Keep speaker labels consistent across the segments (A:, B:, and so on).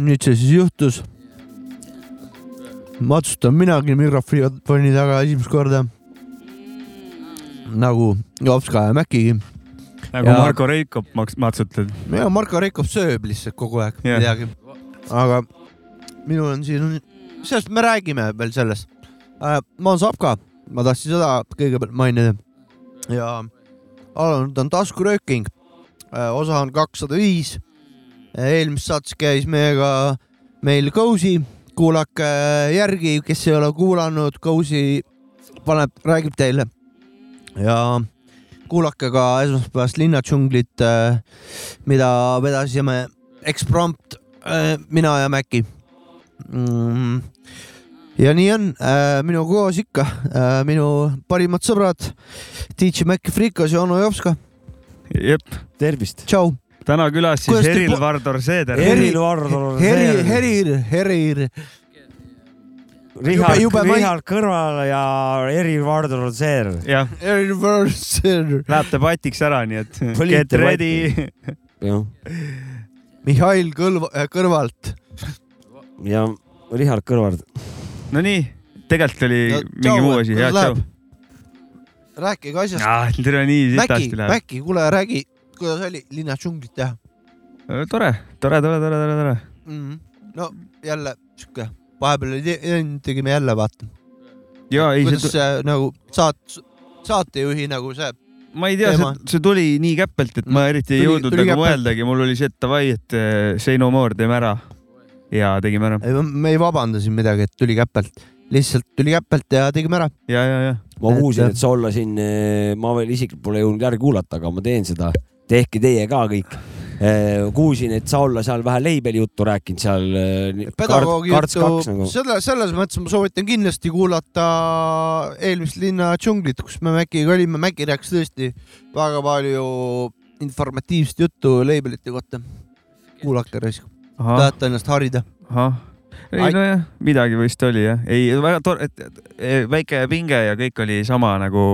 A: nüüd see siis juhtus . matsutan minagi mikrofoni taga esimest korda . nagu Jopska ja Mäkkigi .
B: nagu
A: Ja-
B: ja... Marko Reikop maks- , matsutad .
A: ja Marko Reikov sööb lihtsalt kogu aeg
B: Jah.
A: yeah. midagi . aga minul on siin , sellest me räägime veel sellest . ma olen Sapka , ma tahtsin seda kõigepealt mainida . ja alanud on taskurööking , osa on kakssada viis . eelmises saates käis meiega meil Kõusi , kuulake järgi , kes ei ole kuulanud , Kõusi paneb , räägib teile . ja kuulake ka esmaspäevast Linna džunglit , äh, mida vedasime eksprompt , mina ja Mäki . ja nii on , minu koos ikka äh, minu parimad sõbrad , DJ Mäkki Frikas ja Ono Jopska ,
B: jep ,
C: tervist .
A: tšau .
B: täna külas siis
A: Kuidas te po-
B: Helir-Valdor Seeder .
A: Heri-
C: Helir-Valdor
A: Heri ,
C: Seeder.
A: Herir , Herir ,
C: Rihard ,
A: jube mai-
C: Rihard Kõrval ja Helir-Valdor Seeder .
B: jah ,
A: Herir , Herir ,
B: läheb debatiks ära , nii et get
C: debatti.
B: ready .
C: jah ,
A: Mihhail Kõlv- , Kõrvalt .
C: ja Rihard Kõrval .
B: Nonii , tegelikult oli mingi muu asi , hea tšau .
A: rääkige asjast .
B: tere , nii
A: Mäkki ,
B: sitasti läheb .
A: Mäkki , kuule räägi , kuidas oli linna džunglit teha
B: Äh, tore , tore , tore , tore , tore , tore .
A: mm. ? no jälle sihuke , vahepeal oli te- tegime jälle vaata ,
B: ja ei ,
A: kuidas
B: see ,
A: see nagu saat- , saatejuhi nagu see
B: ma ei tea
A: teema- ,
B: see tuli nii käpelt , et ma eriti ei
A: Tuli-
B: jõudnud nagu
A: tuli käpelt.
B: mõeldagi , mul oli see , et davai , et eh, say no more , teeme ära . ja tegime ära .
A: ei , me ei vabanda siin midagi , et tuli käpelt , lihtsalt tuli käpelt ja tegime ära .
B: ja , ja , ja
C: ma
A: Et-
C: kuulsin , et sa olla siin , ma veel isiklikult pole jõudnud järgi kuulata , aga ma teen seda . tehke teie ka kõik . kuulsin , et sa olla seal vähe leibeli juttu rääkinud seal . eh,
A: pedagoogi juttu
C: nagu. ,
A: selle , selles mõttes ma soovitan kindlasti kuulata eelmist linna džunglit , kus me Mäkkiga olime , Mäkki rääkis tõesti väga palju informatiivset juttu labelite kohta . kuulake raisk ,
B: Ahah.
A: tahate ennast harida .
B: ahah , ei
A: Ai-
B: nojah , midagi vist oli jah , ei väga tore , väike pinge ja kõik oli sama nagu ,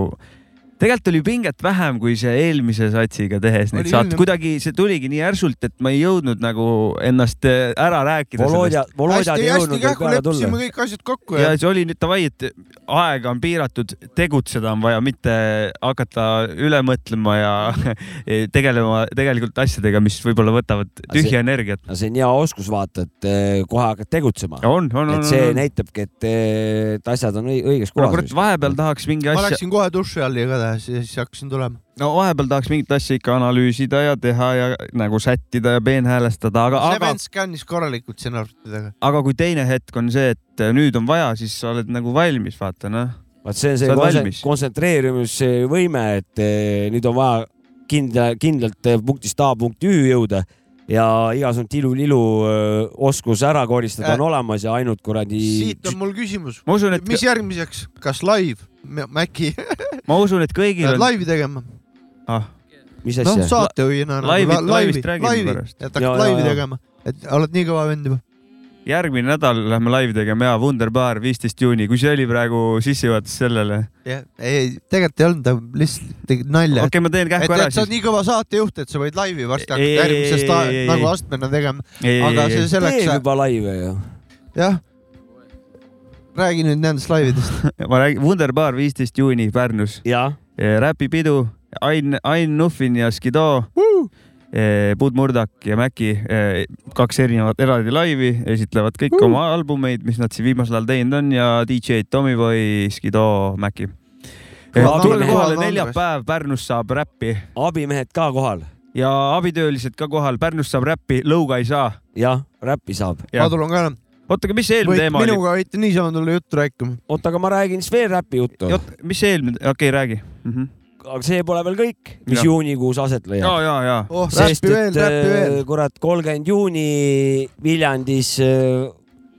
B: tegelikult oli pinget vähem kui see eelmise satsiga tehes neid
A: Oli
B: saate ,
A: küll, jah.
B: kuidagi see tuligi nii järsult , et ma ei jõudnud nagu ennast eh, ära rääkida
C: Volodja , Volodja ei
A: hästi-hästi
C: jõudnud veel
A: kähku
C: peale tulla .
A: leppisime kõik asjad kokku
B: ja
A: ja,
B: see oli nüüd davai , et aega on piiratud , tegutseda on vaja , mitte hakata üle mõtlema ja tegelema tegelikult asjadega , mis võib-olla võtavad tühja energiat .
C: see on hea oskus vaata , et eh, kohe hakkad tegutsema .
B: on , on , on ,
C: et see
B: on .
C: näitabki , et eh, et asjad on õi- õiges
B: no kurat ,
C: kohas .
B: vahepeal tahaks mingi
A: ja ma
B: asja ,
A: läksin kohe duši all igatahes ja siis hakkasin tulema .
B: no vahepeal tahaks mingit asja ikka analüüsida ja teha ja nagu sättida ja peenhäälestada , aga ,
A: see
B: aga ,
A: vend skännis korralikult siin arvutitega .
B: aga kui teine hetk on see , et nüüd on vaja , siis sa oled nagu valmis , vaata noh .
C: vaat see on
B: Sa
C: see
B: oled
C: konse-
B: valmis?
C: kontsentreerimisvõime , et eh, nüüd on vaja kindla , kindlalt eh, punktist A punkti Ü jõuda ja igasugune tilulilu eh, oskus ära koristada
A: Äh,
C: on olemas ja ainult kuradi
A: siit on mul küsimus ,
B: ma usun , et
A: mis , järgmiseks , kas live , Mäkki ,
B: ma usun , et kõigil
A: pead
B: on .
A: laivi tegema ?
B: Ah,
C: mis
A: noh ,
C: asja .
A: saatejuhina nagu
B: Laivid-
A: la- laivi ,
B: laivist räägime
A: laivi ,
B: pärast.
A: et
C: Ja,
A: hakkad
C: ja,
A: laivi
C: ja.
A: tegema , et oled nii kõva vend juba .
B: järgmine nädal lähme laivi tegema ja Wunderbar viisteist juuni , kui see oli praegu sissejuhatus sellele .
A: jah , ei , tegelikult ei olnud , ta lihtsalt tegi nalja
B: okei . okay, , ma teen
A: et ,
B: kähku ära
A: et sa oled
B: siis .
A: nii kõva saatejuht , et sa võid laivi varsti
B: Ei,
A: hakata järgmisest
B: ei, ei,
A: a-
B: ei,
A: nagu
B: ei.
A: astmena tegema , aga see
B: ei ,
A: selleks
C: teeb , juba laive ju .
A: jah . räägi nüüd nendest laividest .
B: ei , ma räägin , Wunderbar viisteist juuni Pärnus ,
C: jah ,
B: räpipidu , Eh, Ain , Ain Nuffin ja Skido Eh, Bud Murdak ja Mäki , kaks erinevat eraldi laivi , esitlevad kõik oma albumeid , mis nad siin viimasel ajal teinud on ja DJ-d Tommyboy , Skido , Mäki .
C: Kõva
B: tulge
C: nimi.
B: kohale ,
A: Kõva
B: neljapäev Pärnus saab räppi
C: abimehed ka kohal ,
B: ja abitöölised ka kohal , Pärnus saab räppi , lõuga ei saa .
C: jah , räppi saab .
A: ma tulen ka enam .
B: oota , aga mis see eelmine
A: võite
B: teema oli ?
A: minuga võite niisama tulla juttu rääkima .
C: oota , aga ma räägin siis veel räpi juttu ,
B: mis see eelmine , okei okay, , räägi mm . -hmm.
C: aga see pole veel kõik , mis
B: Jah.
C: juunikuus aset
B: ja ,
C: leiab .
B: ja , ja
A: oh ,
C: sest
A: räppi veel ,
C: et äh,
A: räppi veel
C: eh, . kurat , kolmkümmend juuni Viljandis eh,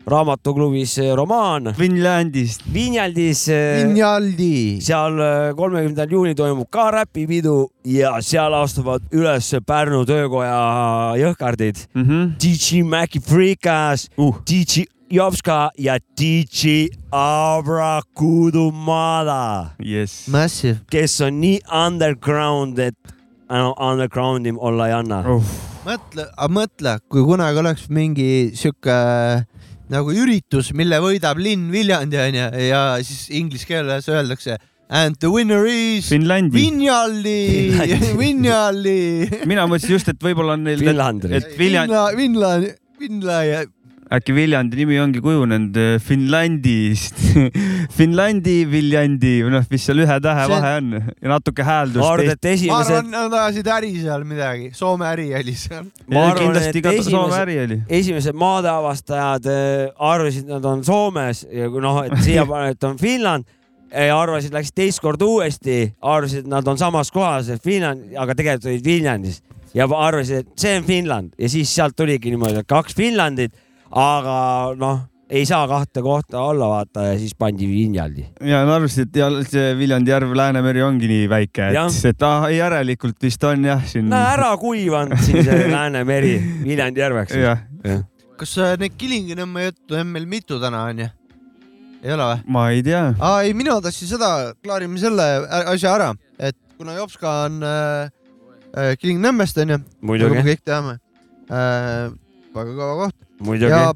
C: raamatuklubis eh, Romaan
B: Finlandist .
C: Vinjaldis .
B: äh,
A: Vinjaldi .
C: seal äh, kolmekümnendal juunil toimub ka räpipidu ja seal astuvad üles Pärnu töökoja jõhkardid .
B: Mhm.
C: DJ Maci Freekas
B: Uh.
C: uh. , DJ Jopska ja DJ Abrakudumada ,
B: jess .
A: Massive .
C: kes on nii underground , et äh, no, undergroundi olla ei anna oh. .
A: mõtle , mõtle , kui kunagi oleks mingi sihuke nagu üritus , mille võidab linn Viljandi onju ja siis inglise keeles öeldakse and the winner is
B: Finlandi .
A: Vinjaldi , Vinjaldi .
B: mina mõtlesin just , et võib-olla on neil ,
C: Finlandri
B: et Viljandi ,
A: Vinla , Vinla ja
B: äkki Viljandi nimi ongi kujunenud äh, Finlandist . Finlandi , Viljandi või noh , mis seal ühe tähe
A: See-
B: vahe on ja natuke
C: ma
B: hääldust
C: arvan ,. et
A: ma
C: esimesed
A: arvan ,, nad ajasid äri seal midagi , Soome äri oli seal .
C: ma arvan,
B: kindlasti
C: et
B: ka
C: esimese-
B: Soome äri oli .
C: esimesed maadeavastajad eh, arvasid , nad on Soomes ja kui noh , et siiapoole , et on Finland , arvasid , läksid teist korda uuesti , arvasid , et nad on samas kohas , et Finland , aga tegelikult olid Viljandis ja arvasid , et see on Finland ja siis sealt tuligi niimoodi , et kaks Finlandit , aga noh , ei saa kahte kohta olla , vaata ja siis pandi Vinjaldi .
B: ja nad arvasid , et ja see Viljandi järv , Läänemeri ongi nii väike ,
C: Jah.
B: et , et ah, järelikult vist on jah siin .
C: no ära kuivanud siin see Läänemeri Viljandi järveks .
B: jah ,
A: kas äh, neid Kilingi-Nõmme juttu on meil mitu täna onju ? ei ole või ?
B: ma ei tea .
A: aa ei , mina tahtsin seda , klaarime selle ä- asja ära , et kuna Jopska on äh, äh, Kilingi-Nõmmest onju , nagu me
C: muidugi ,
A: kõik teame äh, , väga kõva koht
C: muidugi
A: ja .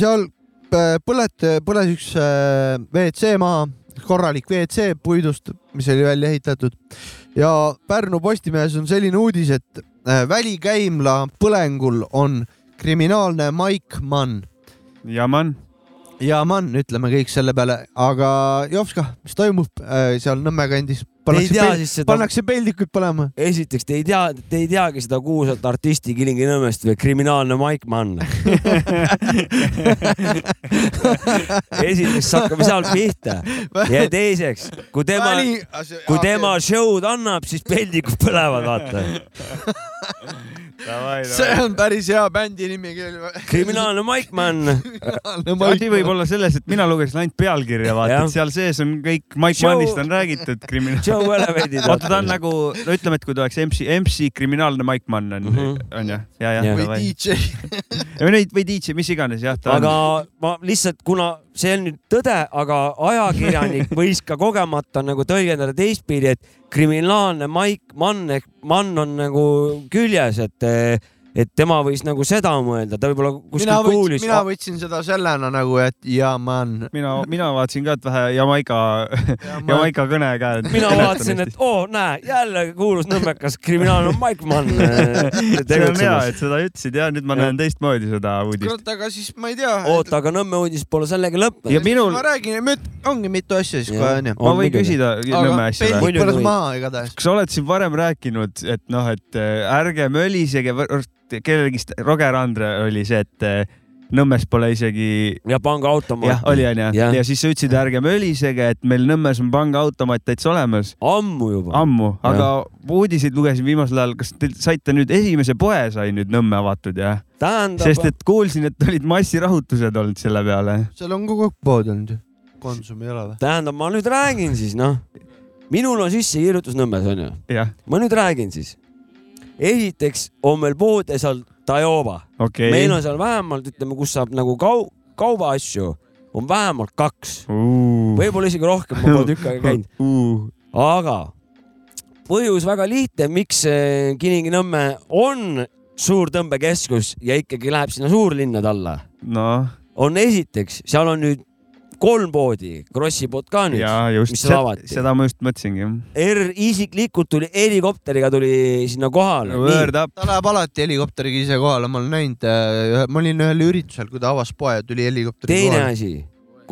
A: seal äh, põlet , põles üks äh, WC maha , korralik WC puidust , mis oli välja ehitatud ja Pärnu Postimehes on selline uudis , et äh, välikäimla põlengul on kriminaalne Maik Mann
B: Jaman ,
A: ja Mann , ütleme kõik selle peale , aga Jopska , mis toimub äh, seal Nõmme kandis ?
C: ei
A: pannakse,
C: tea
A: pel
C: siis seda
A: pannakse peldikuid põlema .
C: esiteks te ei tea , te ei teagi seda kuulsat artisti Kilingi-Nõmmest või kriminaalne Maik Mann . esiteks hakkame sealt pihta ja teiseks , kui tema , kui tema show'd annab , siis peldikud põlevad , vaata .
A: see on päris hea bändi nimi .
C: kriminaalne Maik Mann ,
B: asi võib olla selles , et mina lugesin ainult pealkirja , vaata
C: Jah. ,
B: et seal sees on kõik , Mike
C: Show-
B: Mannist on räägitud , kriminaal .
C: show elevendid .
B: vaata , ta on nagu , no ütleme , et kui ta oleks MC , MC kriminaalne Mike Mann on
C: Mhm. ,
B: on jah , ja , ja
C: Jah. ,
A: või DJ .
B: või neid või DJ , mis iganes jah , ta
C: aga
B: on .
C: ma lihtsalt , kuna see on nüüd tõde , aga ajakirjanik võis ka kogemata nagu tõlgendada teistpidi , et kriminaalne Maik Mann ehk Mann on nagu küljes , et et tema võis nagu seda mõelda , ta võib-olla
A: mina
C: kuskil
A: võtsin ,
C: kuulis .
A: mina võtsin seda sellena nagu , et ja man .
B: mina , mina vaatasin ka , et vähe Jamaiga , Jamaica kõne ka .
C: mina vaatasin , et oo , näe , jälle kuulus nõmmekas kriminaalne Maik Mann äh,
B: see on hea ,
C: tegutsemas .
B: et seda ütlesid ja nüüd ma
C: Jah.
B: näen teistmoodi seda uudist .
A: kurat , aga siis ma ei tea .
C: oota , aga Nõmme uudis pole sellega lõppenud .
B: ja minul
A: ma , räägin , ongi mitu asja siis
C: Jah.
A: kohe onju .
B: ma
C: on
B: võin
C: muidugi.
B: küsida Nõmme
A: aga
B: asja või ?
A: peldik
C: Muidugi
A: põles
C: võib.
A: maha igatahes .
B: kas sa oled siin varem rääkinud , et noh , et äh, ärge mölisege , kellegist Roger Andre oli see , et äh, Nõmmes pole isegi
C: ja pangaautomaat .
B: jah , oli onju ja.
C: Jah.
B: ja siis sa ütlesid , ärge mölisege , et meil Nõmmes on pangaautomaat täitsa olemas ,
C: ammu juba .
B: ammu , aga uudiseid lugesin viimasel ajal , kas te saite nüüd esimese poe sai nüüd Nõmme avatud jah ? sest
C: tähendab ,
B: et kuulsin , et olid massirahutused olnud selle peale .
A: seal on kogu aeg pood olnud ju . Konsum ei ole või ?
C: tähendab , ma nüüd räägin siis noh . minul on sissekirjutus Nõmmes onju .
B: jah ,
C: ma nüüd räägin siis . esiteks on meil poodides on Taioba .
B: okei
C: meil on seal vähemalt , ütleme , kus saab nagu kau- , kaubaasju , on vähemalt kaks ,
B: on
C: võib-olla isegi rohkem , ma pole tükk aega käinud . aga põhjus väga lihtne , miks eh, Kilingi-Nõmme on suur tõmbekeskus ja ikkagi läheb sinna suurlinnade alla ,
B: noh ,
C: on esiteks , seal on nüüd kolm poodi , Krossi pood ka nüüd ,
B: ja just
C: mis seal avati .
B: seda ma just mõtlesingi .
C: R isiklikult tuli helikopteriga tuli sinna kohale .
B: Word up ,
A: ta läheb alati helikopteriga ise kohale , ma olen näinud , ma olin ühel üritusel , kui ta avas poe , tuli helikopteri
C: teine
A: kohale .
C: asi ,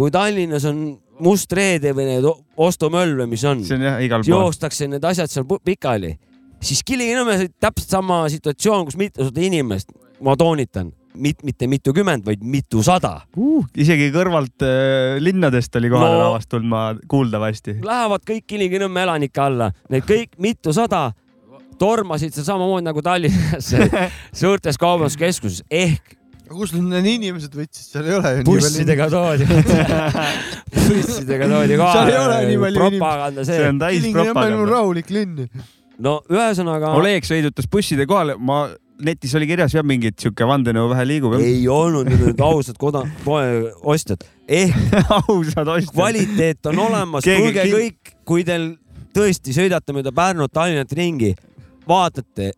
C: kui Tallinnas on must reede või need o- ostumöll või mis on
B: see , on jah igal pool .
C: joostakse need asjad seal pu- pikali , siis Kilingi-Nõmmes oli täpselt sama situatsioon , kus mitusada inimest , ma toonitan , mit- , mitte mitukümmend , vaid mitusada ,
B: uh, . isegi kõrvalt äh, linnadest oli kohale no.
C: No.
B: lavast tulnud ma kuuldavasti .
C: lähevad kõik Kilingi-Nõmme elanike alla , need kõik mitusada tormasid seal samamoodi nagu Tallinnasse suurtes kaubanduskeskuses ehk
A: kust need inimesed võtsid , seal ei ole ju nii palju .
C: bussidega toodi , bussidega toodi
A: Seal
C: kohale ,
A: ei ole nii palju inimesi.
C: propaganda
B: see
C: see .
B: on täis
A: Kilingi on palju
B: propaganda .
A: rahulik linn .
C: no ühesõnaga
B: Oleg sõidutas busside kohale , ma , netis oli kirjas jah , mingit siuke vandenõu vähe liigub .
C: ei olnud ju nüüd ausad koda- , ostjad ehk
B: ausad ostjad .
C: kvaliteet on olemas ,
B: Keegi-
C: kuulge
B: keegi-
C: kõik , kui teil tõesti sõidate mööda Pärnut , Tallinnat ringi , vaatate ,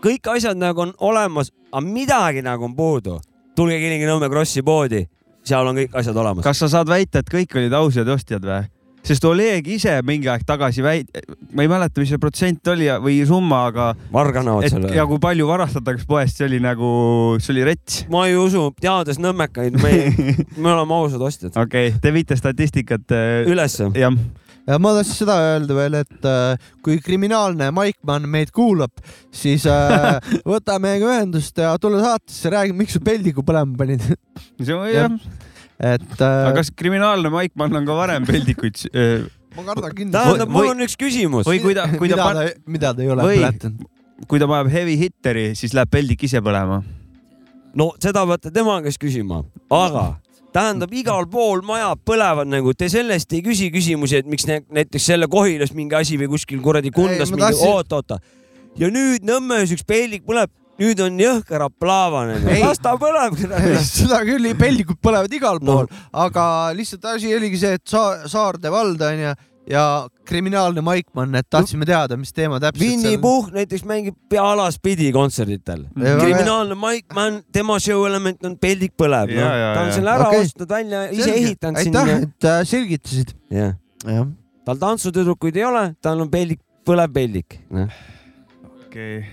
C: kõik asjad nagu on olemas , aga midagi nagu on puudu . tulge Kilingi-Nõmme Krossi poodi , seal on kõik asjad olemas .
B: kas sa saad väita , et kõik olid ausad ostjad või ? sest Oleg ise mingi aeg tagasi väit- , ma ei mäleta , mis see protsent oli ja- või summa , aga
C: varganavad
B: et
C: seal
B: ja
C: või ?
B: kui palju varastatakse poest , see oli nagu , see oli rets .
C: ma ei usu , teades nõmmekaid , me , me oleme ausad ostjad .
B: okei okay, , te viite statistikat äh,
C: ülesse .
B: jah ,
A: ja ma tahtsin seda öelda veel , et äh, kui kriminaalne Maikmann meid kuulab , siis äh, võta meiega ühendust ja tule saatesse , räägi , miks sa peldiku põlema panid .
B: see on
A: Jah.
B: jah ,
A: et
B: aga
A: äh,
B: kas kriminaalne Maikmann on ka varem peldikuid s- äh,
A: ma kardan kindlasti .
C: tähendab , mul on üks küsimus .
B: või kui ta , kui ta
A: mida
B: pan- ,
A: ta , mida ta ei ole
B: või-
A: põletanud .
B: kui ta paneb heavy hitteri , siis läheb peldik ise põlema .
C: no seda peate tema käest küsima , aga tähendab , igal pool majad põlevad nagu , te sellest ei küsi küsimusi , et miks ne, näiteks selle Kohilas mingi asi või kuskil kuradi Kundas
A: Ei, ma
C: mingi
A: tahtsin-
C: tahtsin... , oot-oota . ja nüüd Nõmmes üks peldik põleb , nüüd on jõhker aplaava nagu ,
A: Ei.
C: las ta põleb .
A: seda küll , peldikud põlevad igal
C: No.
A: pool no. , aga lihtsalt asi oligi see , et saa- , Saarde vald onju ja kriminaalne Maikmann , et tahtsime teada , mis teema täpselt
C: Winny . Puhh näiteks mängib pea alaspidi kontserditel .
A: Väga hea.
C: kriminaalne Mike Mann , tema show element on peldik põleb ,
B: Ja,
C: noh ,
B: ja,
C: ta on
B: ja.
C: selle ära
A: Okei.
C: okay. ostnud välja , ise ehitanud
A: aitäh
C: sinna ,.
A: et äh, selgitasid .
C: jah .
A: jah ,
C: tal tantsutüdrukuid ei ole , tal on peldik , põlev peldik , noh .
B: okei okay. ,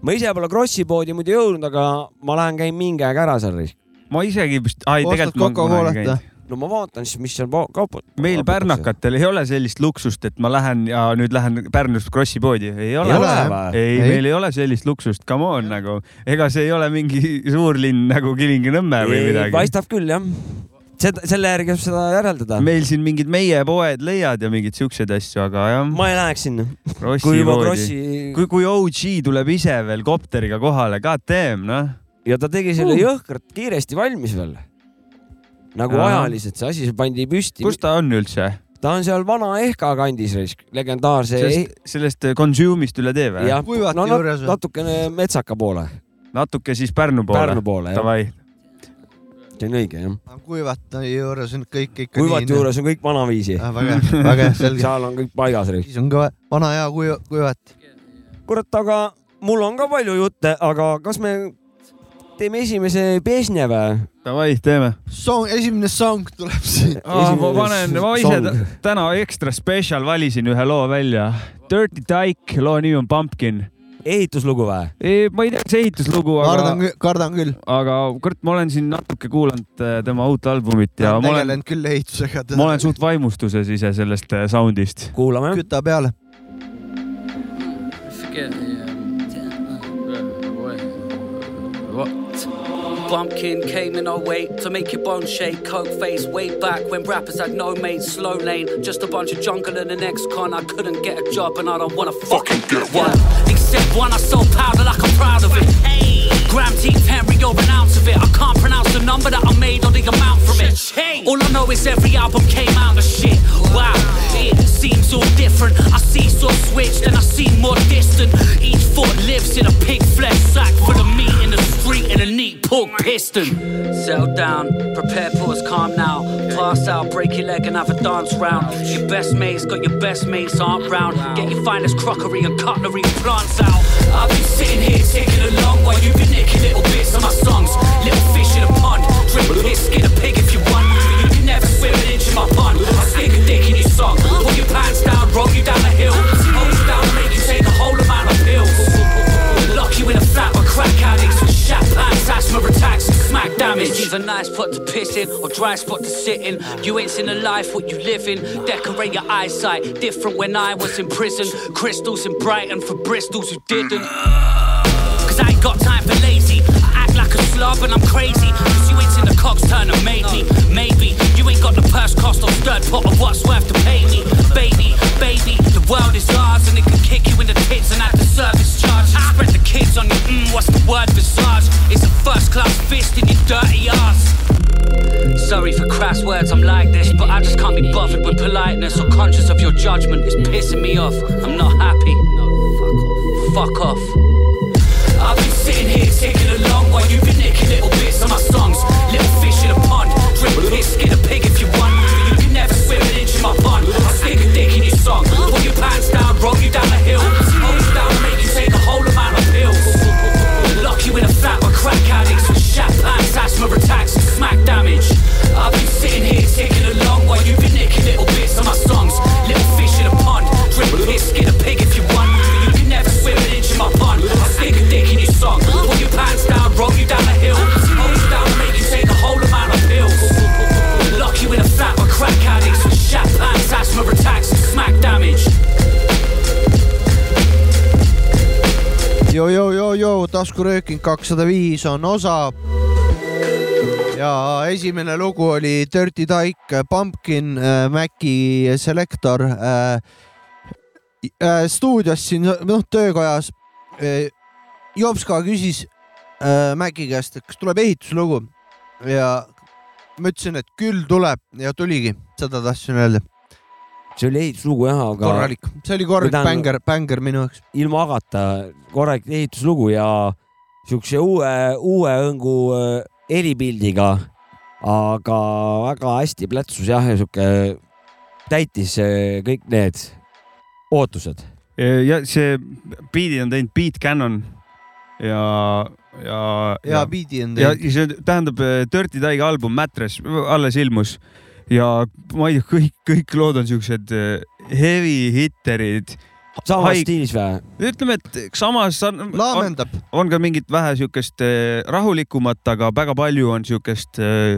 C: ma ise pole Krossi poodi muidu jõudnud , aga ma lähen käin mingi aeg ära seal .
B: ma isegi vist , ai
A: ostad äh?
B: tegelikult ma olen kunagi
A: Coca-Colat
B: käinud
A: või ?
C: no ma vaatan siis , mis seal po- kaupa .
B: meil pärnakatel ei ole sellist luksust , et ma lähen ja nüüd lähen Pärnust Krossi poodi , ei ole .
A: ole
C: või ?
B: ei, ei ,
A: Ei.
B: meil ei ole sellist luksust , come on nagu , ega see ei ole mingi suurlinn nagu Kilingi-Nõmme või midagi .
C: paistab küll jah . seda , selle järgi saab seda järeldada .
B: meil siin mingid meie poed leiad ja mingeid siukseid asju , aga jah .
C: ma ei läheks sinna , kui
B: Krossi
C: juba
B: poodi .
C: Krossi
B: kui , kui OG tuleb ise veel kopteriga kohale , god damn noh .
C: ja ta tegi
B: Uh.
C: selle jõhkralt kiiresti valmis veel . nagu
B: Ahah.
C: ajaliselt see asi see pandi püsti .
B: kus ta on üldse ?
C: ta on seal Vana Ehka kandis , legendaarse .
B: sellest , sellest Consume'ist üle tee või ?
C: jah ,
A: Kuivati
C: no nat-
A: juures või?
C: natukene metsaka poole ,
B: natuke siis Pärnu
C: Pärnu
B: poole .
C: poole jah ,
B: Davai ,
C: see on õige jah .
A: kuivata juures on kõik ikka
C: kuivati . juures on kõik vanaviisi ,
A: Ah, väga hea , väga hea , selge .
C: seal on kõik paigas .
A: siis on ka vana hea kuiv- , kuivat .
C: kurat , aga mul on ka palju jutte , aga kas me teeme esimese pesne või ?
B: davai , teeme .
A: Song , esimene song tuleb siin .
B: Ah, ma
C: Esimene
B: panen , ma ise
C: song.
B: tä- täna ekstra special valisin ühe loo välja . Dirty Dyke , loo nimi on Pumpkin .
C: ehituslugu või ?
B: ma ei tea , kas ehituslugu ,
A: kardan
B: aga ,,
A: kardan küll .
B: aga kurat , ma olen siin natuke kuulanud äh, tema uut albumit ja ma olen ,
A: tegelen küll ehitusega .
B: ma olen suht vaimustuses ise sellest äh, sound'ist .
C: kuulame .
A: küta peale .
D: Forget, yeah. Uh, what? What? Bumpkin came in 08 to make your bones shake. Coke face way back when rappers had no mates. Slow lane, just a bunch of jungle and an ex con. I couldn't get a job and I don't wanna fucking get one. Except one, I so powder like I'm proud of it. Gram T10, Rio, an ounce of it. I can't pronounce the number that I made or the amount from it. All I know is every album came out of shit. Wow, it seems all different. I see so switched and I seem more distant. Each foot lives in a pig flesh sack full of meat in the street and a neat pork piston. Settle down, prepare, pause, calm now. Pass out, break your leg and have a dance round. Your best mates got your best mates aren't round. Get your finest crockery and cutlery and plants out. I've been sitting here taking along while you've been nicking little bits of my songs. Little fish in a pond, drink piss, get a pig if you want. You can never swim an inch in my pond. I stick a dick in your song. Pull your pants down, roll you down the hill. Hold you down, make you take a whole amount of pills. Lock you in a flat with crack addicts with shat pants, asthma attacks, and smack damage. It's either nice spot to piss in or dry spot to sit in. You ain't seen a life what you live in. Decorate your eyesight different when I was in prison. Crystals in Brighton for Bristols who didn't. Cause I ain't got time for lazy. I act like a slob and I'm crazy. Cause you ain't seen the cogs turn and made me. Maybe you ain't got the purse cost or stud pot of what's worth to pay me. Baby, baby, the world is ours and it can kick you in the tits and at the service charge. Spread the kids on your mm, what's the word visage? It's a first class fist crass words, I'm like this, but I just can't be bothered with politeness or conscious of your judgment. It's pissing me off. I'm not happy. No, fuck off. Fuck off. I've been sitting here taking along while you've been nicking little bits of my songs. Little fish in a pond, drink piss, get a pig if you want. But you can never swim an inch in my pond. I'll stick a dick in your song. Pull your pants down, roll you down the hill. Hold you down, make you take a whole amount of pills. Lock you in a flat with crack addicts with shat pants, asthma attacks, and smack damage. I've been sitting here taking along while you've been nicking little bits of my songs. Little fish in a pond, drink piss, get a pig if you want. But you can never swim an inch in my pond. I'll stick a dick in your song. Pull your pants down, roll you down the hill. Hold you down, make you take a whole amount of pills. Lock you in a flat with crack addicts with shat pants, asthma attacks, and smack damage.
A: joo-joo-joo-joo , taskurööking kakssada viis on osa . ja esimene lugu oli Dirty Dyke , Pumpkin äh, , Maci Selector äh, . Äh, stuudios siin , noh , töökojas äh, . Jopska küsis äh, Maci käest , et kas tuleb ehituslugu ja ma ütlesin , et küll tuleb ja tuligi , seda tahtsin öelda .
C: see oli ehituslugu jah , aga
A: korralik , see oli korralik
C: Mida-
A: bängar , bängar minu jaoks .
C: ilma agata korralik ehituslugu ja siukse uue , uue hõngu äh, helipildiga , aga väga hästi plätsus jah , ja sihuke täitis äh, kõik need ootused .
B: Äh, ja see biidi on teinud Beat Cannon ja , ja ,
A: ja biidi on
B: ja
A: teinud .
B: ja see tähendab eh, Dirty Dyke album Mattress äh, alles ilmus ja ma ei tea , kõik , kõik lood on siuksed eh, heavy hitterid .
C: samas
B: Haig-
C: stiilis või ?
B: ütleme , et samas on, on,
A: laamendab .
B: on ka mingit vähe siukest eh, rahulikumat , aga väga palju on siukest eh,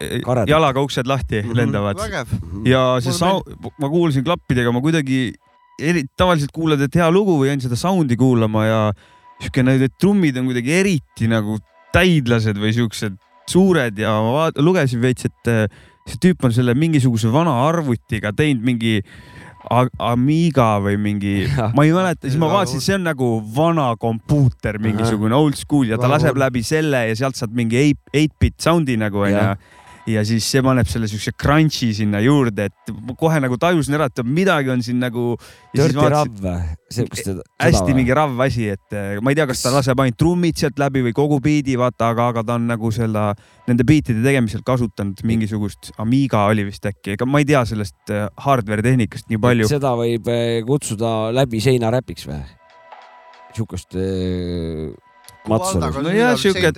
B: eh,
C: Karedat.
B: jalaga uksed lahti lendavad
A: vägev .
B: Mhm. ja see
A: Mulle
B: sound , ma kuulsin klappidega , ma kuidagi eri, tavaliselt kuulad , et hea lugu või jäin seda sound'i kuulama ja siuke need need trummid on kuidagi eriti nagu täidlased või siuksed suured ja ma vaat- lugesin veits , et äh, see tüüp on selle mingisuguse vana arvutiga teinud mingi A- Amiga või mingi , ma ei mäleta , siis ma
A: Jaa,
B: vaatasin ,
A: old-
B: see on nagu vana kompuuter , mingisugune old school ja ta
A: Vana
B: laseb
A: old-
B: läbi selle ja sealt saad mingi eight , eight-bit sound'i nagu onju
C: Jah.
B: ja siis see paneb selle siukse crunch'i sinna juurde , et ma kohe nagu tajusin ära , et midagi on siin nagu .
C: Dirty Rav või ? sihukest .
B: e- hästi mingi ravv asi , et eh, ma ei tea , kas ta laseb ainult trummid sealt läbi või kogu biidi , vaata , aga , aga ta on nagu selle , nende biitide tegemisel kasutanud mingisugust , Amiga oli vist äkki , ega ma ei tea sellest eh, hardware tehnikast nii palju .
C: seda võib eh, kutsuda läbi seina räpiks või ? sihukest eh, matsu .
B: No jah, siuke-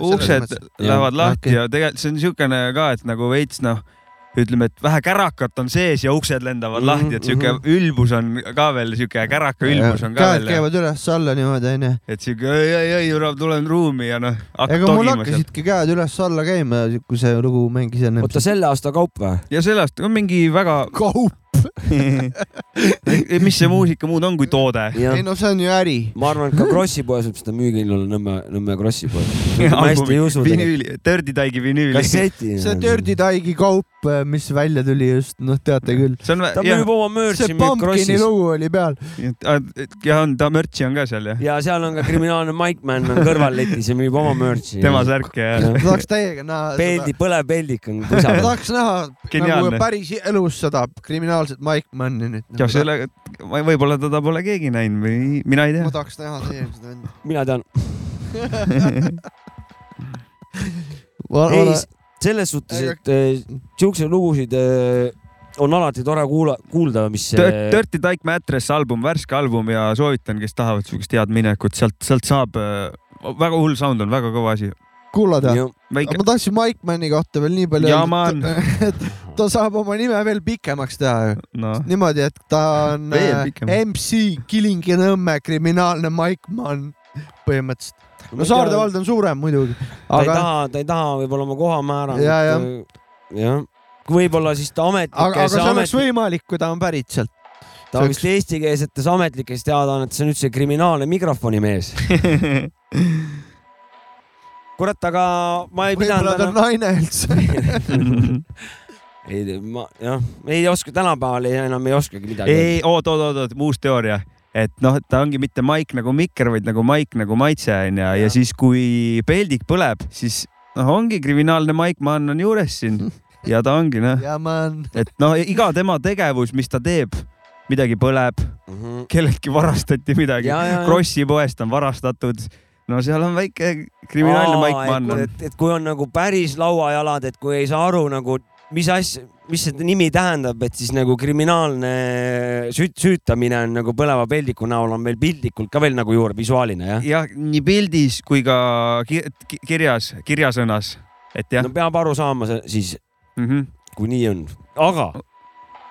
B: uksed lähevad lahti ja tegelikult see on niisugune ka , et nagu veits noh , ütleme , et vähe kärakat on sees ja uksed lendavad
C: Mhm,
B: lahti , et sihuke
C: mhm.
B: ülbus on ka veel , sihuke käraka ülbus on ka
A: käed
B: veel ,
A: käivad üles-alla niimoodi onju .
B: et sihuke oi-oi-oi , tulen ruumi ja noh , hakkad
A: ega mul
B: togima sealt .
A: hakkasidki käed üles-alla käima , kui see lugu mängis enne .
C: oota , selle aasta kaup või ?
B: ja selle aasta on mingi väga ,
A: kaup .
B: mis see muusika muud on kui toode .
A: ei no see on ju äri .
C: ma arvan , et ka Krossi poes võib seda müügil olla , Nõmme , Nõmme Krossi poes . ma hästi ei usu .
B: vinüüli , Dirty Dyke'i vinüüli . see
C: kasseti .
A: see Dirty Dyke'i kaup , mis välja tuli just , noh , teate küll .
B: on ,
C: ta
B: jah
C: müüb , oma
A: see
C: mürtsi , müüb
A: Pumpkini
C: Krossis .
A: lugu oli peal .
B: ja on , ta mürtsi on ka seal jah ,
C: ja seal on ka kriminaalne Mike Man on kõrval letis ja müüb oma mürtsi .
B: tema särk ja
C: Jah.
A: ma tahaks täiega näha
C: peldi
A: seda .,
C: põlev peldik on
A: ma
C: pusav .
A: tahaks näha
B: Geniaalne.
A: nagu päris elus seda kriminaalset Mike Manni nüüd .
B: ja selle , võib-olla teda pole keegi näinud või mina ei
A: ma
B: tea .
A: tahaks näha teie seda venda .
C: mina tean . ei
A: ei ,,
C: selles suhtes ,
A: Ega-
C: et eh, siukseid lugusid eh, on alati tore kuula , kuulda , mis .
B: Dirty Dyke Mattress album , värske album ja soovitan , kes tahavad siukest head minekut , sealt , sealt saab , väga hull sound on , väga kõva asi .
A: kuulad jah ?
B: väike
A: aga , ma tahtsin Mike Manni kohta veel nii palju
B: Jaa, ma
A: öelda , et ta saab oma nime veel pikemaks teha ju .
B: noh ,
C: Ah.
A: niimoodi , et ta on
B: Veel
A: äh,
B: pikem.
A: MC Kilingi-Nõmme kriminaalne Mike Mann põhimõtteliselt . no Saarde vald on suurem muidugi ,
C: ta ei
A: aga ,
C: taha , ta ei taha võib-olla oma koha määrata .
A: Ja, jah.
C: jah , võib-olla siis ta
A: aga , aga
C: ametlikes ,
A: see oleks
C: ametlik,
A: võimalik , kui ta on pärit sealt .
C: ta on vist eestikeelsetes ametlikes teadaannetes on üldse kriminaalne mikrofoni mees .
B: noh.
C: kurat , aga ma ei
A: võib-olla
C: pidanud
A: ta on
C: enam ,
A: naine üldse .
C: ei ma jah , ei oska tänapäeval ei- enam ei oskagi midagi .
B: ei , oot , oot , oot , oot , uus teooria , et noh , ta ongi mitte maik nagu mikker , vaid nagu maik nagu maitse onju ja, ja
C: Jah.
B: siis , kui peldik põleb , siis noh , ongi kriminaalne Mike Mann on juures siin ja ta ongi noh ,
A: ja ma olen ,
B: et noh , iga tema tegevus , mis ta teeb , midagi põleb , kelleltki varastati midagi
C: Mhm. Ja, ja, ja. ,
B: Krossi poest on varastatud . no seal on väike kriminaalne Mike Mann on .
C: et , et kui on nagu päris lauajalad , et kui ei saa aru nagu , mis asja , mis see nimi tähendab , et siis nagu kriminaalne süüt- , süütamine on nagu põleva peldiku näol on meil piltlikult ka veel nagu juurde , visuaaline jah
B: jah , nii pildis kui ka ki- ki- kirjas , kirjasõnas , et jah
C: no peab aru saama see- siis ,
B: mm . -hmm.
C: kui nii on , aga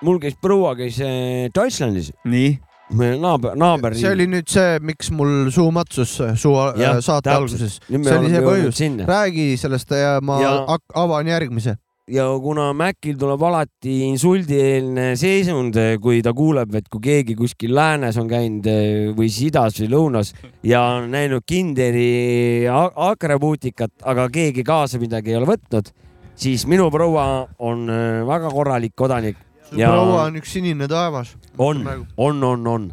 C: mul käis proua käis eh, Deutschlandis ,
B: nii ,
C: meie naaber , naaber .
A: see oli nüüd see , miks mul suu matsus äh, suu
C: Jah,
A: ja, saate
C: täpselt.
A: alguses . see oli see põhjus .
C: sinna
A: räägi sellest ja ma ja...
C: Ja-
A: avan järgmise .
C: ja kuna Mäkil tuleb alati insuldieelne seisund , kui ta kuuleb , et kui keegi kuskil läänes on käinud eh, või siis idas või lõunas ja on näinud Kinderi a- akrebuutikat , aga keegi kaasa midagi ei ole võtnud , siis minu proua on eh, väga korralik kodanik . Ja-
A: proua on üks sinine taevas .
C: on , on , on , on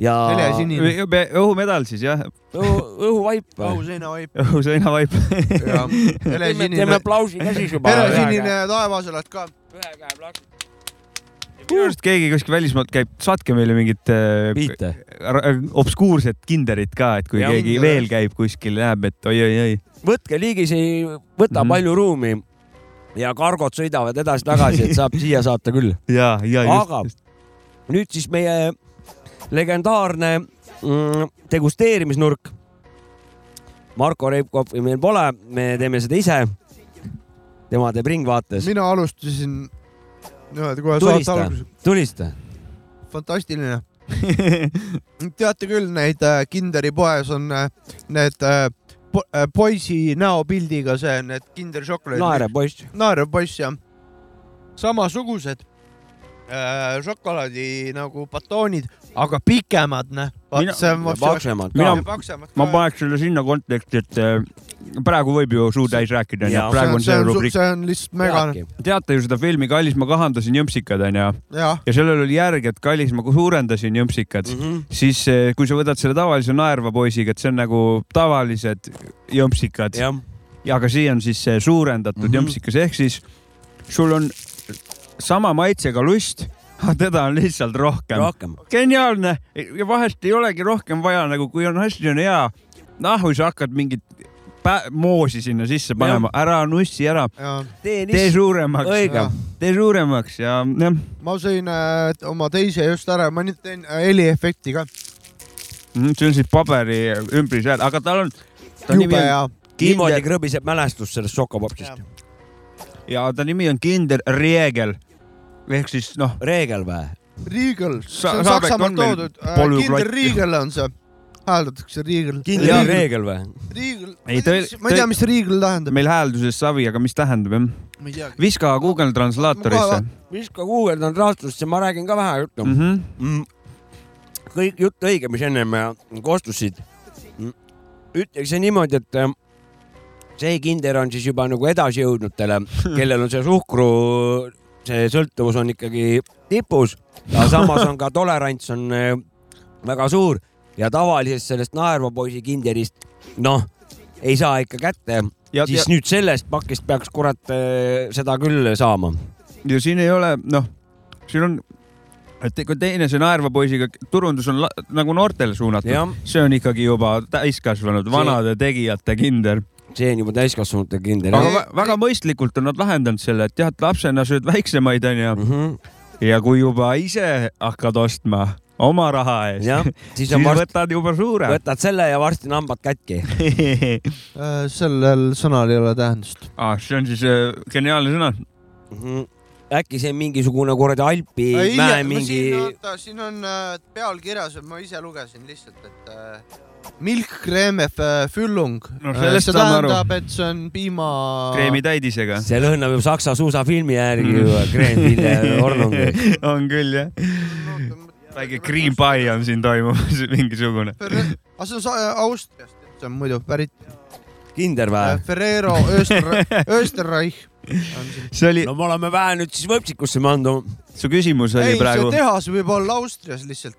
C: ja
A: helesinine .
B: õhumedal siis jah ,
C: õhu , õhuvaip .
A: auseina
B: õhusõinavaip .
A: ja
C: teeme
A: helesinine ,
C: aplausi ka siis juba .
A: helesinine taevas oled ka .
C: ühe käe plaks- .
B: minu arust keegi kuskil välismaalt käib , saatke meile mingit äh,
C: viite .
B: ra- obskuurset kinderit ka , et kui
C: Jah.
B: keegi veel käib kuskil , näeb , et oi-oi-oi .
C: võtke liigis , ei võta
B: Mhm.
C: palju ruumi ja kargod sõidavad edasi-tagasi , et saab siia saata küll .
B: ja , ja just
C: Aga- , nüüd siis meie mm, legendaarne mm, degusteerimisnurk . Marko Reipkopi meil pole , me teeme seda ise . tema teeb Ringvaates .
A: mina alustasin , niimoodi kohe saate
C: tulista
A: alguses ,,
C: tulista .
A: fantastiline teate küll , neid äh, Kinderi poes on äh, need äh, po äh, poisi näopildiga see , need Kinderi šokolaadid .
C: naere poiss .
A: naerev poiss jah . samasugused äh, šokolaadi nagu batoonid , aga pikemad , noh .
B: Mina-
A: vaat see on vot see-
C: paksemad
B: Mina-
C: ka .
A: ja paksemad
B: ma
A: ka.
B: paneks selle sinna konteksti , et äh, praegu võib ju suu täis rääkida , onju
C: Jaa. ,
B: praegu on
A: see
B: see
A: on,
B: rubriik .
A: see on lihtsalt megane ,
B: teate ju seda filmi Kallis , ma kahandasin jõmpsikad , onju ,
A: jah .
B: ja sellel oli järg , et Kallis , ma suurendasin
A: Mm.
B: jõmpsikad .
C: Mhm.
B: siis eh, kui sa võtad selle tavalise naerva poisiga , et see on nagu tavalised jõmpsikad ja,
C: jah ,
B: ja aga see on siis see suurendatud mm -hmm.
C: Mhm.
B: jõmpsikas ehk siis sul on sama maitsega lust , aga teda on lihtsalt rohkem no. .
C: rohkem .
B: geniaalne ja vahest ei olegi rohkem vaja , nagu kui on hästi on hea , noh , või sa hakkad mingit pä- moosi sinna sisse panema , ära nussi ära ,
C: tee
B: tee
C: nii .
B: suuremaks ,
C: õige
A: Jaa. .
B: tee suuremaks ja jah ,
A: ma sõin äh, oma teise just ära , ma nüüd teen äh, heliefekti ka .
B: Mhm, see on siis paberi ümbrisjääd , aga tal on , ta nimi
A: jube
B: on
A: hea .
C: niimoodi krõbiseb mälestus sellest šokopopsist .
B: ja ta nimi on Kinder Reegel . ehk siis noh ,
C: reegel või ?
A: Riegel , see
B: Sa-
A: on
B: Saabek
A: Saksamaalt
B: on meil
A: toodud ,
B: polüglott
A: Kinder
B: ju.
A: Riegel on see , hääldatakse Riegel .
C: kindel reegel või ?
A: Riegel , ma
B: Ei,
A: ei
B: ta-
A: tea, mis- ma ei tea ,
B: ta-
A: mis Riegel tähendab ,
B: meil häälduses savi , aga mis tähendab jah ?
A: ma ei teagi .
B: viska Google translaatorisse
A: Ma-
C: viska guugeldan rahastust ja ma räägin ka vähe juttu
B: mm .
C: mm .
B: -hmm.
C: -hmm. kõik jutt õige , mis ennem äh, kostusid . ütleks niimoodi , et äh, see kinder on siis juba nagu edasijõudnutele , kellel on see suhkru , see sõltuvus on ikkagi tipus , aga samas on ka tolerants on äh, väga suur ja tavalisest sellest naervapoisi kinderist , noh , ei saa ikka kätte ,
B: ja , ja,
C: siis nüüd sellest pakist peaks kurat äh, seda küll saama .
B: ja siin ei ole , noh , siin on , et kui teine see naerva poisiga , turundus on la, nagu noortele suunatud ,
C: jah ,
B: see on ikkagi juba täiskasvanud , vanade tegijate Kinder .
C: see on juba täiskasvanute kinder
B: aga
C: jah .
B: vä- väga mõistlikult on nad lahendanud selle , et jah , et lapsena sööd väiksemaid onju
C: Mm -hmm.
B: ja kui juba ise hakkad ostma oma raha eest ,
C: jah , siis on
B: siis
C: varsti ,
B: võtad juba suure .
C: võtad selle ja varsti on hambad katki .
A: Äh, sellel sõnal ei ole tähendust .
B: ah, . see on siis äh, geniaalne sõna .
C: Mhm. äkki see on mingisugune kuradi Alpi mäe mingi ,
A: Äh, siin on äh, pealkirjas , ma ise lugesin lihtsalt , et äh, Milchcreme äh, Füllung
B: No
A: Äh,
B: sellest
A: see
B: saame aru.
A: tähendab , et see on piima .
B: kreemitäidisega .
C: see lõhnab ju Saksa suusafilmi järgi ju
A: Mm.
C: Kreenville Orlung .
B: Mm. on küll jah , väike cream . pie on siin toimumas mingisugune .
A: aga see on sa- äh, Austriast , see on muidu pärit
C: kinder
A: äh,
C: või ?
A: Ferrero Öster- , Österreich on siin .
B: see oli
C: no me oleme vähe nüüd siis võpsikusse mandunud ,
B: su küsimus oli
A: ei , see
B: praegu ,
A: tehas võib olla Austrias lihtsalt .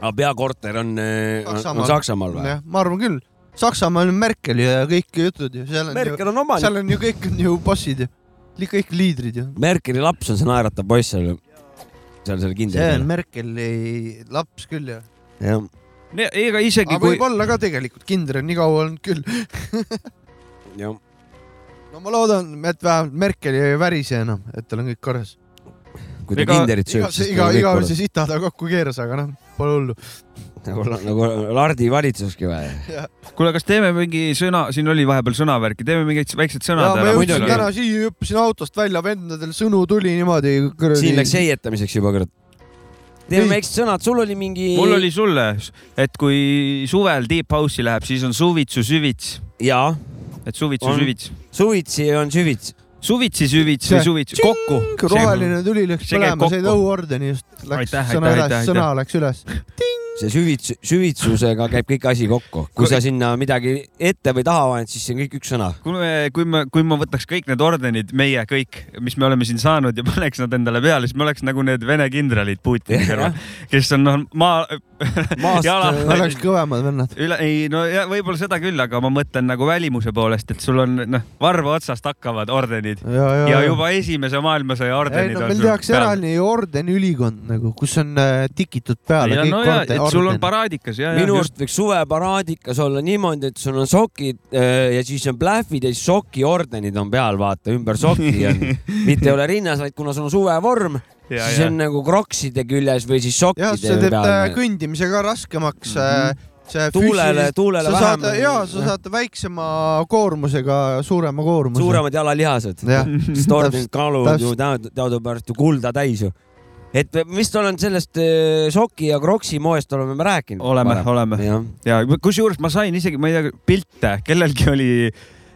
C: aga peakorter on, äh, on
A: Saksamaal.
C: on Saksamaal või ?
A: jah , ma arvan küll . Saksamaal on Merkel ja kõik jutud ja seal on ju ,
C: Merkel on omanik .
A: seal on ju kõik on ju bossid ja li- kõik liidrid ju .
C: Merkeli laps on see naeratav poiss seal ju . seal selle
A: see on
C: kindel .
A: Merkeli laps küll ju .
C: jah ,
B: ega isegi
A: aga
B: kui ,
A: võib-olla ka tegelikult kindral nii kaua olnud küll .
C: jah .
A: no ma loodan , et vähemalt Merkel ei värise enam , et tal on kõik korras .
C: kui ta
B: Ega-
C: kinderit sööb ,
A: iga ,
C: siis
A: iga ,
C: tal on
A: iga
C: kõik
A: see sita ta kokku keeras , aga noh , pole hullu .
C: korras . nagu , nagu Lardi valitsuski või ?
B: kuule , kas teeme mingi sõna , siin oli vahepeal sõnavärki , teeme mingid väiksed
A: ja
B: sõnad
A: ma jõudsin
C: muidugi.
A: täna siia , hüppasin autost välja , vendadel sõnu tuli niimoodi .
C: siin läks heietamiseks juba , kurat . teeme
A: Ei.
C: väiksed sõnad , sul oli mingi .
B: mul oli sulle , et kui suvel Deep House'i läheb , siis on suvitsu süvits ,
C: jaa ,
B: et suvitsu
C: On.
B: süvits ,
C: suvitsi on süvits .
B: suvitsi süvits või
A: See-
B: suvits kokku .
A: roheline tuli läks
B: see käib
A: põlema , said
B: kokku.
A: õuordeni just . Läks
B: Aitäh,
A: sõna
B: aitäh,
A: üles
B: aitäh, ,
A: sõna läks üles .
C: see süvits , süvitsusega käib kõik asi kokku . kui
B: Kui-
C: sa sinna midagi ette või taha paned , siis see on kõik üks sõna .
B: kui me , kui me , kui ma võtaks kõik need ordenid , meie kõik , mis me oleme siin saanud ja paneks nad endale peale , siis me oleks nagu need Vene kindralid Putini
C: Jah.
B: kõrval , kes on noh, maa ,
C: maast
B: Jala.
C: äh,
A: oleks kõvemad vennad .
B: üle , ei no ja võib-olla seda küll , aga ma mõtlen nagu välimuse poolest , et sul on noh , varva otsast hakkavad ordenid
A: ja , ja,
B: ja juba esimese maailmasõja
A: ei
B: ordenid
A: no meil tehakse eraldi ordeniülikond nagu , kus on äh, tikitud peale
B: ja
A: kõik
B: no ja , et sul on
A: orden- ,
B: paraadikas ja ,
C: minu
B: ja
C: arust võiks suveparaadikas olla niimoodi , et sul on sokid öö, ja siis on plähvid ja siis sokiordenid on peal , vaata ümber soki on , mitte ei ole rinnas , vaid kuna sul on suvevorm ,
B: ja ,
C: siis
B: ja
C: on nagu krokside küljes või siis sokkide
A: jah , see teeb äh,
C: peal .
A: kõndimise ka raskemaks
B: Mhm.
A: mm . -hmm. see
C: tuulele ,
A: füüsilist-
C: tuulele
A: sa saad
C: vähem ,.
A: ja sa saad väiksema koormusega suurema koormuse .
C: suuremad jalalihased .
A: jah ,
C: Storming kalu on ju
A: Mhm. täpselt.
C: tead- teadupärast ju kulda täis ju . et vist olen sellest öö, soki ja kroksi moest oleme me rääkinud .
B: oleme , oleme .
C: jah ,
B: ja kusjuures ma sain isegi , ma ei tea , pilte , kellelgi oli ,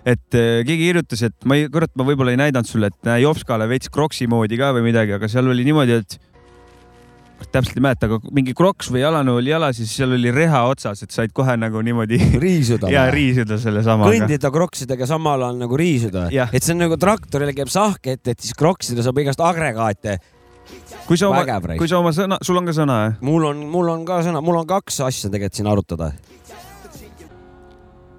B: et eh, keegi kirjutas , et ma ei , kurat , ma võib-olla ei näidanud sulle , et näe Jopskale veits kroksi moodi ka või midagi , aga seal oli niimoodi , et täpselt ei mäleta , aga mingi kroks või jalanõu oli jalas ja siis seal oli reha otsas , et said kohe nagu niimoodi
C: riisuda .
B: ja riisuda sellesamaga .
C: kõndida kroksidega samal ajal nagu riisuda
B: Jah. .
C: et see on nagu traktorile käib sahk ette , et siis kroksidel saab igast agregaate .
B: kui sa oma
C: vägev , raisk.
B: kui sa oma sõna , sul on ka sõna jah ?
C: mul on , mul on ka sõna , mul on kaks asja tegelikult siin arutada .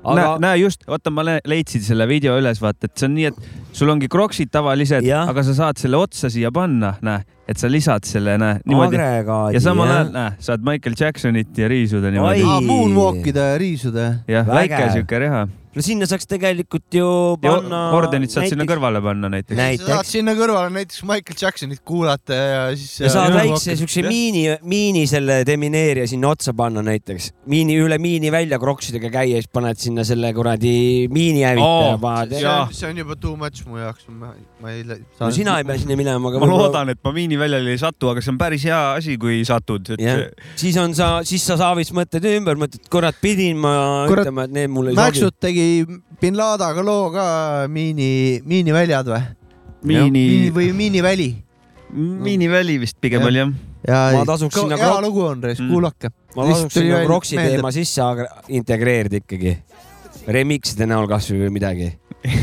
B: Aga...
C: aga ,
B: näe just , vaata , ma le- leidsin selle video üles , vaata , et see on nii , et sul ongi kroksid tavalised ,
C: Jah.
B: aga sa saad selle otsa siia panna , näe , et sa lisad selle , näe , niimoodi .
C: agregaadi .
B: ja samal ajal , näe , saad Michael Jacksonit ja riisuda niimoodi
C: Oi. .
A: Ah, moonwalkida ja riisuda .
B: jah ,
C: Vägev.
B: väike siuke reha .
C: no sinna saaks tegelikult ju
B: ja
C: panna .
B: ordenit saad sinna . kõrvale panna näiteks .
A: sa saad
C: näiteks .
A: sinna kõrvale näiteks Michael Jacksonit kuulata ja siis .
C: ja saad väikse siukse
B: Jah.
C: miini , miini selle demineerija sinna otsa panna näiteks . miini üle miini välja kroksidega käia , siis paned sinna selle kuradi miinihävitaja
B: Oo,
C: oh, paned
A: see
B: jaa.
A: on- see on juba too much mu jaoks , ma , ma ei saa
C: no sina ei pea sinna minema , aga
B: ma loodan , et ma miiniväljale ei satu , aga see on päris hea asi , kui satud , et
C: jah , siis on sa , siis sa saavis mõtted ümber , mõtled , kurat , pidin ma
A: Kurat,
C: kurat, ütlema , et need mulle ei sobi .
A: Mäksut tegi bin Ladaga loo ka Miini , Miiniväljad või ?
B: miini ,
A: või Miiniväli .
B: miiniväli vist pigem
A: Jah.
B: oli jah .
A: ja
C: Ma tasuks sinna
A: hea
C: krok-
A: lugu on , Reis ,
B: Mm.
A: kuulake .
C: ma
A: lihtsalt
C: lasuks sinna
A: tuli
C: Kroksi
A: meelde.
C: teema sisse agre- integreerida ikkagi . Remixide näol kasvõi või midagi .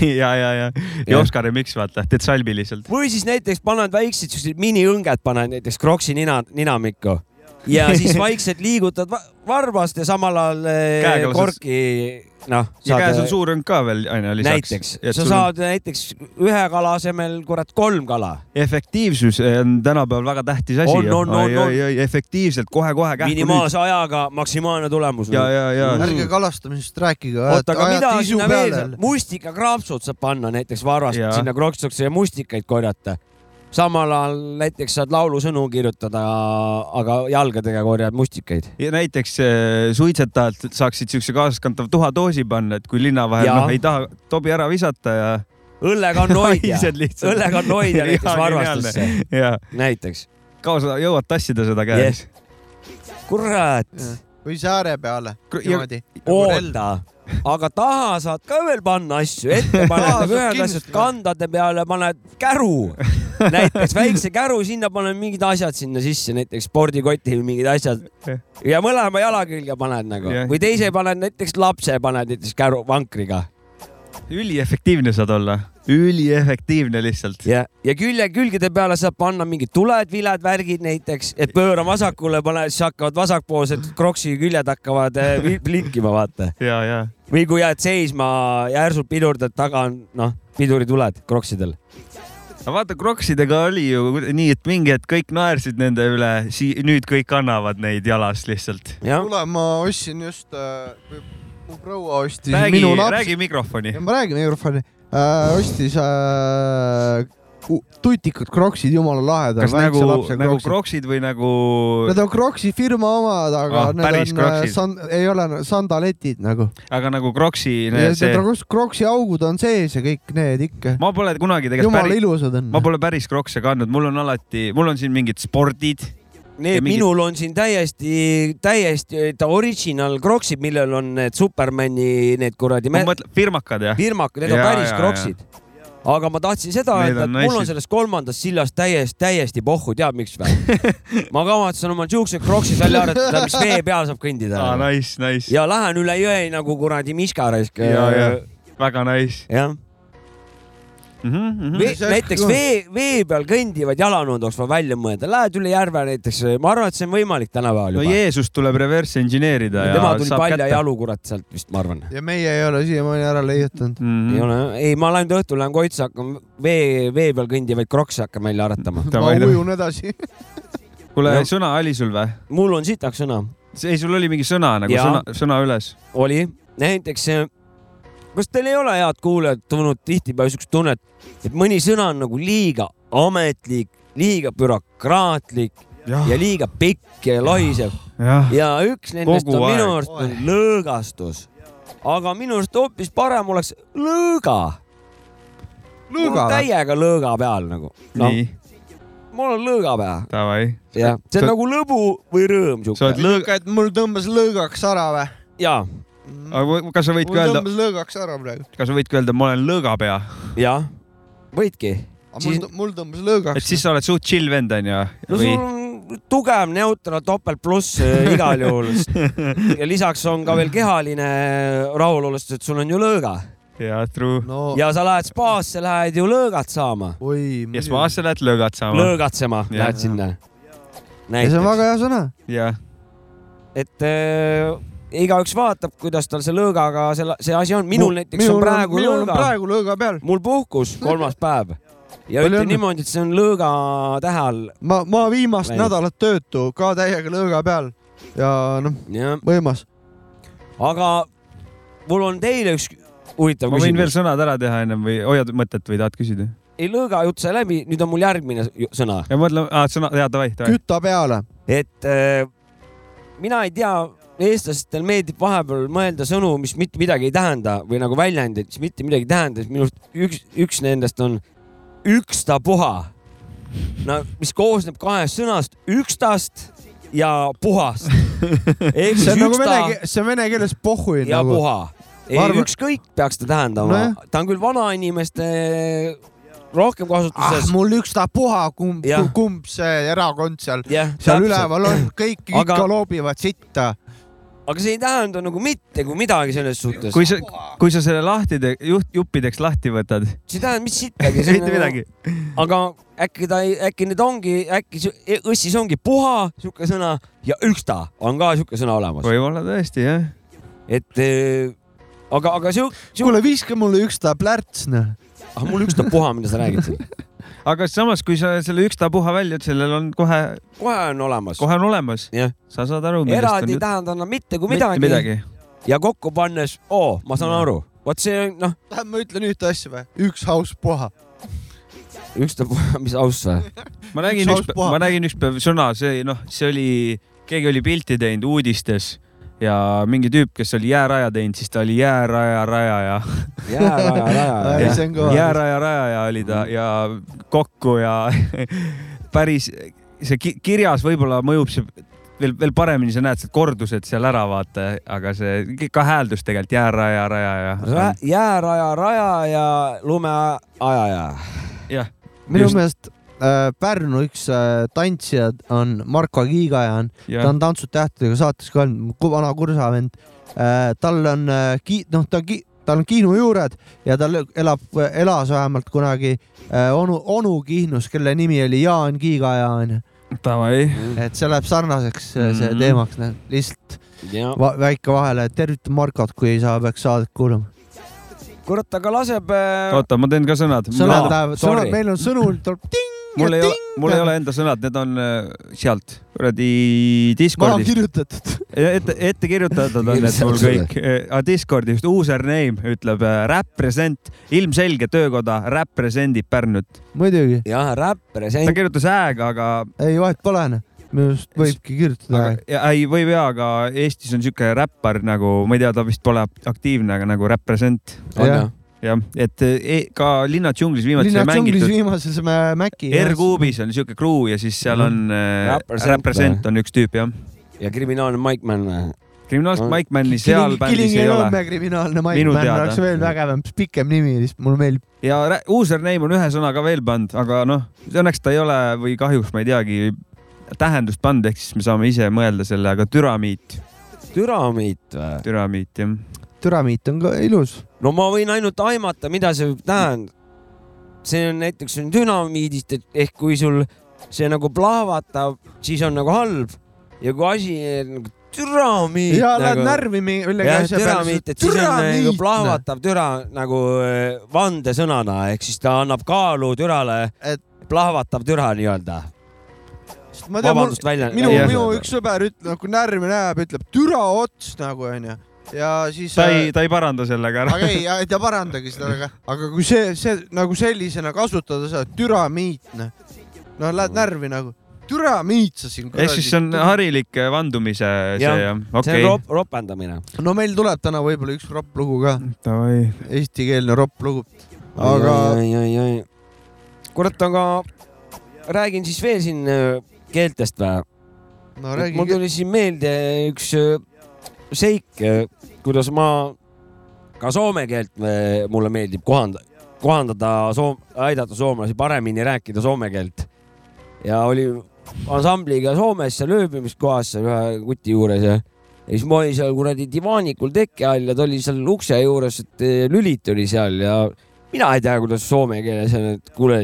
B: ja , ja , ja , ja
C: Jah.
B: Oskar Remix vaata , teed salbi lihtsalt .
C: või siis näiteks paned väiksed siuksed miniõnged , paned näiteks Kroksi nina , ninamikku ja siis vaikselt liigutad va- varvast ja samal ajal eh,
B: Käega lased-
C: korki , noh .
B: ja käes on suur rõng ka veel aina lisaks .
C: näiteks , sa saad näiteks ühe kala asemel , kurat , kolm kala
B: efektiivsus on tänapäeval väga tähtis asi .
C: On, on, on, on.
B: efektiivselt kohe-kohe kähku lüüd.
C: minimaalse ajaga maksimaalne tulemus .
B: ja , ja , ja .
A: ärge kalastamisest rääkige .
C: oota , aga mida sinna veel saab , mustikakraapsud saab panna näiteks varrast
B: Jaa.
C: sinna kroksuks ja mustikaid korjata . samal ajal näiteks saad laulusõnu kirjutada , aga jalgadega korjad mustikaid .
B: ja näiteks äh, suitsetajalt saaksid siukse kaasaskantava tuhadoosi panna , et kui linna vahel
C: Jaa.
B: noh ei taha tobi ära visata ja ,
C: õllekannoidja
B: Naised lihtsalt.
C: õllekannoidja
B: Jaa,
C: näiteks varvastesse ,
B: geniaalne. ja
C: näiteks .
B: kaasa jõuad tassida seda käes yes. .
C: kurat ,
A: või sääre peale , niimoodi .
C: oota , aga taha saad ka veel panna asju , ette paned nagu ühed
A: kindlasti
C: asjad kandade peale paned käru , näiteks väikse käru , sinna paned mingid asjad sinna sisse , näiteks spordikoti või mingid asjad ja mõlema jala külge paned nagu
B: Jah.
C: või teise paned näiteks lapse paned näiteks käru vankriga .
B: üliefektiivne saad olla . üliefektiivne lihtsalt .
C: ja , ja külje , külgede peale saab panna mingid tuled , viled , värgid näiteks , et pööra vasakule , pane , siis hakkavad vasakpoolsed kroksi küljed hakkavad eh, vi- blinkima , vaata .
B: ja , ja
C: või kui jääd seisma järsult pidurdad , taga on noh , pidurituled kroksidel .
B: aga vaata , kroksidega oli ju kuida- nii , et mingi hetk kõik naersid nende üle , nüüd kõik annavad neid jalas lihtsalt .
C: jah ,
A: kuule , ma ostsin just äh, , mu proua ostis
B: räägi
A: minu , laps-
B: räägi mikrofoni
A: ja . ma räägin mikrofoni äh, , ostis äh, ku- tutikud kroksid , jumala lahedad .
B: kas nagu , nagu ? kroksid või nagu
A: Need , on kroksi firma omad , aga
B: Ah,
A: ah, need
B: päris
A: on äh,
B: Kroksid.
A: san- , ei ole sandaletid nagu .
B: aga nagu kroksi , see ,
A: kroksi augud on sees ja kõik need ikka .
B: ma pole kunagi tegelikult
A: jumala
B: päris ,
A: ilusad on .
B: ma pole päris krokse kandnud , mul on alati , mul on siin mingid spordid .
C: need
B: Ja mingid-
C: minul on siin täiesti , täiesti ta original kroksid , millel on need Supermani need kuradi
B: ma
C: me- ,
B: mõtlen , firmakad jah ?
C: firmakad , need on
B: Jaa,
C: päris
B: jaa,
C: kroksid . aga ma tahtsin seda
B: Need
C: öelda ,
B: on
C: et mul on
B: nice'id.
C: sellest kolmandast sillast täiesti , täiesti pohhu , tead miks või ? ma kavatsen oma siuksed kroksid välja arendada , mis vee peal saab kõndida
B: aa , nice , nice .
C: ja lähen üle jõe nagu kuradi miska raisk .
B: ja , ja väga nice
C: jah ,
B: mm . -hmm.
A: Vee- see-
C: näiteks vee , vee peal kõndivad jalanõud oleks vaja välja mõelda , lähed üle järve näiteks , ma arvan , et see on võimalik tänapäeval
B: no
C: juba .
B: Jeesus tuleb reverse engineer ida ja
C: tema tuli
B: saab
C: palja
B: kätte.
C: jalu , kurat , sealt vist , ma arvan .
A: ja meie ei ole siiamaani ära leiutanud .
B: mm .
C: ei ole , ei , ma lähen õhtul lähen koitsa , hakkan vee , vee peal kõndivaid krokse hakkan välja aretama .
A: ma
B: Davai, davai.
A: ujun edasi .
B: kuule
C: Jah. ,
B: sõna oli sul või ?
C: mul on sitaks sõna ,
B: ei , sul oli mingi sõna nagu
C: Jaa.
B: sõna , sõna üles .
C: oli näiteks . kas teil ei ole head kuulajad tulnud tihtipeale siukest tunnet , et mõni sõna on nagu liiga ametlik , liiga bürokraatlik ja liiga pikk ja lohisev
B: jah ,
C: ja üks nendest
B: Kogu
C: on minu
B: aeg.
C: arust on lõõgastus . aga minu arust hoopis parem oleks lõõga .
A: Lõõga või?
C: täiega lõõga peal nagu . noh ,
B: nii ,
C: mul on lõõga pea ,
B: davai .
C: jah , see on
B: Sa-
C: nagu lõbu või rõõm
B: sa oled
C: siuke .
B: lõõg- ,
A: lõõgad , mul tõmbas lõõgaks ära või ?
C: ja ,
B: kas sa võid
A: mul
B: ka öelda ,
A: tõmbas lõõgaks ära praegu .
B: kas sa võid ka öelda , ma olen lõõgapea ,
C: jah , võidki .
A: Mul,
C: Siis-
A: tõ- mul tõmbas
B: et
A: lõõgaks .
B: siis sa oled suht chill vend onju
C: no
B: või
C: sul ? on tugev neutral topelt pluss äh, igal juhul ja lisaks on ka veel kehaline rahulolustus , et sul on ju lõõga
B: jaa , true .
A: no
C: ja sa lähed spaasse , lähed ju lõõgat saama ,
A: oi .
B: ja siis ma asja lähed lõõgad saama .
C: lõõgatsema
B: Jah.
C: lähed sinna .
A: ja see on
C: näiteks ,
A: väga hea sõna .
B: jah ,
C: et äh, igaüks vaatab , kuidas tal see lõõgaga see , see asi on , minul näiteks on praegu
A: minul on
C: lõõga ,
A: praegu lõõga peal .
C: mul puhkus kolmas päev ja
A: Palju
C: ütlen
A: õnne.
C: niimoodi , et see on lõõga tähe all
A: ma , ma viimast
C: Näi-
A: nädalat töötu ka täiega lõõga peal ja noh ,
C: jah ,
A: võimas .
C: aga mul on teile üks huvitav
B: ma võin veel
C: küsimus .
B: sõnad ära teha ennem või hoiad mõtet või tahad küsida ?
C: ei , lõõga jutt sai läbi , nüüd on mul järgmine ju- sõna ,
B: ja mõtle , aa sõna , jaa davai , davai .
A: küta peale .
C: et äh, mina ei tea , eestlastel meeldib vahepeal mõelda sõnu , mis mitte midagi ei tähenda või nagu väljendeid , mis mitte midagi ei tähenda , siis minu arust üks , üks nendest on ükstapuha . no mis koosneb kahest sõnast ükstast ja puhast . ehk siis
A: see on nagu
C: üksta
A: vene , see on vene keeles pohhui
C: ja
A: nagu .
C: puha . ei
A: Ma , arvan-
C: ükskõik peaks ta tähendama
A: Nojah.
C: no. , ta on küll vanainimeste rohkem
A: ah
C: kasutuses .
A: mul ükstapuha , kumb
C: Jah. ,
A: kumb see erakond seal ,
C: jah ,
A: seal . üleval on , kõik ikka
C: Aga-
A: loobivad sitta .
C: aga see ei tähenda nagu mitte kui midagi selles suhtes .
B: kui sa , kui sa selle lahti te- , juht , juppideks lahti võtad ,
C: see ei tähenda mitte sittagi .
B: mitte midagi ..
C: aga äkki ta ei , äkki need ongi , äkki see- õssis ongi puha , sihuke sõna ja üksta on ka sihuke sõna olemas .
B: võib-olla tõesti jah .
C: et eh, aga , aga sihuke ,
A: kuule , viska mulle üksta plärts , noh .
C: ah mul üksta puha , mida sa räägid siin .
B: aga samas , kui sa selle ükstapuha välja , sellel on kohe ,
C: kohe on olemas .
B: kohe on olemas .
C: Jah.
B: sa saad aru , millest on
C: eraldi ei
B: jutt .
C: tähenda enam mitte kui
B: mitte
C: midagi
B: midagi .
C: ja kokku pannes , oo , ma saan
B: Jah.
C: aru , vot see on noh ,
A: tähendab , ma ütlen ühte asja või ? üks haus puha .
C: ükstapuha , mis aus või ?
B: ma nägin
A: Üks
B: üks
A: aus , puha.
B: ma nägin ükspäev sõna , see noh , see oli , keegi oli pilti teinud uudistes ja mingi tüüp , kes oli jääraja teinud , siis ta oli jääraja rajaja .
C: jääraja , raja ,
A: Ei,
C: jah .
A: see on Mm. kõva.
B: jääraja rajaja oli ta ja kokku ja päris see ki- kirjas võib-olla mõjub see veel , veel paremini , sa näed sealt kordused seal ära vaata , aga see ka hääldus tegelikult jääraja rajaja .
C: jääraja , raja ja lumeajaja .
B: jah ,
A: minu
B: Just.
A: meelest äh, Pärnu üks äh, tantsijad on Marko Kiigaja on , ta
B: jah ,
A: on Tantsud tähtedega saates ka olnud , vana kursavend äh, . tal on äh, , noh , ta ki- , tal on Kihnu juured ja tal elab , elas vähemalt kunagi äh, onu , onu Kihnus , kelle nimi oli Jaan Kiiga ja onju .
B: Davai .
A: et see läheb sarnaseks äh, see
B: Mhm.
A: teemaks , lihtsalt va väike vahele , tervitan Markot , kui ei saa , peaks saadet kuulama .
C: kurat , aga laseb äh, .
B: oota , ma teen ka sõnad .
A: sõnad
C: Jaa,
A: lähevad ,
C: sorry.
A: sõnad , meil on sõnul tuleb ting
B: mul
A: ja
B: ei ole
A: ting ,.
B: mul ei ole enda sõnad , need on äh, sealt kuradi
A: ma olen
B: Discordist .
A: kirjutatud .
B: ette , ette kirjutatud on need mul kõik . aga Discordist username ütleb äh, represent , ilmselge töökoda representib Pärnut .
A: muidugi ,
C: jah , räppre , see
B: ta
C: on
B: kirjutas hääga , aga ,
A: ei vahet pole , minu arust võibki kirjutada
B: aga , ei või vea , aga Eestis on siuke räppar nagu , ma ei tea , ta vist pole aktiivne , aga nagu represent .
C: on
A: jah.
C: ju .
B: jah , et eh, ka Linnad džunglis viimati sai
A: linnad džunglis
B: mängitud .
A: viimases mä- Mäki .
B: R-kuubis on siuke crew ja siis seal on äh,
C: Represent
B: represent on üks tüüp jah .
C: ja kriminaalne Mike Mann äh, või ?
B: kriminaalset
C: On.
B: Mike Manni seal bändis ei ole .
A: kriminaalne
B: Minu
A: maikmäär
B: teada.
A: oleks veel vägevam , pikem nimi , siis mulle meeldib .
B: ja rä- username on ühe sõna ka veel pannud , aga noh , õnneks ta ei ole või kahjuks ma ei teagi tähendust pannud , ehk siis me saame ise mõelda selle , aga türamiit ,
C: Düramiit või ?
B: türamiit jah .
A: türamiit on ka ilus .
C: äh. no ma võin ainult aimata , mida see tähendab . see on näiteks on dünamiidist , et ehk kui sul see nagu plahvatab , siis on nagu halb ja kui asi nagu düramiit .
A: ja lähed
C: nagu,
A: närvi mi- millegi
C: jah ,
A: asja peale
C: düramiit ,. et siis on nagu plahvatav türa nagu eh, vandesõnana , ehk siis ta annab kaalu türale
A: Et- ,
C: plahvatav türa nii-öelda .
A: ma tean , mul
C: vabandust , välja .
A: minu ,
B: Jah.
A: minu üks sõber ütleb , kui närvi näeb , ütleb türa ots nagu onju ja siis .
B: ta ei , ta ei paranda sellega ära .
A: aga ei , ei ta parandagi seda , aga , aga kui see , see nagu sellisena kasutada saad , türamiit , noh . no lähed närvi nagu , türamiit sa siin .
B: ehk siis see on harilik eh, vandumise see
C: Jah,
B: jah ,
C: see
B: okei
C: on . rop- , ropendamine .
A: no meil tuleb täna võib-olla üks ropp lugu ka ,
B: Davai .
A: eestikeelne ropp lugu . aga
C: kurat , aga räägin siis veel siin eh, keeltest või ?
A: no
C: Et
A: räägi
C: mul , tuli siin meelde üks öö, seik , kuidas ma ka soome keelt öö, mulle meeldib kohanda- , kohandada soom- , aidata soomlasi paremini rääkida soome keelt . ja oli ansambliga Soomes seal ööbimiskohas seal ühe kuti juures ja ja siis ma olin seal kuradi divaanikul teki all ja ta oli seal ukse juures , et öö, lülit oli seal ja mina ei tea , kuidas soome keeles on , et kuule ,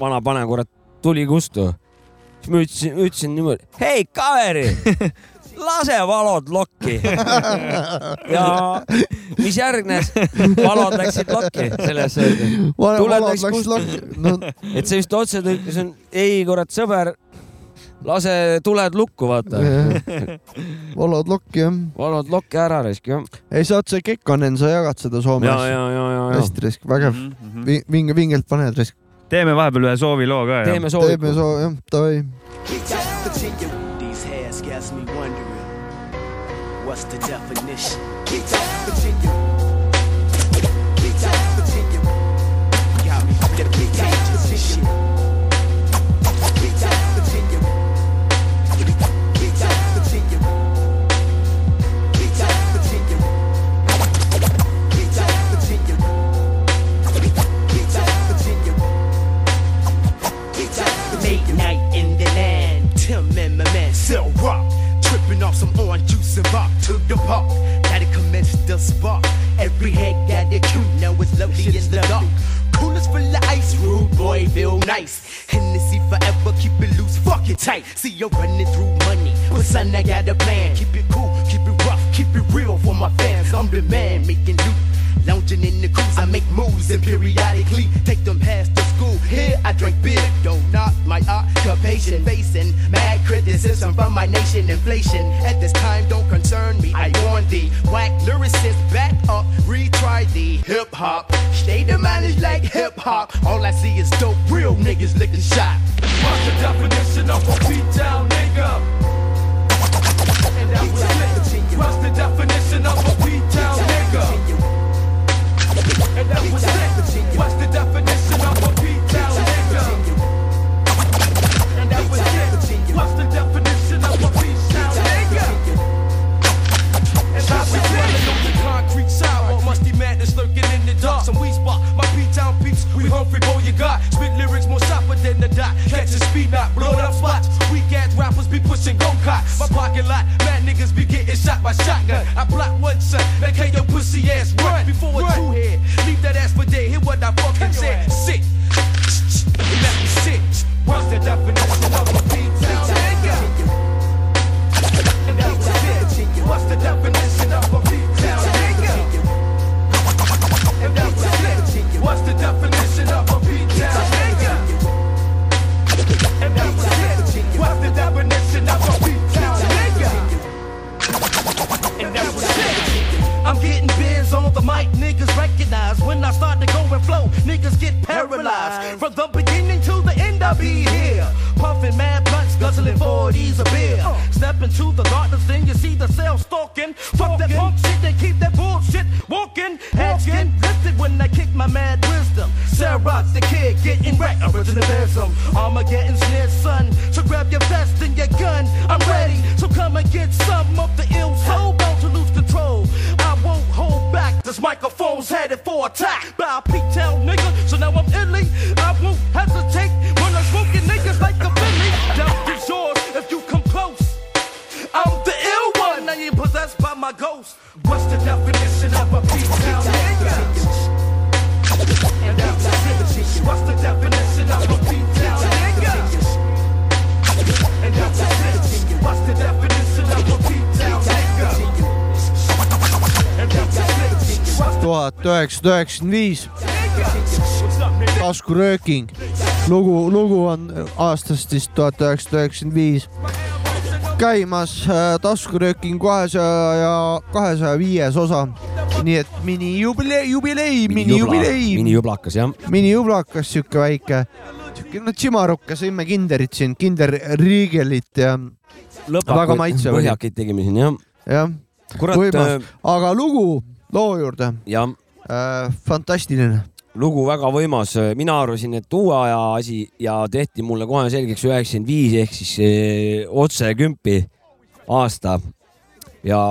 C: vana pane kurat , tuli kustu siis ma ütlesin , ütlesin niimoodi , hei kaveri , lase valod lokki . ja mis järgnes , valod läksid lokki , selles suhtes . tuled läks kustu.
A: no
C: et see vist otsetõlkes on , ei kurat sõber , lase tuled lukku , vaata .
A: valad lokki jah ,
C: valod lokki ära raisk jah .
A: ei sa oled see Kekkonen , sa jagad seda
C: ja ,
A: Soomes .
C: ja , ja , ja , ja .
A: hästi risk , vägev , vinge , vingelt paned risk .
B: Mhm, teeme vahepeal ühe sooviloo ka jah .
C: teeme
A: teeme
C: soovi .
A: soo , jah , davai .
E: These hairs gets me wondering, what's the definition? Got me get contagious and shit. Late night in the land, Tim and my man Sil Rock. Tripping off some orange juice and rock to the park. Gotta commence the spark. Every head got their cue, now it's lovely in the dark. Coolers full of ice, rude boy, feel nice. Hennessy forever, keep it loose, fuck it tight. See, you're running through money, but son, I got a plan. Keep it cool, keep it rough, keep it real for my fans. I'm the man making loot. Lounging in the cruise, I make moves and periodically take them past the school. Here I drink beer, don't knock my occupation. Facing mad criticism from my nation, inflation at this time don't concern me. I warn thee, whack lyricist, back up, retry the hip hop. Stay the mind is like hip hop. All I see is dope, real niggas licking shot.
F: What's the definition of a beat down nigga? And that was lit. What's the definition of a beat down nigga? And that was lit. What's the definition of a beat down nigga? And that was lit. What's the definition of a beat down nigga? And that was lit. The concrete sidewalk, musty madness lurking in the dark. Some weed spot, my P-town peeps, we hungry for your God. Spit lyrics more sharper than the dot. Catch a speed knot, blow up spots. Weak ass rappers be pushing go kart. My pocket lot, mad niggas be getting shot by shotgun. I block one shot, that can your pussy ass run. the mic, niggas recognize when I start to go and flow. Niggas get paralyzed from the beginning to the end. I be here, puffing mad blunts, guzzling 40s of beer. Step into the darkness, then you see the cell stalking. Fuck that punk shit, they keep that bullshit walking. Heads get lifted when I kick my mad wisdom. Sarah Rock's the kid getting wrecked, originalism. Armageddon snare, son. So grab your vest and your gun. I'm ready, so come and get some of the ill soul. Bound to lose control. I won't hold back. This microphone's headed for attack by a peak tail nigga. So now I'm illy. I won't hesitate when I'm smoking niggas like a Billy. Doubt is yours if you come close. I'm the ill one. I ain't possessed by my ghost. What's the definition of a peak town nigga? And that's it. What's the definition of a peak town nigga? And that's it. What's the definition of a peak town nigga? And that's it. What's the
A: tuhat üheksasada üheksakümmend viis ,
F: What's up, nigga?
A: taskurööking . lugu , lugu on aastast siis tuhat üheksasada üheksakümmend viis käimas äh, taskurööking kahesaja ja kahesaja viies osa . nii et mini jubilee , jubilee , mini jubilee ,
C: minijublakas jah .
A: mini jublakas , sihuke väike , sihuke no tsimaruke , sõime kinderit siin , kinder riigelit ja Väga maitsev oli.
C: põhjakit tegime siin jah .
A: jah ,
C: kurat
A: võimas ,, aga lugu loo juurde
C: jah
A: äh, , fantastiline .
C: lugu väga võimas , mina arvasin , et uue aja asi ja tehti mulle kohe selgeks üheksakümmend viis ehk siis eh, otse kümpi aasta ja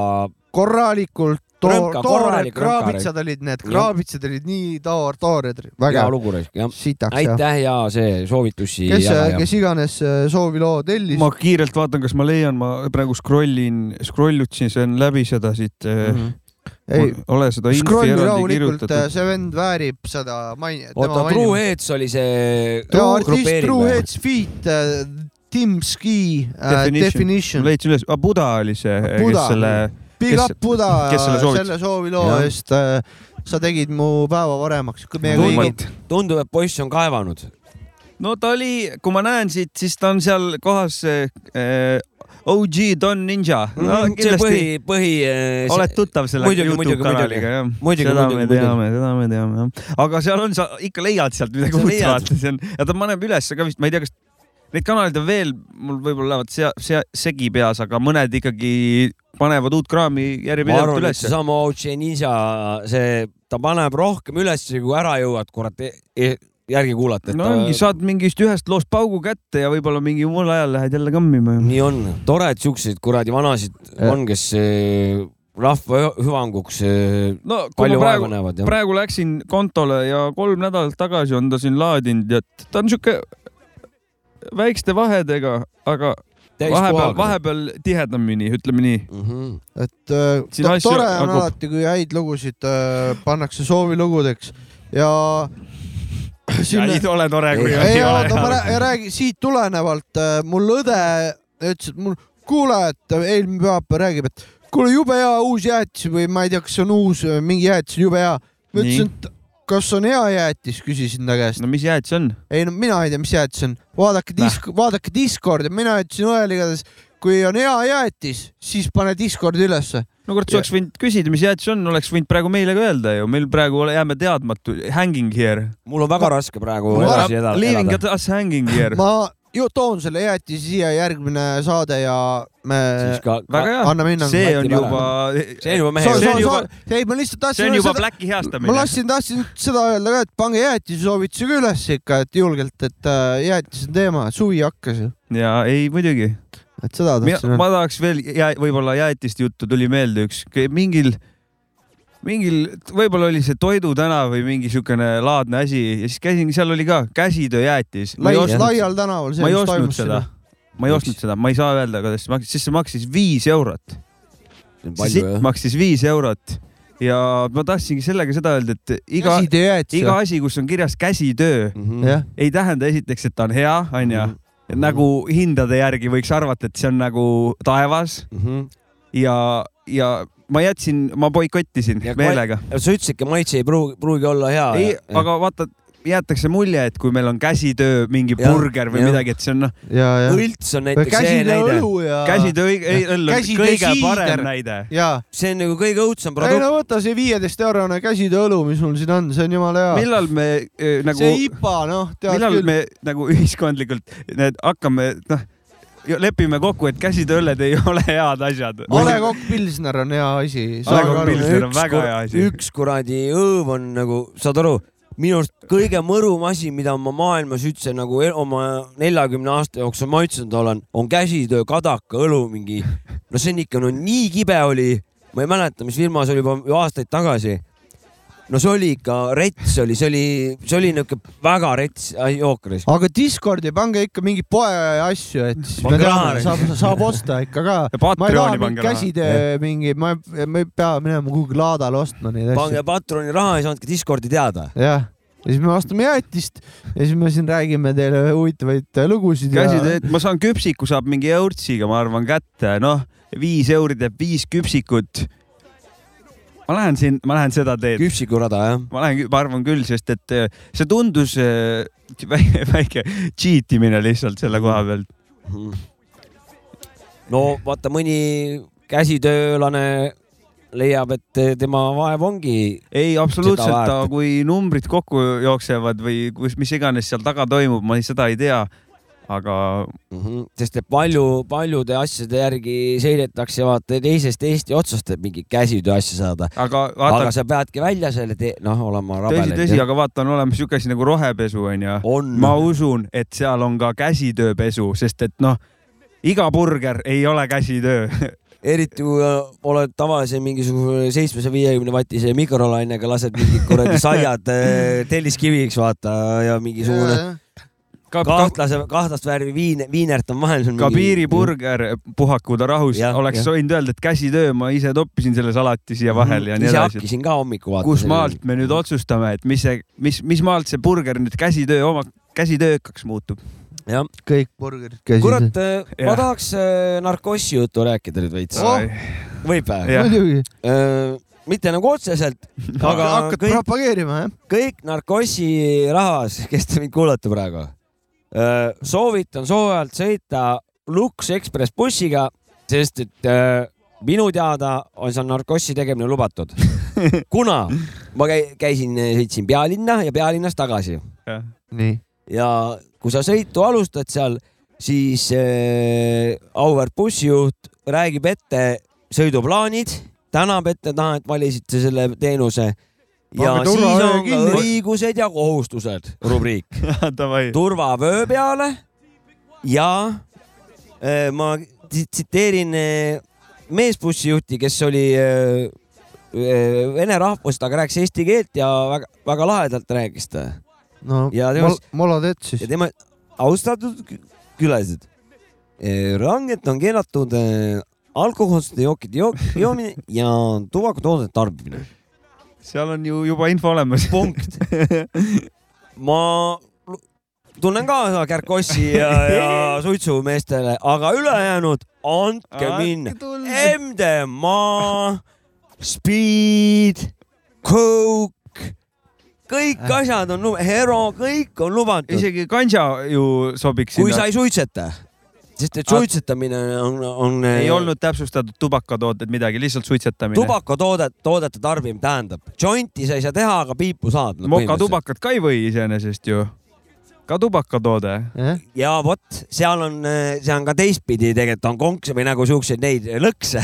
A: korralikult toor ,
C: Rõmka,
A: toored
C: korralik rõmka
A: kraabitsad olid need ,
C: Jah.
A: kraabitsad olid nii toor , toored ,
C: hea
A: vägev ,
C: lugu raisk jah .
A: sitaks jah .
C: aitäh ja see soovitus siia .
A: kes , kes iganes äh, soovi loo tellis
B: ma , kiirelt vaatan , kas ma leian , ma praegu scrollin , scrollutsin läbi seda siit mm .
A: Mhm. ei ,
B: -hmm. ole seda infi
A: scrolli
B: eraldi
A: rahulikult ,
B: kirjutatud .
A: see vend väärib seda maini- .
C: oota , True Heads oli see .
A: artist True Heads Feet , Tim Ski ,
B: Definition. ma
A: äh, Definition .
B: leidsin üles , Buda oli see , kes
A: Buda.
B: selle ,
A: Big
B: kes-
A: up Buda äh,
B: kes selle soovitas?
A: selle soovi loo
C: Jah.
A: eest . sa tegid mu päeva paremaks .
B: Tundmatu.
C: tundub , et poiss on kaevanud .
B: no ta oli , kui ma näen siit , siis ta on seal kohas eh, OG Don Ninja
A: Mhm,
B: no, .
C: see põhi , põhi . eh,
B: oled tuttav selle
C: Muidugi, muidugi,
B: Youtube kanaliga jah ?
C: muidugi,
B: seda
C: muidugi,
B: me
C: muidugi.
B: teame , seda me teame jah . aga seal on , sa ikka leiad sealt midagi
C: Sa
B: uut
C: leiad.
B: vaata , see on ja ta paneb ülesse ka vist , ma ei tea , kas neid kanaleid on veel , mul võib-olla lähevad sea- , sea- , segi peas , aga mõned ikkagi panevad uut kraami
C: ma
B: järjepidevalt
C: arvan , et
B: ülesse .
C: seesama OG Ninja , see , ta paneb rohkem ülesse , kui ära jõuad , kurat , järgi kuulata .
B: no ongi , saad mingist ühest loost paugu kätte ja võib-olla mingi muul ajal lähed jälle kammima ju .
C: nii on , tore , et siukseid kuradi vanasid
A: Jah.
C: on , kes eh, rahva hü- hüvanguks eh,
B: no kui
C: palju
B: ma
C: vaeva
B: praegu ,
C: näevad ja
B: praegu läksin kontole ja kolm nädalat tagasi on ta siin laadinud ja t- ta on sihuke väikeste vahedega , aga vahepeal , vahepeal tihedamini , ütleme nii .
C: vahepeal .
A: et äh,
B: Siin nagu-
A: to-
B: asju
A: tore on
B: jagub.
A: alati , kui häid lugusid äh, pannakse soovilugudeks ja sinna ,
B: ole tore ,
C: kui
A: ei oota , ma rää- räägin siit tulenevalt , mul õde ütles , et mul , kuule , et äh, eelmine pühapäev räägib , et kuule , jube hea uus jäätis või ma ei tea , kas see on uus , mingi jäätis on jube hea . ma
B: Nii.
A: ütlesin , et kas on hea jäätis , küsisin ta käest .
B: no mis jäätis on ?
A: ei no mina ei tea , mis jäätis on , vaadake disk- , vaadake Discordi , mina ütlesin õel igatahes , kui on hea jäätis , siis pane Discordi ülesse .
B: no kurat , sa oleks võinud küsida , mis jäätis on , oleks võinud praegu meile ka öelda ju , meil praegu ole, jääme teadmatu , hanging here .
C: mul on väga raske praegu
A: Ma-
C: edasi eda-
B: Leaving
C: elada .
B: us hanging here .
A: ma ju toon selle jäätise siia järgmine saade ja me
B: väga hea .
A: anname hinnangu .
B: see on
C: Mati Pärn.
B: juba ,
C: see
B: see
C: on juba
A: So, so,
B: on
C: mehe .
A: so,
B: juba-
A: ei , ma lihtsalt
B: see
A: tahtsin
B: on juba
A: seda-
B: Blacki heastamine .
A: ma lasin , tahtsin seda öelda ka , et pange jäätise soovitusi ka üles ikka , et julgelt , et äh, jäätis on teema , suvi hakkas ju ,
B: ja ei , muidugi .
A: et seda tahtsin öelda .
B: ma tahaks veel jää, , võib-olla jäätist juttu tuli meelde üks , mingil , mingil , võib-olla oli see Toidu tänav või mingi siukene laadne asi ja siis käisin , seal oli ka käsitööjäätis . ma ei
A: laial ,
B: ostnud
A: laial tänaval , see
B: ma ei
A: mis
B: ostnud
A: toimus
B: seda
A: sinna .,
B: ma ei
C: Miks?
B: ostnud seda , ma ei saa öelda , kuidas see maksis , sest see maksis viis eurot . see
C: palju
B: sitt
C: jah ?
B: maksis viis eurot ja ma tahtsingi sellega seda öelda , et iga ,
A: käsitöö jäätis .
B: iga asi , kus on kirjas käsitöö ,
C: Mhm.
A: jah ,
B: ei tähenda esiteks , et ta on hea , onju . nagu hindade järgi võiks arvata , et see on nagu taevas
C: Mhm.
B: ja , ja ma jätsin , ma boikottisin
C: Ja kval-
B: meelega .
A: Ah,
C: sa ütlesidki , maitse ei pruugi , pruugi olla hea .
B: ei , aga vaata , jäetakse mulje , et kui meil on käsitöö , mingi
C: Jah,
B: burger või
C: jah.
B: midagi , et see on noh ,
A: ja , ja .
C: õlts on näiteks see
A: käsitöö
C: näide ,
A: õlu ja .
B: käsitöö , ei , õll on
A: Ah. Käsitöö
B: kõige
A: siider.
B: parem näide .
A: ja ,
C: see on nagu kõige õudsem
A: ei
C: produkt
A: no . võta see viieteist eurone käsitöö õlu , mis mul siin on , see on jumala hea .
B: millal me öö, nagu
A: Ah. see IPA , noh , tead
B: millal
A: küll
B: me nagu ühiskondlikult need hakkame , noh , lepime kokku , et käsitöölled ei ole head asjad .
A: A Le Coq Pilsner on hea asi .
B: A Le Coq Pilsner on
C: Üks
B: väga
C: kur-
B: hea asi.
C: üks kuradi hõõv on nagu , saad aru , minu arust kõige mõrum asi , mida ma maailmas üldse nagu el- oma neljakümne aasta jooksul maitsenud olen , on käsitöö kadakaõlu mingi . no see on ikka , no nii kibe oli , ma ei mäleta , mis firma see oli juba aastaid tagasi . no see oli ikka rets oli , see oli , see oli niuke väga rets asi jookris .
A: aga Discordi pange ikka mingi poe asju , et siis me
C: Pange
A: teame ,
C: raha.
A: saab , saab osta ikka ka
B: Ja .
A: ma ei taha
B: Patreoni
A: mingit
B: pange raha .
A: käsitöö mingi , ma , ma ei pea minema kuhugi laadale ostma neid asju
C: pange . patroni raha ja siis andke Discordi teada .
A: jah , ja siis me ostame jäätist ja siis me siin räägime teile huvitavaid lugusid .
B: käsitööd , ma saan küpsiku , saab mingi eurtsiga , ma arvan , kätte , noh , viis euri teeb viis küpsikut . ma lähen siin , ma lähen seda teed .
C: küpsikurada jah .
B: ma lähen , ma arvan küll , sest et öö, see tundus öö, väike, väike cheat imine lihtsalt selle koha pealt .
C: no vaata , mõni käsitöölane leiab , et tema vaev ongi
B: ei , absoluutselt ,
C: väärt.
B: aga kui numbrid kokku jooksevad või kus , mis iganes seal taga toimub , ma ei- seda ei tea . aga
C: mm , -hmm. sest et palju , paljude asjade järgi seiretakse vaata teisest Eesti otsast , et mingit käsitöö asja saada .
B: aga
C: aga
B: vaata ,
C: sa peadki välja selle tee , noh , olema
B: tõsi ,
C: rabelenud .
B: tõsi , aga vaata , on olemas niisugune asi nagu rohepesu , onju .
C: on
B: ma usun , et seal on ka käsitööpesu , sest et noh , iga burger ei ole käsitöö .
C: eriti kui äh, oled tavalise mingisuguse seitsmesaja viiekümne vatise mikrolainega , lased mingid kuradi saiad äh, telliskiviks vaata ja mingisugune
B: ka, ka,
C: kahtlase , kahtlast värvi viin , viinert on vahel .
B: ka piiriburger , puhaku ta rahus
C: Jah, ,
B: oleks
C: jah. Mhm.
B: võinud öelda , et käsitöö , ma ise toppisin selle salati siia vahele ja nii
C: ise
B: edasi .
C: hakkisin ka hommikul vaatama .
B: kus maalt me nüüd otsustame , et mis see , mis , mis maalt see burger nüüd käsitöö oma , käsitöökaks muutub ?
C: jah ,
A: kõik burgerid käsitöö .
C: kurat , ma
B: Jah.
C: tahaks äh, narkossi juttu rääkida nüüd veits
A: Oh. .
C: võib või ?
B: jah.
A: muidugi ,
C: mitte nagu otseselt ,
A: aga
C: aga
A: hakkad kõik...
C: kõik ,
A: propageerima jah ?
C: kõik narkossi rahvas , kes te mind kuulate praegu , soovitan soojalt sõita Lux Express bussiga , sest et äh, minu teada on seal narkossi tegemine lubatud . kuna ma käi- käisin , sõitsin pealinna ja pealinnast tagasi
A: nii .
C: ja kui sa sõitu alustad seal , siis äh, auväärt bussijuht räägib ette sõiduplaanid , tänab ette , tahan , et valisite selle teenuse . ja
A: Pange
C: siis
A: turvavöö
C: on ka
A: kinni.
C: õigused ja kohustused rubriik ,
B: Davai .
C: turvavöö peale ja äh, ma tsi- tsiteerin äh, meesbussijuhti , kes oli äh, äh, vene rahvust , aga rääkis eesti keelt ja väga, väga lahedalt rääkis ta
A: no
C: Ja
A: mol-
C: temas- ,
A: molodets
C: ja
A: siis .
C: tema austatud kü- külalised , rangelt on keelatud eh, alkohoolsete jookide jook- joomine ja tubakatoodete tarbimine .
B: seal on ju juba info olemas .
C: punkt . ma lu- tunnen kaasa Kärkossi ja , ja suitsumeestele , aga ülejäänud andke minna . MDMA , Speed , Coke , kõik asjad on , Hero , kõik on lubatud .
B: isegi kanja ju sobiks
C: kui
B: sinna
C: sa . ei suitseta , sest et
B: Aga-
C: suitsetamine on , on . eh,
B: ei olnud täpsustatud tubakatooted midagi , lihtsalt suitsetamine .
C: tubakatoodet , toodete tarbimine tähendab , jointi sa ei saa teha , aga piipu saad no, .
B: mokatubakat ka ei või iseenesest ju . ka tubakatoode .
C: ja vot seal on , see on ka teistpidi tegelikult on konks või nagu siukseid neid lõkse .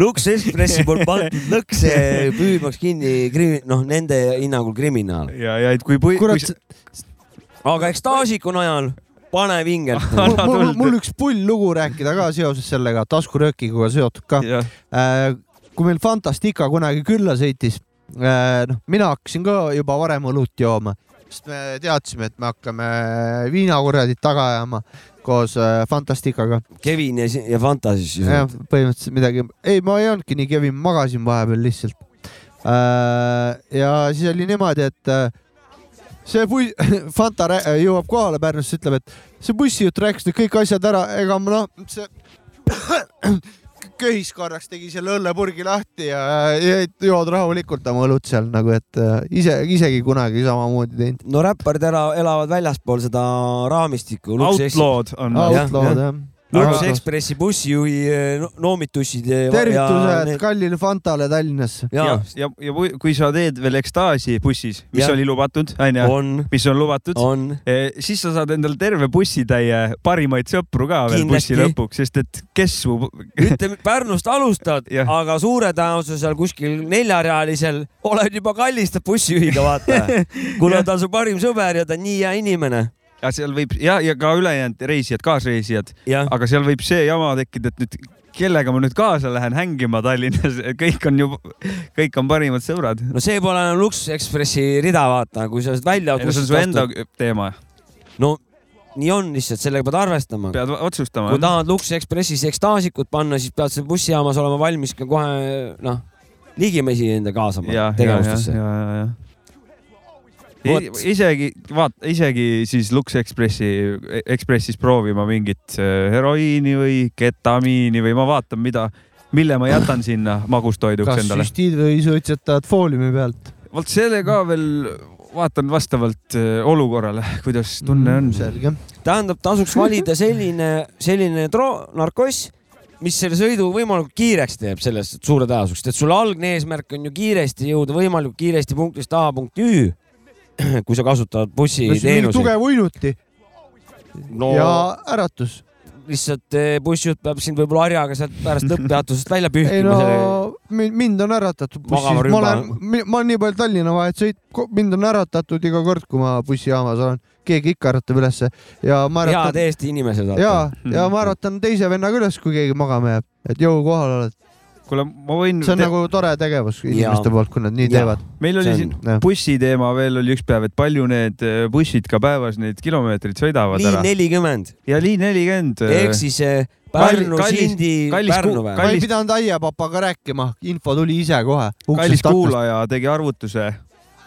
C: Lux Expressi poolt pandud lõkse püüdmaks kinni krimi- , noh , nende hinnangul kriminaal .
B: ja , ja et kui põi- .
A: kurat ,
C: aga ekstaasiku najal pane vingelt .
A: mul,
B: Anna
A: mul,
B: tuld.
A: mul üks pull lugu rääkida ka seoses sellega taskuröökiguga seotud ka . kui meil Fantastica kunagi külla sõitis , noh , mina hakkasin ka juba varem õlut jooma , sest me teadsime , et me hakkame viinakurjadit taga ajama koos äh, Fantasticaga .
C: Kevin ja, si- ja Fantasis
A: jah
C: siis .,
A: põhimõtteliselt midagi , ei , ma ei olnudki nii kevin , magasin vahepeal lihtsalt . ja siis oli niimoodi , et äh, see bui- , Fanta rää- jõuab kohale Pärnusse , ütleb , et see bussijuht rääkis nüüd kõik asjad ära , ega ma noh , see köhis korraks , tegi selle õllepurgi lahti ja jäid jood rahulikult oma õlut seal nagu , et äh, ise , isegi kunagi samamoodi teinud .
C: no räpparid ära , elavad väljaspool seda raamistikku .
B: Outlaw'd on
C: Out-
B: Out .
A: Outlaw'd jah .
C: Luksus Ekspressi bussijuhi eh, no- noomitussid .
A: tervitused . kallile Fantale Tallinnasse .
B: ja
C: jaa ,,
B: ja , ja kui- kui sa teed veel ekstaasi bussis , mis
C: Jah.
B: oli lubatud , onju ,
C: on ,
B: mis on lubatud ,
C: on .
B: siis sa saad endale terve bussitäie parimaid sõpru ka veel
C: Kindlasti.
B: bussi lõpuks , sest et kes su ,
C: ütleme Pärnust alustad
B: Jah. ,
C: aga suure tõenäosusel seal kuskil neljarealisel oled juba kallistav bussijuhiga , vaata . kuna
B: Jah.
C: ta on su parim sõber ja ta on nii hea inimene .
B: seal võib ja , ja ka ülejäänud reisijad , kaasreisijad ,
C: jah ,
B: aga seal võib see jama tekkida , et nüüd kellega ma nüüd kaasa lähen hängima Tallinnas , kõik on ju , kõik on parimad sõbrad .
C: no see pole enam Luksus Ekspressi rida , vaata , kui sa sealt välja .
B: see on su enda teema ,
C: no nii on lihtsalt , sellega pead arvestama .
B: pead va- otsustama
C: kui . tahad Luksus Ekspressis ekstaasikut panna , siis pead seal bussijaamas olema valmis ka kohe noh , ligimesi enda kaasama
B: ja ,
C: tegevustesse .
B: ja , ja , ja .
C: Vot.
B: isegi vaata , isegi siis Lux Expressi , Ekspressis proovima mingit äh, heroiini või ketamiini või ma vaatan , mida , mille ma jätan sinna magustoiduks
A: kas
B: endale .
A: süstid või suitsetavad fooliumi pealt ?
B: vot selle ka veel vaatan vastavalt äh, olukorrale , kuidas
A: Mm.
B: tunne on .
A: selge .
C: tähendab , tasuks valida selline , selline tro- , narkoss , mis selle sõidu võimalikult kiireks teeb selles suure tõenäosusega , sest et sul algne eesmärk on ju kiiresti jõuda võimalikult kiiresti punktist A punkti Ü , kui sa kasutad
A: mingi
C: bussiteenuseid .
A: tugev uinuti
C: no
A: ja äratus .
C: lihtsalt eh, bussijuht peab sind võib-olla harjaga sealt pärast lõpppeatusest välja
A: ei
C: pühkima
A: no
C: selle-
A: mi- mind on äratatud
C: Magama
A: bussis , ma
C: rüba.
A: olen , ma olen nii palju Tallinna vahet sõitnud , mind on äratatud iga kord , kui ma bussijaamas olen , keegi ikka äratab ülesse ja ma äratan
C: head Eesti inimesed .
A: ja ,
B: Hmm.
A: ja ma arvatan teise vennaga üles , kui keegi magama jääb , et jõu kohal oled .
B: kuule , ma võin
A: see on , nagu tore tegevus inimeste poolt , kui nad nii
C: Jaa.
A: teevad .
B: meil
C: see
B: oli
C: on-
B: siin bussi teema veel oli üks päev , et palju need äh, bussid ka päevas neid kilomeetreid sõidavad
C: liin
B: ära
C: nelikümmend
B: ja liin nelikümmend .
C: ehk siis eh,
B: Kallis-
C: Pärnu ,
B: kallis-
C: Sindi ,
B: kallis
C: Pärnu
B: ku-
C: või ?
A: ma ei
B: Kallis-
A: pidanud aiapapaga rääkima , info tuli ise kohe .
B: äh, kallis . kuulaja tegi arvutuse ,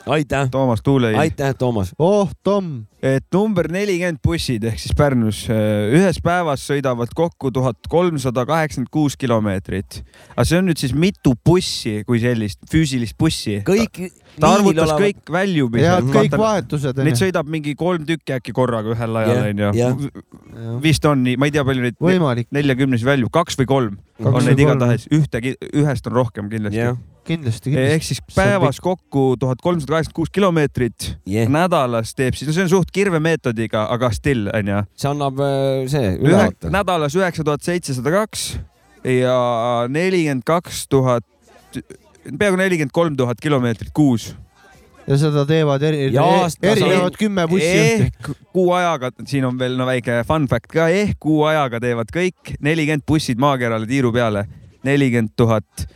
C: aitäh ,
B: Toomas Tuulei ,
C: aitäh , Toomas .
A: oh Tom ,
B: et number nelikümmend bussid ehk siis Pärnus eh, ühes päevas sõidavad kokku tuhat kolmsada kaheksakümmend kuus kilomeetrit . aga see on nüüd siis mitu bussi kui sellist , füüsilist bussi .
C: kõik
B: ta
C: liinil
B: arvutas
C: olevad-
B: kõik väljumised
A: head . kõik vahetused
B: Neid
A: onju .
B: sõidab mingi kolm tükki äkki korraga ühel
C: Jah,
B: ajal
C: jah.
B: onju . vist on nii , ma ei tea , palju neid
A: võimalik ,
B: neljakümnes väljub , kaks või kolm
A: Kaks
B: on
A: või
B: neid
A: kolm.
B: igatahes , ühtegi , ühest on rohkem kindlasti
C: jah ,
A: kindlasti ,
B: ehk
A: kindlasti .
B: siis
A: on
B: päevas kokku tuhat kolmsada kaheksakümmend kuus kilomeetrit
C: jah .
B: nädalas teeb siis , no see on suht kirvemeetodiga , aga still onju .
C: see annab äh, see ülevaate .
B: nädalas üheksa tuhat seitsesada kaks ja nelikümmend kaks tuhat , peaaegu nelikümmend kolm tuhat kilomeetrit kuus .
A: ja seda teevad eri ,
C: Ja aastas
A: erinevad kümme bussijuhti .
B: ehk kuu ajaga , siin on veel no väike fun fact ka , ehk kuu ajaga teevad kõik nelikümmend bussid maakerale tiiru peale , nelikümmend tuhat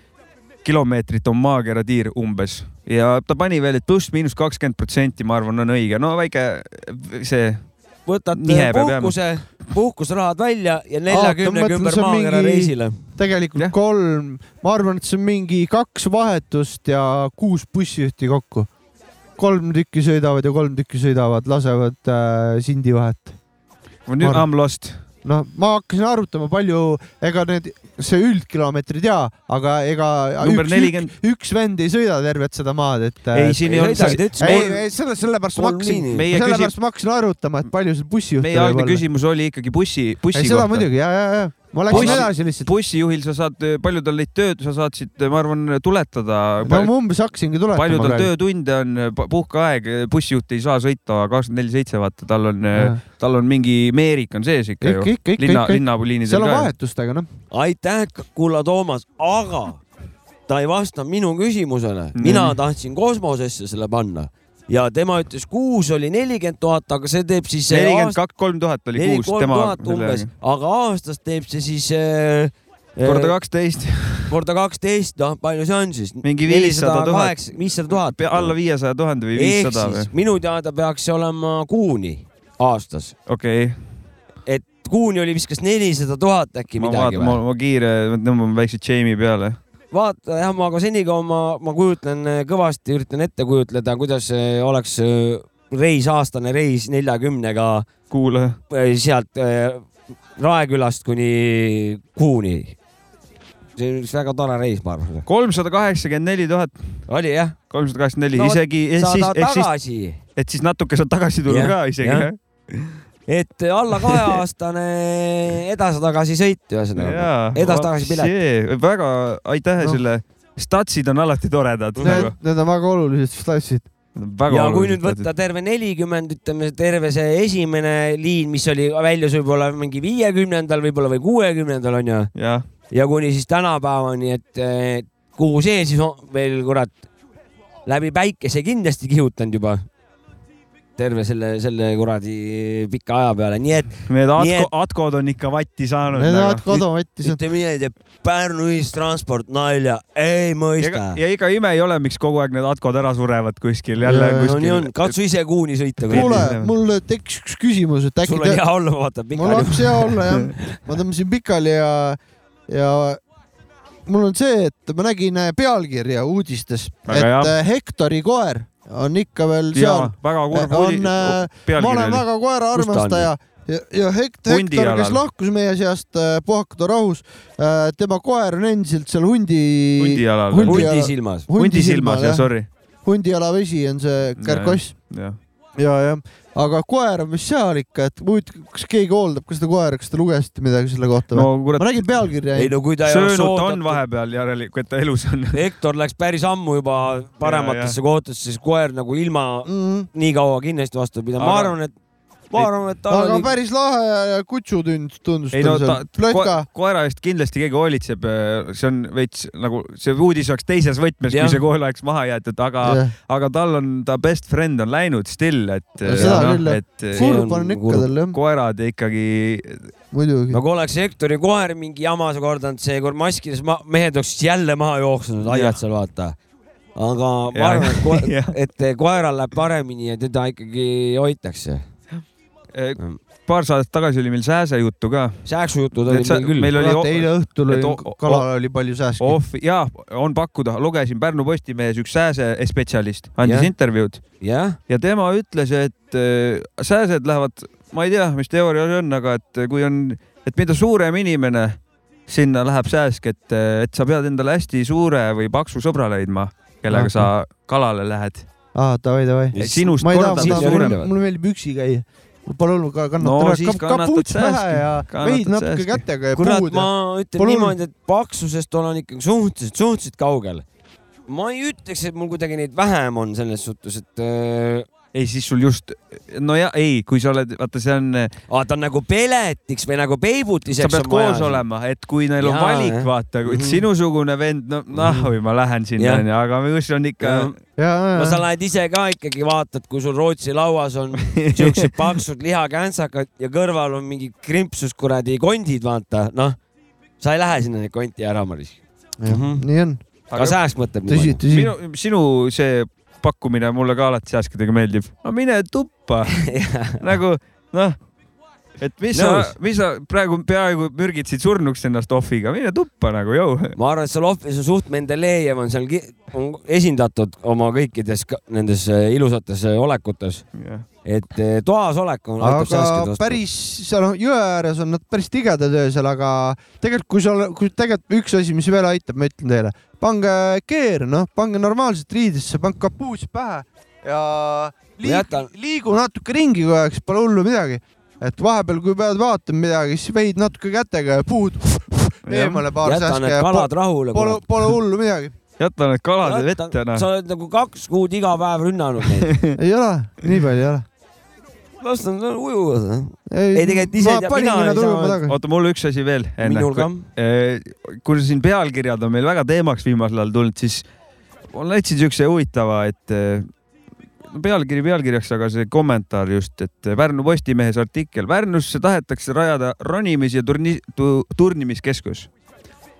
B: kilomeetrit on maakera tiir umbes ja ta pani veel , et pluss-miinus kakskümmend protsenti , ma arvan , on õige , no väike see
C: võtad
B: nihe
C: äh,
B: peab jääma.
C: puhkuse , puhkusrahad välja ja neljakümnega
A: mõtlen,
C: ümber
A: see on
C: maakera
A: mingi-
C: reisile .
A: tegelikult
B: Jah.
A: kolm , ma arvan , et see on mingi kaks vahetust ja kuus bussijuhti kokku . kolm tükki sõidavad ja kolm tükki sõidavad , lasevad äh, Sindi vahet .
B: ma nüüd I
A: Ma arvan-
B: m lost .
A: noh , ma hakkasin arvutama , palju , ega need , see üldkilomeetrid jaa , aga ega
B: Number
A: üks,
B: 40.
A: üks, üks vend ei sõida tervet seda maad , et .
B: ei , siin ei olnud ,
C: sõidagi , ta
A: ei
C: ütles ,,
A: ei selle , sellepärast ma
C: kolm
A: hakkasin ,
C: liini .
B: meie küsimus ,
A: sellepärast ma hakkasin arvutama , et palju seal bussijuhte
B: meie algne . küsimus oli ikkagi bussi , bussi
A: ei , seda
B: kohta .
A: muidugi ja , ja , ja ma läksin
B: Bussi-
A: edasi lihtsalt .
B: bussijuhil sa saad , palju tal neid tööd , sa saatsid , ma arvan , tuletada
A: no ma umbes hakkasingi
B: palju
A: tuletama
B: tal . töötunde on , puhkeaeg , bussijuht ei saa sõita kakskümmend neli seitse , vaata , tal on , tal on mingi meerik on sees ikka ju .
A: ikka , ikka , ikka ,
B: linna ,
A: ikka ,
B: linnapoliinidel
A: seal on
B: ka .
A: vahetustega noh .
C: aitäh , kulla Toomas , aga ta ei vastanud minu küsimusele . mina tahtsin kosmosesse selle panna ja tema ütles , kuus oli nelikümmend tuhat , aga see teeb siis .
B: nelikümmend kaks , kolm tuhat oli kuus
C: nelikümmend
B: tema
C: tuhat umbes , aga aastas teeb see siis äh,
B: korda kaksteist ,
C: korda kaksteist , noh , palju see on siis ?
B: Mingi 500 000. .
C: viissada tuhat .
B: alla viiesaja tuhande või
C: ehk
B: viissada või
C: siis ? minu teada peaks see olema kuuni aastas ,
B: okei ,
C: et kuuni oli vist kas nelisada tuhat äkki
B: ma
C: midagi
B: vaatan ,
C: või
B: ma ? ma kiire , tõmban väikse Jamie peale .
C: vaata jah , ma aga senikaua ma , ma kujutan eh, kõvasti , üritan ette kujutleda , kuidas eh, oleks eh, reis , aastane reis neljakümnega
B: kuule ,
C: eh, sealt eh, Raekülast kuni Kuuni . see oli üks väga tore reis , ma arvan .
B: kolmsada kaheksakümmend neli tuhat ,
C: oli jah ?
B: kolmsada kaheksakümmend neli , isegi , et siis
C: saada ,
B: et siis ,
C: tagasi ,
B: et siis natuke saad tagasi tulla
C: Jah,
B: ka isegi
C: jah. . et alla kaheaastane edasi-tagasi sõit ühesõnaga . Edasi-tagasi pilet.
B: pilet . väga aitäh
A: Noh.
B: no. selle , statsid on alati toredad .
A: Need , need on väga olulised stassid .
B: väga
C: ja kui nüüd võtta . terve nelikümmend , ütleme terve see esimene liin , mis oli , väljus võib-olla mingi viiekümnendal võib-olla või kuuekümnendal onju ,
B: jah ,
C: ja kuni siis tänapäevani , et eh, kuhu see siis on, veel kurat läbi päikese kindlasti kihutanud juba terve selle , selle kuradi pika aja peale , nii et
B: need
C: Nii
B: atko
C: et- ,
B: atkod on ikka vatti saanud . nagu.
A: Need olid koduvõttis .
C: ütleme nii , et Pärnu ühistransport nalja ei mõista .
B: ja ega ime ei ole , miks kogu aeg need atkod ära surevad kuskil jälle
A: Jaa,
C: no nii on
B: kuskil ,.
C: katsu ise kuuni sõita .
A: kuule
B: Kuule, ,
A: mul tekkis üks küsimus , et äkki
C: sul on hea olla , vaata
A: mul
C: pikali .
A: oleks hea olla jah . ma tõmbasin pikali ja , ja mul on see , et ma nägin äh, pealkirja uudistes ,
B: Väga
A: et
B: hea.
A: äh, Hektori koer on ikka veel
B: jaa
A: seal .,
B: väga kurb
A: on,
B: oli .
A: äh, ma olen
B: pealkiri oli .
A: väga
C: Kus ta
A: koera
C: on?
A: armastaja ja , ja Hekt- ,
B: Hundi
A: Hektor , kes
B: jalal.
A: lahkus meie seast äh, puhkuda rahus , tema koer on endiselt seal hundi ,
B: hundi jalal
A: hundi-
B: veel .
C: hundi silmas .
B: hundi silmas , jah , sorry .
A: hundijalavesi on see kärgkoss
B: jah ,
A: ja , jah , aga koer on vist seal ikka , et huvitav , kas keegi hooldab ka seda koera , kas te lugesite midagi selle kohta
B: no
A: või ? ma
B: kurat ,
A: nägin pealkirja
C: ei . no kui ta ei ole
B: söönud ta on
C: soodatud ,
B: vahepeal järelikult , et ta elus on .
C: Hektor läks päris ammu juba parematesse kohtadesse , siis koer nagu ilma
A: Mm,
C: nii kaua kindlasti vastu pidama , ma
B: Aga-
C: arvan , et ma arvan , et tal
A: aga
C: oli
A: päris lahe ja- ja kutsutund tundus
B: ei no
A: tal
B: ta
A: seal .
B: ko
A: plötka .
B: koera eest kindlasti keegi hoolitseb , see on veits nagu see uudis oleks teises võtmes , kui
C: Jah.
B: see koer oleks maha jäetud , aga , aga tal on ta best friend on läinud still , et äh,
A: No seda küll, jah.
B: et
C: See
A: kurb
C: on
A: on ikka
C: kurb.
A: tal jah ,
B: koerad ikkagi ,
A: muidugi .
C: nagu oleks Hektori koer mingi jama kordanud , seekord maskides ma mehed oleksid jälle maha jooksnud aiad seal vaata . aga ma
B: Jah.
C: arvan , et, koer,
B: Jah.
C: et koeral läheb paremini ja teda ikkagi hoitakse .
B: äh, paar saadet tagasi oli meil sääse juttu ka .
C: sääksujutud olid meil küll .
B: meil
A: kurat ,
B: oli
A: eile õhtul
B: et
A: oli
B: o- o- ,
A: kala oli palju sääski .
B: off , jaa , on pakkuda , lugesin Pärnu Postimehes üks sääse spetsialist andis
C: Jah.
B: intervjuud
C: jah ,
B: ja tema ütles , et äh, sääsed lähevad , ma ei tea , mis teooria see on , aga et äh, kui on , et mida suurem inimene , sinna läheb sääsk , et , et sa pead endale hästi suure või paksu sõbra leidma , kellega sa kalale lähed .
A: aa , davai , davai .
B: sinust
A: ma ei taha ,
B: kordades
A: ma
C: tahan-
A: tahan
B: suurem .
C: suurem. ,
A: mulle meeldib üksi käia . palun ka
B: No
A: kannata
B: siis
A: ära ,
B: kannatad
A: kapuuts pähe
B: sääski.
A: ja
B: Kannatad
A: vehid natuke
B: sääski.
A: kätega ja
C: kurat ,
A: puud
C: ma
A: ja .
C: ütlen
A: Palun.
C: niimoodi , et paksusest olen ikkagi suhteliselt , suhteliselt kaugel . ma ei ütleks , et mul kuidagi neid vähem on selles suhtes , et äh,
B: ei , siis sul just , no ja ei , kui sa oled , vaata , see on ,
C: aa , ta on nagu peletiks või nagu peibutiseks .
B: sa pead koos . olema , et kui neil on
C: Jaa,
B: valik
C: jah. ,
B: vaata , et
C: Mhm.
B: sinusugune vend , no nah , või ma lähen sinna
C: Jah.
B: onju , aga kus on ikka
C: Jah.
A: ja ,
C: no sa
A: ja ,
C: lähed ise ka ikkagi vaatad , kui sul Rootsi lauas on siuksed paksud lihakänsakad ja kõrval on mingi krimpsus kuradi kondid , vaata , noh . sa ei lähe sinna neid konti ära , Maris .
A: ja ,
B: Mhm.
A: nii on .
C: ka sääsk mõtleb
A: tõsi ,
C: niimoodi .
A: tõsi .
B: minu , sinu see pakkumine mulle ka alati sääskedega meeldib . no mine tuppa nagu noh , et mis sa
C: Nõus. ,
B: mis sa praegu peaaegu mürgitsid surnuks ennast ohviga , mine tuppa nagu jõu .
C: ma arvan , et seal ohvris on suht Mendelejev on seal ki- on esindatud oma kõikides ka- nendes eh, ilusates eh, olekutes , et eh, toas olek on .
A: aga päris seal on- jõe ääres on nad päris tigedad öösel , aga tegelikult kui sa , kui tegelikult üks asi , mis veel aitab , ma ütlen teile , pange keer , noh , pange normaalselt riidesse , pange kapuus pähe ja liigu,
C: jätan-
A: liigu natuke ringi kogu aeg , siis pole hullu midagi . et vahepeal , kui pead vaatama midagi , siis veid natuke kätega ja puud eemale paar
C: jäta
A: sääske
C: need
A: ja po-
C: kalad rahule .
A: pole , pole hullu midagi .
B: jäta need kalad vette
C: sa
B: noh .
C: oled nagu kaks kuud iga päev rünnanud neid .
A: ei ole , nii palju ei ole .
C: las nad ujuvad . Ei, tegelikult ise ei tea- mina
A: ma paningi
C: ei
A: nad
C: saa-
A: ujuma tagasi .
B: oota , mul üks asi veel
C: minul ka
B: enne . kui siin pealkirjad on meil väga teemaks viimasel ajal tulnud , siis ma leidsin siukse huvitava , et eh, no pealkiri pealkirjaks , aga see kommentaar just , et Pärnu Postimehes artikkel . Pärnusse tahetakse rajada ronimis- ja turni- , tu, turnimiskeskus .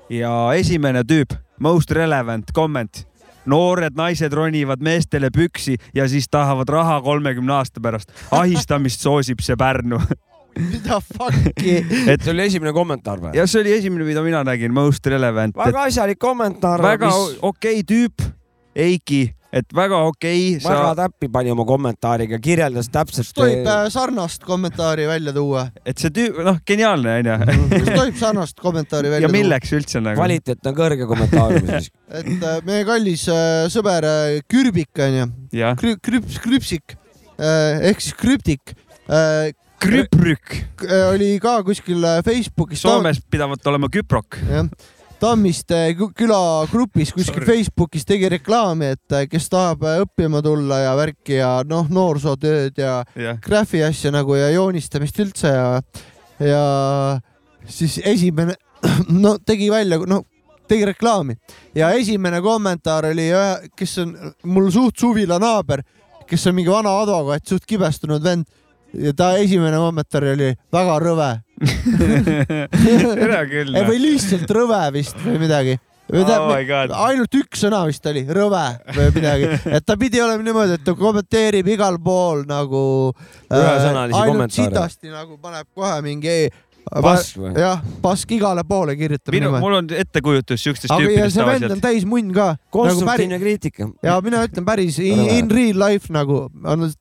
B: ja esimene tüüp , most relevant comment . noored naised ronivad meestele püksi ja siis tahavad raha kolmekümne aasta pärast . ahistamist soosib see Pärnu .
A: mida fuck'i
B: et
C: see oli esimene kommentaar või ?
B: ja see oli esimene , mida mina nägin , most relevant .
C: väga asjalik kommentaar .
B: väga mis... okei tüüp , Eiki , et väga okei okay, ,
C: väga
B: sa ,
C: täppi pani oma kommentaariga , kirjeldas täpselt .
A: kas tohib äh, sarnast kommentaari välja tuua ?
B: et see tüü- , noh , geniaalne onju .
A: kas tohib sarnast kommentaari välja
B: ja
A: tuua ?
B: milleks üldse nagu ?
C: kvaliteet on kõrge kommentaariumis .
A: et äh, meie kallis äh, sõber äh, Kürbik onju ,
B: jah ,
A: krüps , krüpsik äh, ehk siis krüptik äh,
B: krüprük .
A: k- äh, oli ka kuskil äh, Facebookis .
B: Soomes pidavat olema küprok .
A: jah , Tammiste kü- küla grupis kuskil
B: Sorry.
A: Facebookis tegi reklaami , et äh, kes tahab äh, õppima tulla ja värki ja noh , noorsootööd ja
B: jah ,
A: graafi asja nagu ja joonistamist üldse ja , ja siis esimene , no tegi välja , no tegi reklaami ja esimene kommentaar oli ühe , kes on mul suht suvila naaber , kes on mingi vana advokaat , suht kibestunud vend ja ta esimene kommentaar oli väga rõve
B: hea küll . noh.
A: või lihtsalt rõve vist või midagi .
B: Oh my God.
A: ainult üks sõna vist oli rõve või midagi , et ta pidi olema niimoodi , et ta kommenteerib igal pool nagu
C: Ühesõnalisi
A: ainult
C: kommentaare.
A: sitasti nagu paneb kohe mingi
C: Pask või?
A: jah , pask igale poole kirjutab
B: minu ,
A: niimoodi .
B: mul on ettekujutus siukestest
A: aga ja
B: tüüpidest
A: see vend
B: tavaliselt .
A: on täis munn ka . Nagu päris,
C: konstruktiivne kriitika .
A: ja mina ütlen päris in,
C: Rõve.
A: in real life nagu ,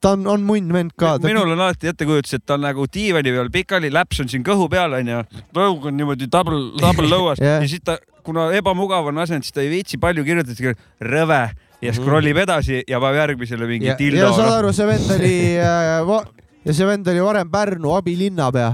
A: ta on , on munn vend ka .
B: minul on alati ettekujutus , et ta on nagu diivani peal pikali , läps on siin kõhu peal onju , lõug on niimoodi double , double lõuas
A: Jah.
B: yeah. ja siis ta , kuna ebamugav on asend , siis ta ei viitsi palju kirjutada , rõve ja scroll ib edasi ja paneb järgmisele mingi
A: ja,
B: dildo .
A: ja saad
B: noh.
A: aru , see vend oli äh, va- ja see vend oli varem Pärnu abilinnapea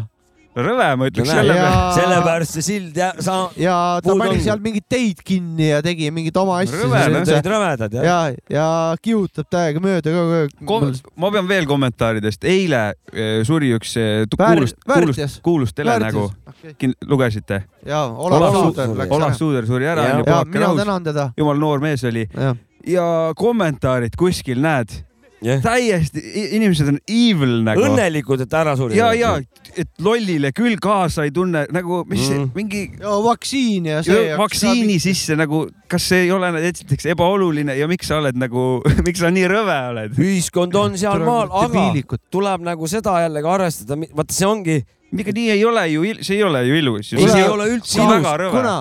B: rõve , ma ütleks
C: No
B: selle
A: näe.
B: peale .
A: Jaa.
C: sellepärast see sild ja sa
A: ja ta
C: Puud
A: pani
C: on.
A: seal mingeid teid kinni ja tegi mingeid oma asju .
B: Rõve, noh.
C: olid rõvedad jah ?
A: ja , ja kihutab täiega mööda ka .
B: Kom- , ma pean veel kommentaaridest , eile eh, suri üks eh, tu- kuulus , kuulus
A: väärtus. ,
B: kuulus telenägu ,
A: okay. .
B: lugesite ?
A: ja Olav
C: nagu. Olav
A: Suuter
C: Suuter.
A: läks
B: Olav
A: ära .
B: Suuder suri ära
C: Jaa.
B: onju ,
A: ja
B: puhake
A: mina
B: rahus ,
A: tänan teda .
B: jumal noor mees oli
A: jah ,
B: ja kommentaarid kuskil näed ,
C: jah .
B: täiesti , inimesed on evil nagu .
C: õnnelikud , et ta ära suri .
B: ja , ja , et lollile küll kaasa ei tunne nagu , mis mm.
C: Mm.
B: mingi
A: vaktsiin ja see
B: see, . vaktsiini . sisse nagu , kas see ei ole esiteks ebaoluline ja miks sa oled nagu , miks sa nii rõve oled ?
C: ühiskond on sealmaal , aga
A: debiilikud .
C: tuleb nagu seda jällegi arvestada , vaata see ongi ,
B: ega nii ei ole ju , see ei ole ju ilus .
C: ei
A: Kuule,
C: see ei ole üldse
B: see on
C: ilus
B: väga . rõve .
A: kuna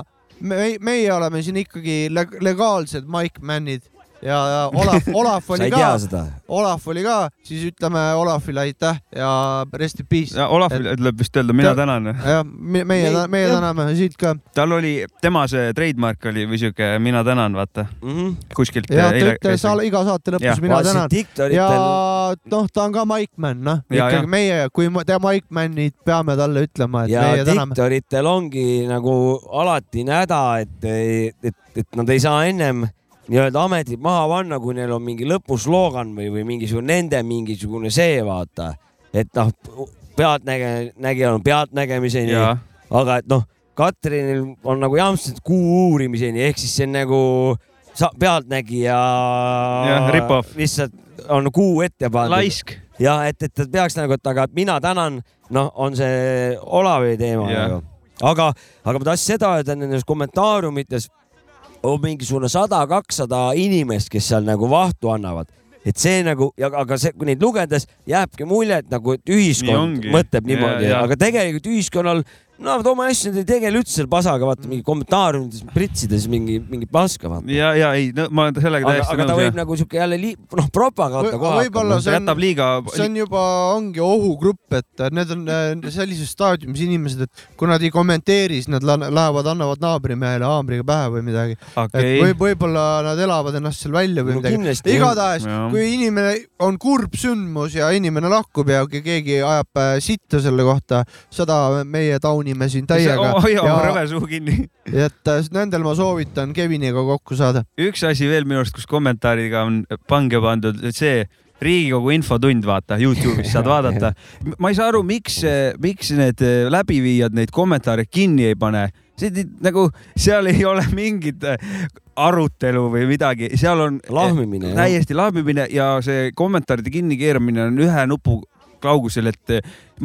A: me , meie oleme siin ikkagi leg- legaalsed Mike Männid ja ja Olav , Olav
C: sa
A: oli
C: ei tea
A: ka ,
C: seda .
A: Olav oli ka , siis ütleme Olavile aitäh ja rest in peace .
B: Olav tuleb vist öelda , mina
A: Ta-
B: tänan .
A: jah , meie , meie
C: Me- ,
A: meie
C: jah.
A: täname siit ka
B: tal oli , tema see trademark oli või siuke mina tänan , vaata kuskilt .
A: ja ta ütles al- iga saate
B: Jah.
A: lõpus , Mhm. mina tänan . ja
C: diktoritel ,
A: noh , ta on ka Maikmann , noh ,
B: Ja, ja.
A: ikkagi meie , kui ma- te Maikmannid peame talle ütlema , et
C: ja
A: meie täname .
C: diktoritel ongi nagu alatine häda , et , et , et nad ei saa ennem nii-öelda ametit maha panna , kui neil on mingi lõpuslogan või , või mingisugune nende mingisugune see , vaata . et noh , pealtnäge- , nägija on pealtnägemiseni ,
B: ja ,
C: aga et noh , Katrinil on nagu jamps , et kuu uurimiseni ehk siis see on nagu sa- pealtnägija .
B: Jah, rip-off.
C: lihtsalt on kuu ette pandud
B: laisk .
C: ja et , et ta peaks nagu , et aga mina tänan , noh , on see Olavi teema
B: Jah.
C: nagu . aga , aga ma tahtsin seda öelda nendes kommentaariumites on mingisugune sada , kakssada inimest , kes seal nagu vahtu annavad , et see nagu , aga see , kui neid lugedes jääbki mulje , et nagu , et ühiskond
B: ongi.
C: mõtleb niimoodi
B: Ja- , ja.
C: aga tegelikult ühiskonnal , nad oma asjadega ei tegele üldse selle pasaga , vaata mingi kommentaariumites pritsides mingi , mingi paska , vaata .
B: ja , ja ei no, , ma olen sellega
C: aga ,
B: täiesti
C: aga ta võib
B: nõus .
C: nagu siuke jälle lii- , noh , propaganda
A: Või-
C: koha nagu
A: võib-olla
C: hakkama.
B: ta jätab liiga ,
A: see on juba , ongi ohugrupp , et need on äh, sellises staadiumis inimesed , et kui nad ei kommenteeri , siis nad la- lähevad , annavad naabrimehele haamriga pähe või midagi . et
B: okei .
A: võib , võib-olla nad elavad ennast seal välja või
C: No
A: midagi .
C: kindlasti.
A: igatahes
B: Jah. ,
A: kui inimene on kurb sündmus ja inimene lahkub ja ke- keegi ajab äh, sitta selle kohta , seda meie taunime siin täiega .
B: hoia oma
A: ja
B: rõve suu kinni .
A: et äh, nendel ma soovitan Keviniga kokku saada .
B: üks asi veel minu arust , kus kommentaariga on pange pandud see Riigikogu infotund , vaata Youtube'is saad vaadata . ma ei saa aru , miks , miks need läbiviijad neid kommentaare kinni ei pane , see nagu seal ei ole mingit arutelu või midagi , seal on eh,
C: lahmimine .
B: täiesti lahmimine ja see kommentaaride kinnikeeramine on ühe nupu kaugusel , et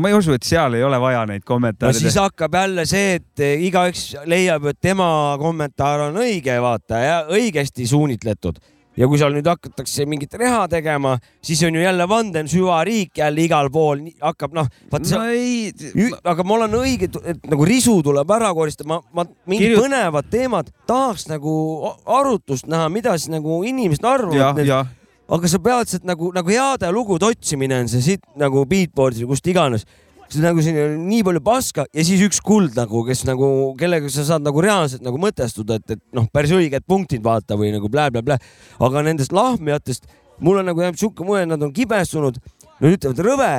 B: ma ei usu , et seal ei ole vaja neid
C: no siis
B: kommentaare .
C: hakkab jälle see , et eh, igaüks leiab , et tema kommentaar on õige , vaata ja õigesti suunitletud . ja kui seal nüüd hakatakse mingit reha tegema , siis on ju jälle vandem süvariik jälle igal pool nii- hakkab noh , vaata
B: no
C: see
B: ei ,
C: Ü- aga ma olen õige , et nagu risu tuleb ära koristada , ma , ma mingid
B: Kirjut-
C: Kirjut... põnevad teemad tahaks nagu a- arutust näha , mida siis nagu inimesed
B: jah ,
C: arvavad .
B: jah ,
C: aga sa pead sealt nagu , nagu heade lugude otsimine on see siit nagu beatboard'i või kust iganes . see on nagu selline nii palju paska ja siis üks kuld nagu , kes nagu , kellega sa saad nagu reaalselt nagu mõtestuda , et , et noh , päris õiged punktid vaata või nagu blä-blä-blä . aga nendest lahmijatest mul on nagu jäänud sihuke mulje , et nad on kibestunud , nad ütlevad rõve ,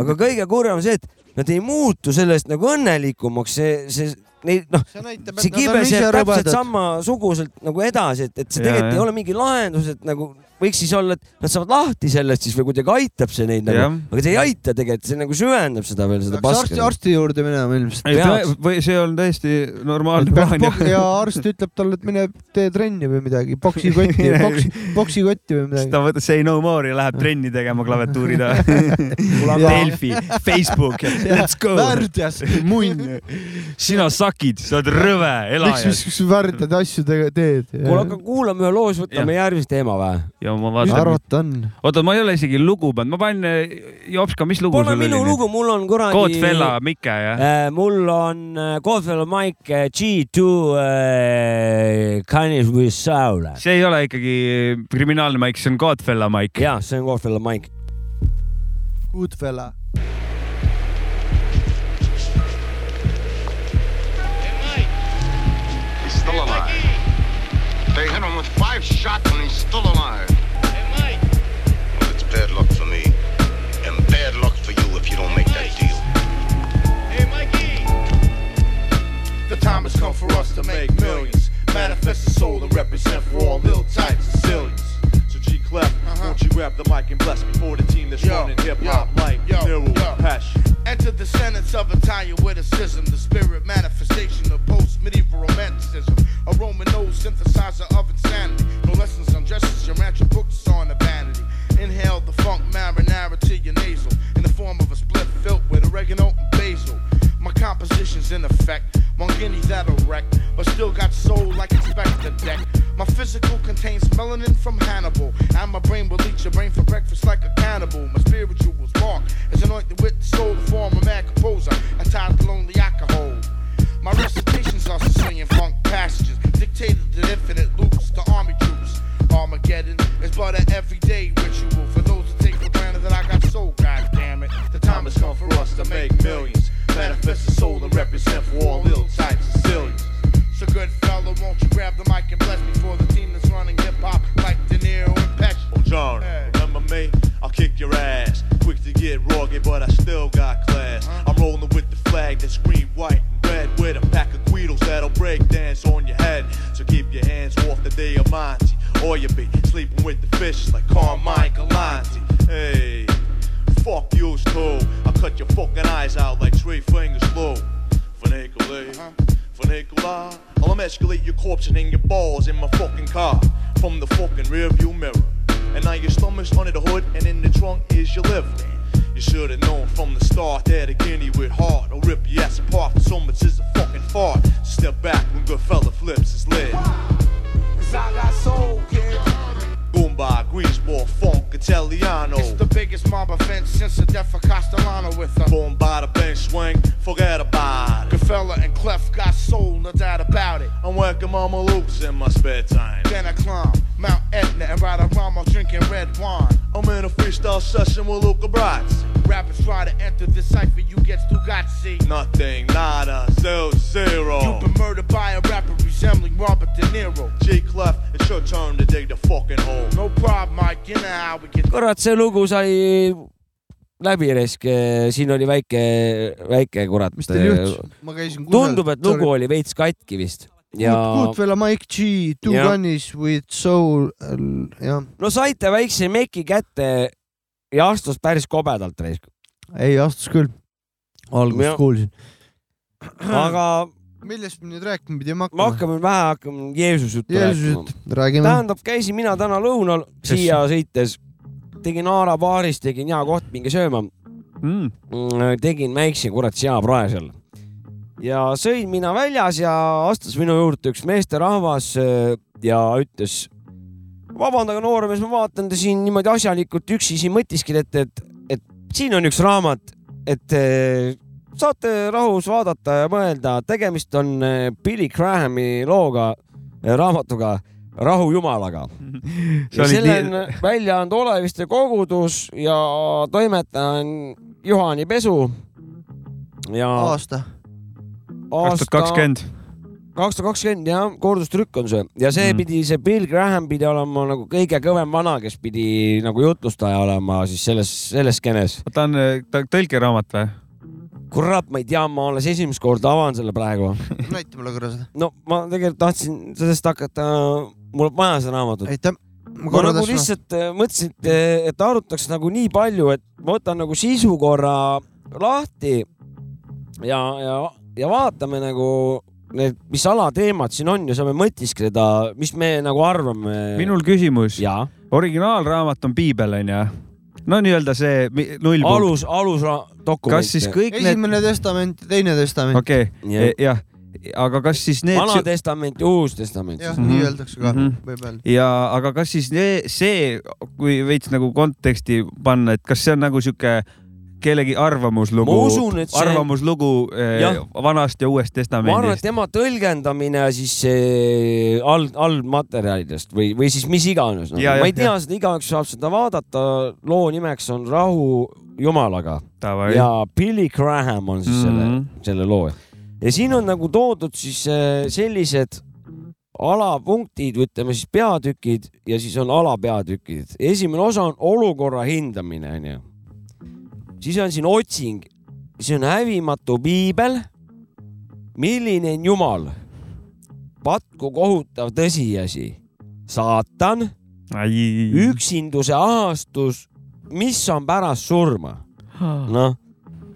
C: aga kõige kurvem on see , et nad ei muutu sellest nagu õnnelikumaks , see , see , neil noh ,
A: see näitab ,
C: see kibes jääb täpselt . samasuguselt nagu edasi , et , et see
B: Jaa,
C: tegelikult
B: jah.
C: ei ole mingi lahendus , et nagu võiks siis olla , et nad saavad lahti sellest siis või kuidagi aitab see neid
B: Jah.
C: nagu , aga see ei aita tegelikult , see nagu süvendab seda veel , seda
A: peaks arsti ,
C: paska .
A: arsti juurde minema ilmselt .
B: ei
C: pead.
B: ta- või see on täiesti normaalne plaan
A: ja
B: jah .
A: arst ütleb talle , et mine tee trenni või midagi , poksikotti , poksi , poksikotti või
B: siis
A: midagi .
B: ta võtab Say no more ja läheb trenni tegema klaviatuuri taha . Delfi , Facebook , let's go .
A: värdjas .
B: munn , sina sakid , sa oled rõve
A: miks
B: elaja
A: sa . siukseid värdjaid asju tege-
C: kuule ,
A: teed
C: hakka ? kuulama ühe loo , siis võtame järgmise teema või ?
B: ja ma vaatan ,
A: arvata on .
B: oota , ma ei ole isegi lugu pannud , ma panen , Jopska , mis lugu
C: Pole
B: sul
C: minu
B: oli ?
C: lugu , mul on kuradi .
B: Kootfella , Mike jah ?
C: mul on äh, Kootfella Mike äh, G2 äh, Canis with Soul .
B: see ei ole ikkagi kriminaalne maik , see on Godfella maik .
C: ja see on Kootfella Mike .
A: Good fella .
G: He's still alive. They hit him with five shots and he's still alive. Well, it's bad luck for me. And bad luck for you if you don't make that deal.
H: The time has come for us to make millions. Manifest the soul and represent for all ill types and sillions. So G Clef, won't you grab the mic and bless me for the team that's
G: Uh-huh. Yo,
H: running hip hop
G: yo,
H: like
G: yo,
H: Nero
G: yo.
H: Pesh.
G: Enter the sentence of a tire with a schism, the spirit manifestation of post medieval romanticism.
E: Oh,
G: A Roman nose synthesizer of insanity. No lessons on justice, your rancher books on the vanity. Inhale the funk marinara to your nasal in the form of a split filled with oregano and basil. My composition's in effect, one guinea that'll wreck, but still got soul like Inspector Deck. My physical contains melanin from Hannibal, and my brain will eat your brain for breakfast like a cannibal. My spiritual was marked as anointed with the soul to form a mad composer, attired to lonely alcohol. My recitations are Sicilian funk passages, dictated in infinite loops to army troops. Armageddon is but an everyday ritual for those who take for granted that I got soul, God damn it. The
H: The time has come for us to make millions. Manifest the soul and represent for all ill types and sillions.
G: So good fella, won't you grab the mic and bless me for the team that's running hip hop like De Niro and Peck?
H: Oh John, remember me? I'll kick your ass. Quick to get rugged, but I still got class. I'm rolling with the flag that's green, white, and red. With a pack of Guidos that'll break dance on your head. So keep your hands off the day of Monty. Or you'll be sleeping with the fishes like Carmichael Lonte. Hey, fuck yous too. I'll cut your fucking eyes out like three fingers blue. For Nicolay,
G: Uh-huh.
H: for Nicolai. I'll emasculate your corpse and hang your balls in my fucking car. From the fucking rearview mirror. And now your stomach's under the hood, and in the trunk is your liver. You should have known from the start that a guinea with heart will rip your ass apart for so much as a fucking fart. Step back when good fella flips his lid.
G: Cause I got soul, kid.
H: Goomba, Greaseball, Funk, Italiano.
G: It's the biggest mob event since the death of Castellano with a
H: Boom, bada, bang, swing, forget about it.
G: Goodfella and Clef got soul, no doubt about it.
H: I'm working mama loops in my spare time.
G: Then I climb Mount Etna and ride around while drinking red wine.
H: I'm in a freestyle session with Luca Bratz.
G: Rappers try to enter the cipher, you get Stugazzi.
H: Nothing, nada, zero, zero.
G: You've been murdered by a rapper resembling Robert De Niro.
H: G Clef, it's your turn to dig the fucking hole.
G: No problem, Mike, you know how we get
C: kurat , see lugu sai läbi risk , siin oli väike , väike kurat .
A: mis teil juhtus ? ma käisin
C: tundub , et lugu oli veits katki vist ja
A: Good fella Mike G , Two
C: Jah.
A: Guns with Soul , jah ,
C: no saite väikse meki kätte ja astus päris kobedalt reis ,
A: ei astus küll . alguses
C: Jah.
A: kuulsin .
C: aga
A: millest me nüüd rääkima pidime
C: me
A: hakkama ?
C: hakkame vähe , hakkame Jeesus juttu
A: Jeesusest
C: rääkima .
A: räägime .
C: tähendab , käisin mina täna lõunal
B: Kes-
C: siia sõites , tegin Aara baaris , tegin hea koht , minge sööma ,
B: Mm,
C: Mm, äh, tegin väikse kurat seaprae seal . ja sõin mina väljas ja astus minu juurde üks meesterahvas öö, ja äh, ütles , vabandage noormees , ma vaatan te siin niimoodi asjalikult üksi siin mõtisklete , et , et siin on üks raamat , et eh, saate rahus vaadata ja mõelda , tegemist on eh, Billy Grahami looga , raamatuga Rahu jumalaga .
B: See oli
C: selle
B: nii-
C: on välja andnud Oleviste kogudus ja toimetaja on Juhani Pesu . ja
A: aasta .
B: kaks tuhat kakskümmend .
C: kaks tuhat kakskümmend jah , kordustrükk on see ja see
B: Mm.
C: mm. pidi , see Bill Graham pidi olema nagu kõige kõvem vana , kes pidi nagu jutlustaja olema siis selles , selles skeenes .
B: ta on , eh, ta on tõlkeraamat või ?
C: kurat , ma ei tea , ma alles esimest korda avan selle praegu .
A: näita mulle korra seda .
C: no ma tegelikult tahtsin sellest hakata , mul on vaja seda raamatut .
A: aitäh .
C: ma nagu . lihtsalt äh, mõtlesin , et , et arutaks nagu nii palju , et ma võtan nagu sisu korra lahti ja , ja , ja vaatame nagu need , mis alateemad siin on ja saame mõtiskleda , mis me nagu arvame .
B: minul küsimus .
C: ja
B: originaalraamat on piibel onju . no nii-öelda see mi- null .
C: alus , alusdokument .
B: kas siis kõik need ,
A: esimene testament , teine testament .
B: okei ,
C: Jah.
B: jah , aga kas siis need
C: Vana Testament ja Uus Testament .
A: jah ,
B: Mhm.
A: nii öeldakse ka
B: Mhm.
A: võib-olla .
B: ja aga kas siis ne- see , kui veits nagu konteksti panna , et kas see on nagu sihuke kellegi arvamuslugu
C: Ma usun, et see-
B: arvamuslugu eh,
C: Jah.
B: vanast ja uuest
C: ma arvan , et
B: testamendist .
C: tema tõlgendamine siis eh, all , allmaterjalidest või , või siis mis iganes no. .
B: Ja,
C: ma ei
B: jah,
C: tea seda , igaüks saab seda vaadata , loo nimeks on Rahu jumalaga ja Billy Graham on siis mm -hmm. selle , selle looja . ja siin on nagu toodud siis eh, sellised alapunktid , ütleme siis peatükid ja siis on alapeatükid . esimene osa on olukorra hindamine , onju . siis on siin otsing , siis on hävimatu piibel . milline on Jumal ? patku kohutav tõsiasi , saatan ,
B: üks .
C: üksinduse ahastus , mis on pärast surma noh ,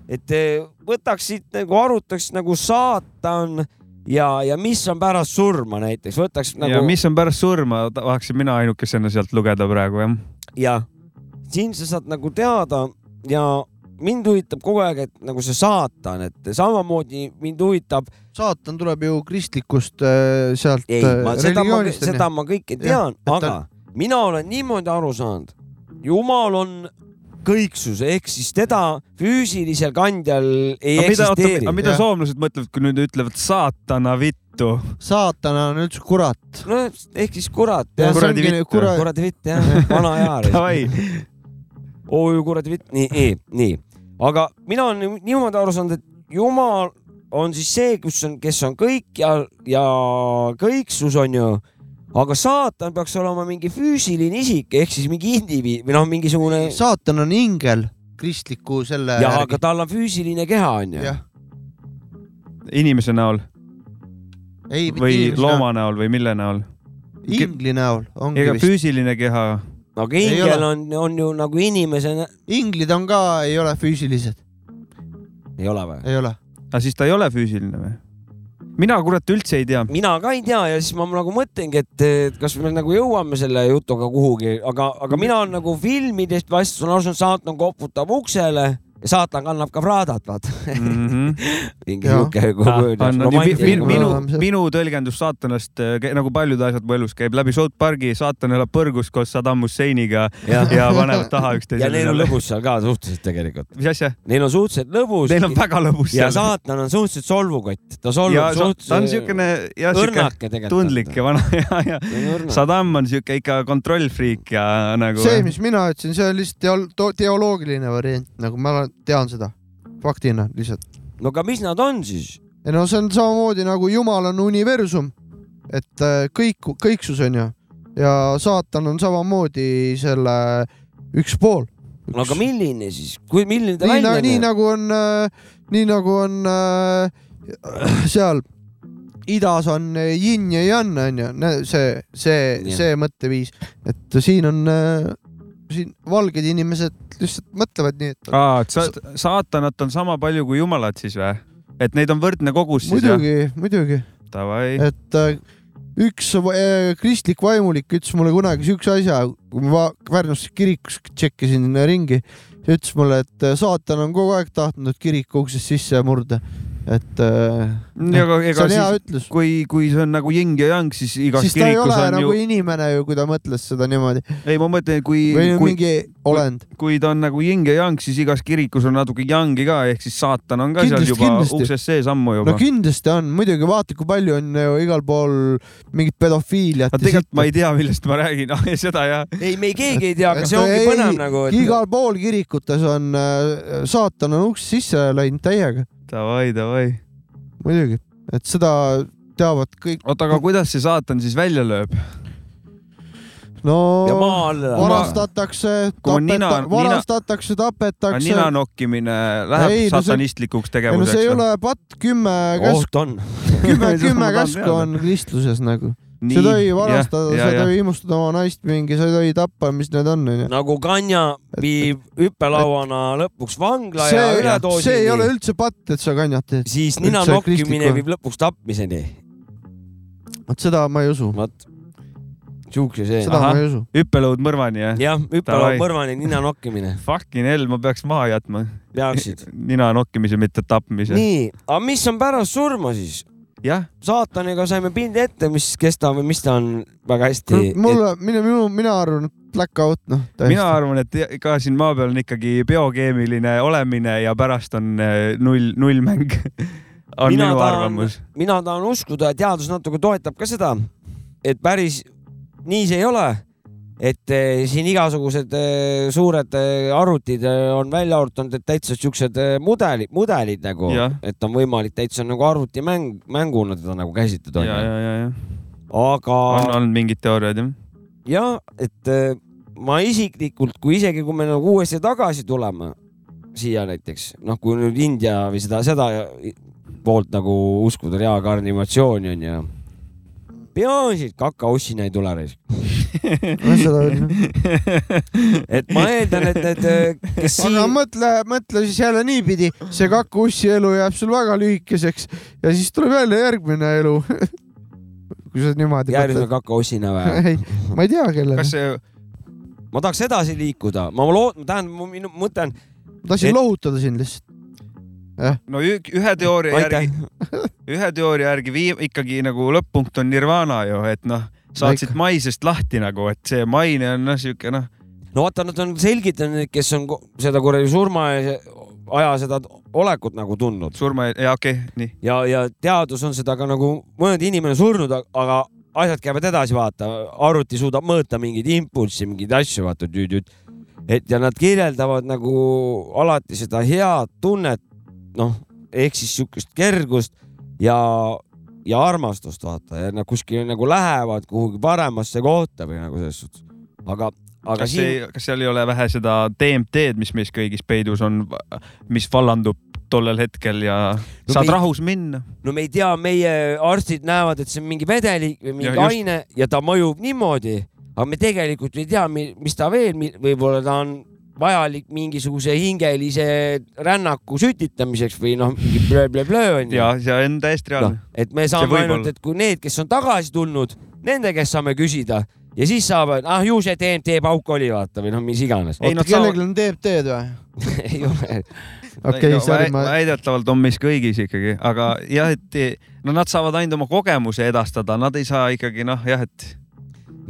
C: et eh, võtaks siit nagu arutaks nagu saatan ja , ja mis on pärast surma näiteks , võtaks
B: ja
C: nagu
B: mis on pärast surma , tahaksin mina ainukesena sealt lugeda praegu jah .
C: ja siin sa saad nagu teada ja mind huvitab kogu aeg , et nagu see saatan , et samamoodi mind huvitab ,
A: saatan tuleb ju kristlikust äh, sealt
C: ei , ma
A: äh,
C: seda ma ,
A: religioonist
C: seda
A: onju .
C: ma kõike
A: Jah,
C: tean ,
A: et
C: aga mina olen niimoodi aru saanud , jumal on kõiksus ehk siis teda füüsilisel kandjal ei
B: mida,
C: eksisteeri
B: aga . mida
A: Jah.
B: soomlased mõtlevad , kui nüüd ütlevad saatana vittu ?
A: saatana on üldse kurat .
C: no ehk siis kurat .
B: Kuradi vitt.
A: kurat .
C: kuradi vitt jah , vana hea .
B: Davai ,
C: oo kuradi vitt , nii , nii , nii , aga mina olen niim- niimoodi aru saanud , et jumal on siis see , kus on , kes on kõik ja , ja kõiksus on ju , aga saatan peaks olema mingi füüsiline isik ehk siis mingi indiviid või noh , mingisugune
A: saatan on ingel kristliku selle .
C: jah , aga tal on füüsiline keha on ju .
A: jah ,
B: inimese näol
A: ei .
B: või looma näol või mille näol ?
A: ingli näol ongi
B: ega
A: vist füüs... .
B: füüsiline keha ,
C: aga
A: Ei
C: ingel
A: ole.
C: on , on ju nagu inimese ,
A: inglid on ka , ei ole füüsilised ,
C: ei ole või ?
A: ei ole .
B: aga siis ta ei ole füüsiline või ? mina kurat üldse ei tea .
C: mina ka ei tea ja siis ma nagu mõtlengi , et et kas me nagu jõuame selle jutuga kuhugi , aga , aga mina olen nagu filmidest või asjadest olen aru saanud , saatan koputab uksele ja saatan kannab ka praadat , vaata . mingi
A: Jah.
C: sihuke
B: Ah,
C: kujunis-
B: on- on ju mi- Mhm. mi-
C: romantiline-
A: me
B: minu
A: oleme see- ,
B: minu tõlgendus saatanast äh, kä- nagu paljud asjad mu elus käib läbi South Park'i , saatan elab põrgus koos Saddam Husseiniga
C: Jah.
B: ja panevad taha
C: ja neil
B: üksteisele .
C: on lõbus seal ka suhteliselt tegelikult ,
B: mis asja ?
C: neil on suhteliselt lõbus
B: Neil on väga lõbus
C: ja
B: seal .
C: saatan on suhteliselt solvukott , ta
B: ja
C: solvub
B: sa- ta on
C: suhteliselt
B: siukene , jah , siuke
C: õrnake tegelikult .
B: tundlik ja vana ja , ja
C: õrnak .
B: Saddam on siuke ikka kontrollfriik ja nagu .
A: see , mis mina ütlesin , see on lihtsalt teol- to- teoloogiline variant , nagu ma olen- tean seda faktina lihtsalt .
C: no aga mis nad on siis ?
A: ei no see on samamoodi nagu Jumal on universum , et äh, kõik , kõiksus on ju , ja saatan on samamoodi selle üks pool .
C: no aga milline siis , kui , milline ta
A: nii,
C: välja
A: na, nii
C: näeb ?
A: nagu on , nii nagu on äh, seal idas on äh, yin ja yang on ju , see , see ,
C: Jah.
A: see mõtteviis , et siin on äh, siin valged inimesed lihtsalt mõtlevad nii , et
B: aa , et sa, saatanat on sama palju kui jumalat siis või ? et neid on võrdne kogus siis jah ?
A: muidugi , muidugi ,
B: Davai ,
A: et äh, üks äh, kristlik vaimulik ütles mulle kunagi siukse asja , kui ma Pärnus kirikus tšekkisin ringi , ütles mulle , et äh, saatan on kogu aeg tahtnud kiriku uksest sisse murda et äh,
B: ja aga
A: see
B: ega
A: on hea
B: siis ,
A: ütlus .
B: kui , kui see on nagu jing ja jang , siis igas
A: siis ta ei
B: kirikus
A: ole
B: on
A: nagu
B: ju
A: ju... , inimene ju , kui ta mõtles seda niimoodi
B: ei , ma mõtlen , kui ,
A: või kui...
B: kui ,
A: mingi olend .
B: kui ta on nagu jing ja jang , siis igas kirikus on natuke jangi ka , ehk siis saatan on ka
A: Kindlasti,
B: seal juba
A: kindlasti.
B: ukses sees ammu
A: no
B: juba no, .
A: kindlasti on , muidugi vaata , kui palju on ju igal pool mingit pedofiiliat .
B: aga tegelikult ma ei tea , millest ma räägin , seda jah .
C: ei , me ei keegi ei tea , aga see ongi põnev nagu ,
A: et... .
C: et
A: igal pool kirikutes on äh, saatan on uks sisse läinud täiega ,
B: Davai , davai .
A: muidugi , et seda teavad kõik ,
B: oota , aga kuidas see saatan siis välja lööb ?
A: no
C: ja maa alla
B: Vara-
C: Vara... .
A: varastatakse ,
B: Kui on nina- nina-
A: varastatakse , tapetakse .
B: nina nokkimine läheb
A: Ei,
B: ei,
A: no see-
B: satanistlikuks
A: ei no
B: tegevuseks
A: see ei ole patt , kümme
B: Oh,
A: käsku ,
C: oht on .
A: kümme ,
B: seda ma
A: kümme
B: tahan
A: käsku
B: teada.
A: on kristluses nagu . sa ei tohi varastada , sa ei tohi imustada oma naist mingi , sa ei tohi tappa , mis need on , onju .
C: nagu Kanja viib hüppelauana lõpuks vangla ja
A: see , see ei ole
C: üledoosini ,
A: üldse patt , et sa kanjad teed .
C: siis nina
A: üldse
C: nokkimine
A: kristlik-
C: viib lõpuks tapmiseni .
A: vot seda ma ei usu ,
C: vot , sihuke see .
A: seda
B: Ahah.
A: ma ei usu .
B: hüppelõud mõrvani jah ?
C: jah , hüppelaua
B: Davai.
C: mõrvani nina nokkimine ,
B: Fucking hell , ma peaks maha jätma
C: peaksid .
B: nina nokkimise , mitte tapmise .
C: nii , aga mis on pärast surma siis ?
B: jah ,
C: saataniga saime pildi ette , mis , kes ta või mis ta on väga hästi .
A: mulle , minu , minu , mina arvan , et blackout , noh .
B: mina arvan , et ka siin maa peal on ikkagi biokeemiline olemine ja pärast on eh, null , nullmäng . on
C: Mina
B: minu
C: tahan-
B: arvamus .
C: mina tahan uskuda , teadus natuke toetab ka seda , et päris nii see ei ole . et eh, siin igasugused eh, suured eh, arvutid eh, on välja arvutanud , et täitsa siuksed eh, mudelid , mudelid nagu
B: Jah. ,
C: et on võimalik täitsa nagu arvutimäng , mänguna teda nagu käsitleda
B: ja , ja ,
C: onju .
B: ja , ja
C: aga
B: on olnud mingid teooriad jah .
C: jah , et eh, ma isiklikult , kui isegi kui me nagu uuesti tagasi tuleme siia näiteks , noh , kui nüüd India või seda , seda poolt nagu uskuda reaalkarnimatsiooni on ju . peaasi , et kakaossina ei tule reis .
A: arvan .
C: et ma eeldan , et need , kes
A: aga
C: siin ,
A: mõtle , mõtle siis jälle niipidi , see kakussi elu jääb sul väga lühikeseks ja siis tuleb jälle järgmine elu . kui sa niimoodi
C: järgmine
A: mõtled .
C: kakaossina või ?
A: ei , ma ei tea , kellele
B: kas . see ,
C: ma tahaks edasi liikuda , ma loodan , tähendab , mu minu mõte on ,
A: tahtsin
C: et-
A: lohutada sind lihtsalt .
B: no ü- ühe teooria järgi
C: aitäh ,,
B: ühe teooria järgi viim- ikkagi nagu lõpp-punkt on nirvana ju , et noh , saatsid maisest lahti nagu , et see maine on noh , sihuke noh ,
C: no vaata , nad on selgitanud , kes on ko- seda kuradi surma aja seda olekut nagu tundnud .
B: surma ja okei okay, , nii .
C: ja , ja teadus on seda ka nagu , mõned inimene on surnud , aga asjad käivad edasi , vaata , arvuti suudab mõõta mingeid impulssi , mingeid asju , vaata tüüd-tüüd . et ja nad kirjeldavad nagu alati seda head tunnet , noh , ehk siis sihukest kergust ja , ja armastust , vaata , ja nad kuskile nagu lähevad kuhugi paremasse kohta või nagu selles suhtes . aga , aga
B: kas
C: siin
B: siin... , kas seal ei ole vähe seda DMT-d , mis meis kõigis peidus on , mis vallandub tollel hetkel ja no, saad
C: me-
B: me... rahus minna ?
C: no me ei tea , meie arstid näevad , et see on mingi vedelik või mingi
B: Ja
C: ja
B: just.
C: aine ja ta mõjub niimoodi , aga me tegelikult ei tea , mis ta veel , võib-olla ta on vajalik mingisuguse hingelise rännaku sütitamiseks või noh , mingi blöö-blöö-blöö onju .
B: ja see on täiesti
C: noh
B: reaalne no. .,
C: et me
B: võib
C: saame ainult ,
B: olla.
C: et kui need , kes on tagasi tulnud , nende käest saame küsida ja siis saavad , ah ju see DMT pauk oli , vaata või noh , mis iganes .
B: Ei,
A: oota ,
B: nad saavad-
A: kellelgi on DMT-d või ?
C: ei ole ,
A: okei , sorry , ma ,
B: väidetavalt on meis kõigis ikkagi , aga jah , et no nad saavad ainult oma kogemuse edastada , nad ei saa ikkagi noh , jah , et,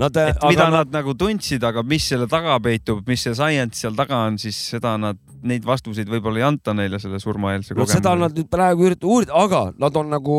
C: nad ,
B: et aga mida
C: Äh, aga
B: nad nagu tundsid , aga mis selle taga peitub , mis see science seal taga on , siis seda nad , neid vastuseid võib-olla ei anta neile selle surmaeelse
C: no, seda
B: kogemuse
C: nad . nüüd praegu üritavad uurida , aga nad on nagu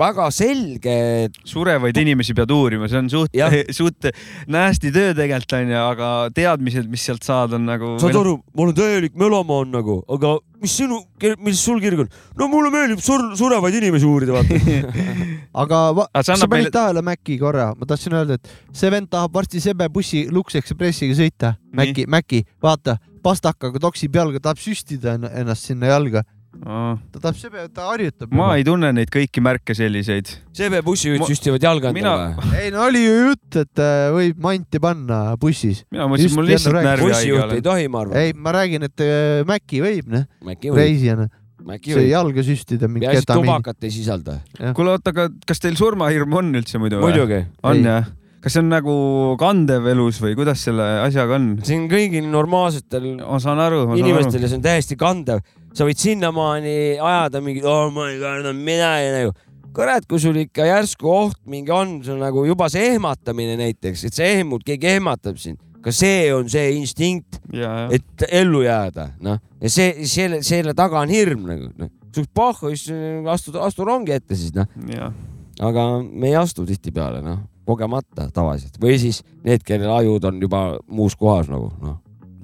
C: väga selge ,
B: surevaid inimesi pead uurima , see on suht
C: Jah. ,
B: suht nasty töö tegelikult onju , aga teadmised , mis sealt saad , on nagu .
C: saad aru , ma olen täielik melomaan nagu , aga mis sinu , mis sul kirg on ? no mulle meeldib sur- , surevaid inimesi uurida , vaata .
A: aga va-
B: Aga see
A: kas sa
B: annab
A: panid
B: meile-
A: tähele Maci korra , ma tahtsin öelda , et see vend tahab varsti Sebe bussi Lux Expressiga sõita . Maci , Maci , vaata , pastakaga toksib jalga , tahab süstida enn- ennast sinna jalga . ta tahab Sebe , ta harjutab .
B: ma ei tunne neid kõiki märke selliseid .
C: CB bussijuhid
B: Ma-
C: süstivad jalga endale
B: mina-
C: või ?
A: ei no oli ju jutt , et äh, võib manti panna bussis .
B: mina mõtlesin ,
A: Just,
B: et mul
A: Janno
B: lihtsalt
A: rääkis.
B: närvi haige
C: bussijuht ei
B: olen .
C: tohi , ma arvan .
A: ei , ma räägin , et äh, Maci võib , noh ,
C: Maci võib ,
A: reisijana .
C: Maci
A: sai
C: võib .
A: jalga süstida mingi
C: peaasi , et
A: ketamiini .
C: tubakat ei sisalda .
B: kuule , oota , aga kas teil surmahirm on üldse muidu või ?
C: muidugi ,
A: Ei.
B: on jah ? kas see on nagu kandev elus või kuidas selle asjaga on ?
C: see on kõigil normaalsetel
B: ma saan aru , ma saan aru .
C: inimestele , see on täiesti kandev . sa võid sinnamaani ajada mingit oh my god , no mina ei nagu . kurat , kui sul ikka järsku oht mingi on , sul nagu juba see ehmatamine näiteks , et sa ehmud , keegi ehmatab sind , ka see on see instinkt ,
B: ja , ja ,
C: et ellu jääda , noh . ja see , selle , selle taga on hirm nagu , noh . sul pohhu , siis astud , astu rongi ette siis , noh .
B: ja ,
C: aga me ei astu tihtipeale , noh , kogemata tavaliselt või siis need , kellel ajud on juba muus kohas nagu , noh .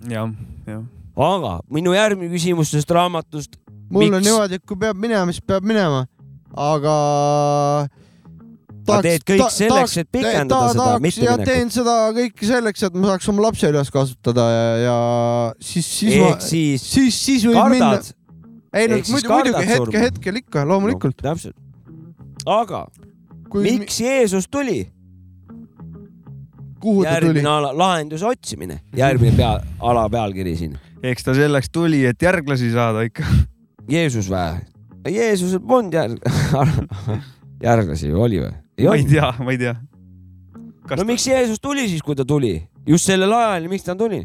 B: ja , ja .
C: aga minu järgmine küsimus sellest raamatust .
A: mul
C: Miks?
A: on niimoodi , et kui peab minema , siis peab minema , aga .
C: Aga teed kõik selleks, et pikendada seda
A: ja
C: mitteminekut.
A: teen seda kõike selleks , et ma saaks oma lapse üles kasvatada ja , ja siis , siis ma
C: ehk , siis
A: siis , siis võib minna .
C: kardad .
A: ei no
C: ehk siis
A: muidugi ,
C: kardad
A: muidugi hetke ,
C: surma.
A: hetkel ikka loomulikult .
C: täpselt . aga miks Jeesus tuli ?
A: kuhu ta tuli
C: järgmine ? ala , lahenduse otsimine , järgmine pea , ala pealkiri siin .
B: eks ta selleks tuli , et järglasi saada ikka .
C: Jeesus või ? Jeesusel polnud järg- , järglasi ju oli või ? ei
B: ma ei
C: olnud .
B: tea , ma ei tea .
C: no miks Jeesus tuli siis , kui ta tuli ? just sellel ajal , miks ta tuli ?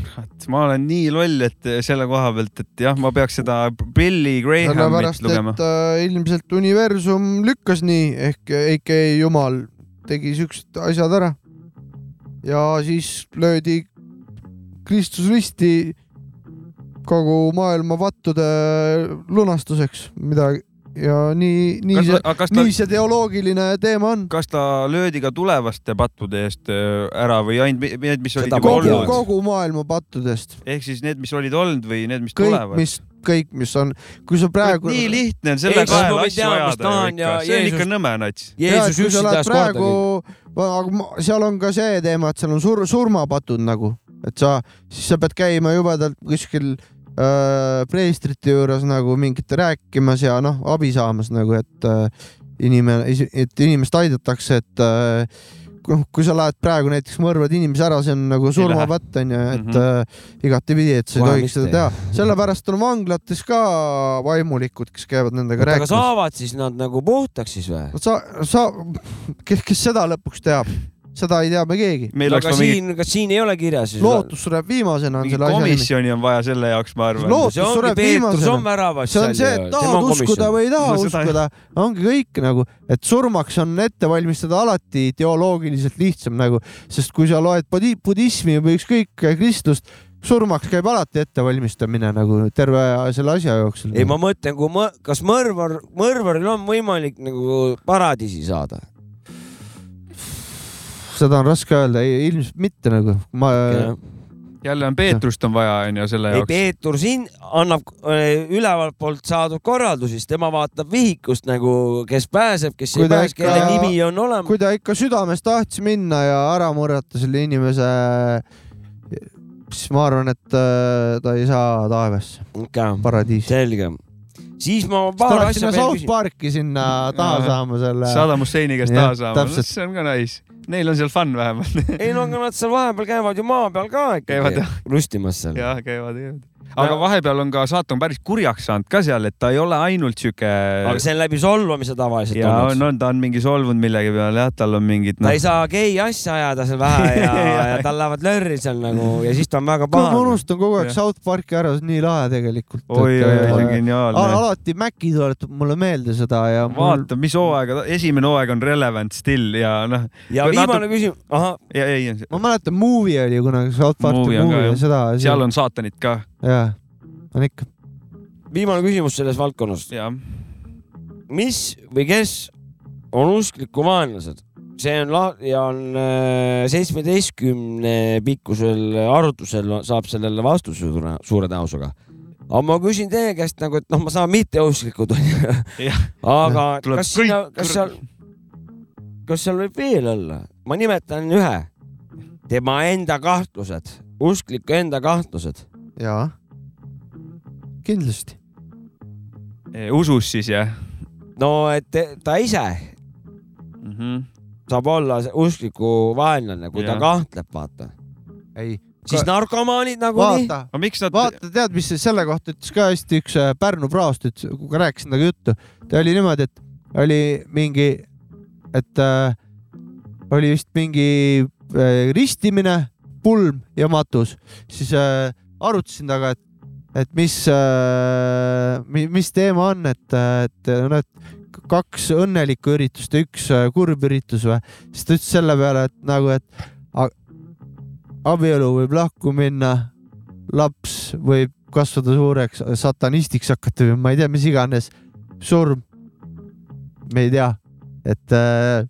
B: kurat , ma olen nii loll , et eh, selle koha pealt , et jah , ma peaks seda Billy Grahamit
A: sellepärast ,
B: lugema
A: et . äh, ilmselt universum lükkas nii ehk EK Jumal tegi siuksed asjad ära . ja siis löödi Kristus risti kogu maailma vattude lunastuseks , mida ja nii , nii see ,
B: aga kas ta ,
A: nii see teoloogiline teema on .
B: kas ta löödi ka tulevaste pattude eest äh, ära või ainult mi- need , mis olid
C: Seda
B: juba
C: ma ei
A: kogu
C: tea. ,
B: olnud ?
A: kogu maailma pattudest ,
B: ehk siis need , mis olid olnud või need , mis
A: kõik ,
B: tulevad ?
A: mis , kõik , mis on , kui sa praegu
B: nii lihtne on selle
C: Ei, siis
B: kaela
C: ma ei
B: asju
C: tea, mis
B: ajada
C: tahan
B: ju ikka
C: ja ,
B: see on
C: Jeesus-
B: ikka nõme nats .
A: tead ,
C: Jeesus
A: kui sa
C: üksi
A: lähed
C: tahes
A: praegu
C: kordagi .,
A: aga ma- seal on ka see teema , et seal on sur, surmapatud nagu , et sa , siis sa pead käima jubedalt kuskil äh, preestrite juures nagu mingit rääkimas ja noh , abi saamas nagu , et äh, inimene , et inimest aidatakse , et äh, kui kui sa lähed praegu näiteks mõrvad inimese ära , see on nagu surmapatt onju , et mm
B: Mhm.
A: -hmm. äh, igatepidi , et sa ei
C: Kohe
A: tohiks
C: mitte.
A: seda teha , sellepärast on vanglates ka vaimulikud , kes käivad nendega
C: aga
A: rääkimas .
C: saavad siis nad nagu puhtaks siis või ?
A: sa , sa , kes , kes seda lõpuks teab , seda ei tea me keegi .
B: meil oleks
C: aga
B: vaja mingi ,
C: siin , kas siin ei ole kirjas siis ?
A: lootus sureb viimasena on
B: mingi
A: selle asja nimi .
B: komisjoni on vaja selle jaoks , ma arvan .
A: Lootus
C: see ongi
A: sureb
C: Peetrus
A: viimasena.
C: on väravas .
A: see on see , et tahad uskuda või ei taha
B: No
A: no,
B: seda ei-
A: uskuda , ongi kõik nagu , et surmaks on ette valmistada alati teoloogiliselt lihtsam nagu , sest kui sa loed budi- budismi või ükskõik äh, kristlust , surmaks käib alati ettevalmistamine nagu terve selle asja jooksul .
C: ei , ma mõtlen , kui mõ- , kas mõrvar , mõrvaril on võimalik nagu paradiisi saada ?
A: seda on raske öelda , ilmselt mitte nagu , ma ,
C: ei ,
B: jälle on Peetrust on vaja , onju , selle jaoks .
C: Peetur siin annab äh, ülevalt poolt saadud korraldusi , siis tema vaatab vihikust nagu , kes pääseb , kes
A: Kui
C: ei
A: ta
C: pääse ,
A: ikka-
C: kelle nimi on olemas .
A: kui ta ikka südames tahtis minna ja ära murrata selle inimese , siis ma arvan , et äh, ta ei saa taevasse , paradiisi .
C: selge . siis ma
A: ta
C: paar
A: läks
C: asja
A: sinna
C: veel
A: South
C: küsin .
A: Parki sinna taha
B: Jaa.
A: saama selle .
B: saada Musseini käest
A: Jah,
B: taha saama ,
A: täpselt.
B: see on ka nice . Neil on seal fun vähemalt .
C: ei no aga nad seal vahepeal käivad ju maa peal ka
B: Käivad,
C: ikkagi lustimas seal .
B: jah , käivad , käivad . aga vahepeal on ka saatan päris kurjaks saanud ka seal , et ta ei ole ainult sihuke .
C: aga see on läbi solvamise tavaliselt
B: ja
C: olnud
B: on , on , ta on mingi solvunud millegi peale , jah , tal on mingid
C: ta ei
B: noh ,
C: saa gei asja ajada seal vähe ja,
B: Jaa.
C: ja tal lähevad lörri seal nagu ja siis ta on väga
A: ma
C: pahane .
A: unustan kogu aeg
B: Jah.
A: South Parki ära , see on nii lahe tegelikult .
B: oi , oi , oi , see on geniaalne .
A: alati Maci tuletab mulle meelde seda ja mul
B: vaata , mis hooaega , esimene hooaeg on relevant still ja noh ,
C: ja
B: Kui
C: viimane küsimus , ahah ,
B: ja ei ,
A: ma mäletan , Movie oli kunagi South Parki
B: Movie on ka,
A: movie ja
B: jah.
A: seda .
B: seal on saatanit ka ,
A: jaa , on ikka .
C: viimane küsimus selles valdkonnas .
B: jah .
C: mis või kes on uskliku vaenlased ? see on la- ja on äh, seitsmeteistkümne pikkusel arutlusel saab sellele vastuse suure, suure tõenäosusega . aga ma küsin teie käest nagu , et noh , ma saan mitteusklikud onju
B: Jah. .
C: aga
B: Tuleb
C: kas sinna
B: kõik- ,
C: kas seal , kas seal võib veel olla ? ma nimetan ühe , tema enda kahtlused , uskliku enda kahtlused .
A: jaa , kindlasti .
B: Eh, usus siis jah
C: no et te- ta ise
B: mm ? -hmm.
C: saab olla see uskliku vaenlane , kui ja. ta
B: Jah.
C: kahtleb , vaata .
A: ei ,
C: siis narkomaanid nagunii .
A: vaata
B: aga miks nad ,
A: vaata , tead , mis selle kohta ütles ka hästi üks äh, Pärnu praost , ütles , kui ma rääkisin temaga juttu , ta oli niimoodi , et oli mingi , et äh, oli vist mingi äh, ristimine , pulm ja matus , siis äh, arutasin temaga , et et mis , mis teema on , et , et noh , et kaks õnnelikku üritust ja üks äh, kurb üritus või , siis ta ütles selle peale , et nagu , et a- abielu võib lahku minna , laps võib kasvada suureks satanistiks hakata või ma ei tea , mis iganes , surm . me ei tea , et äh,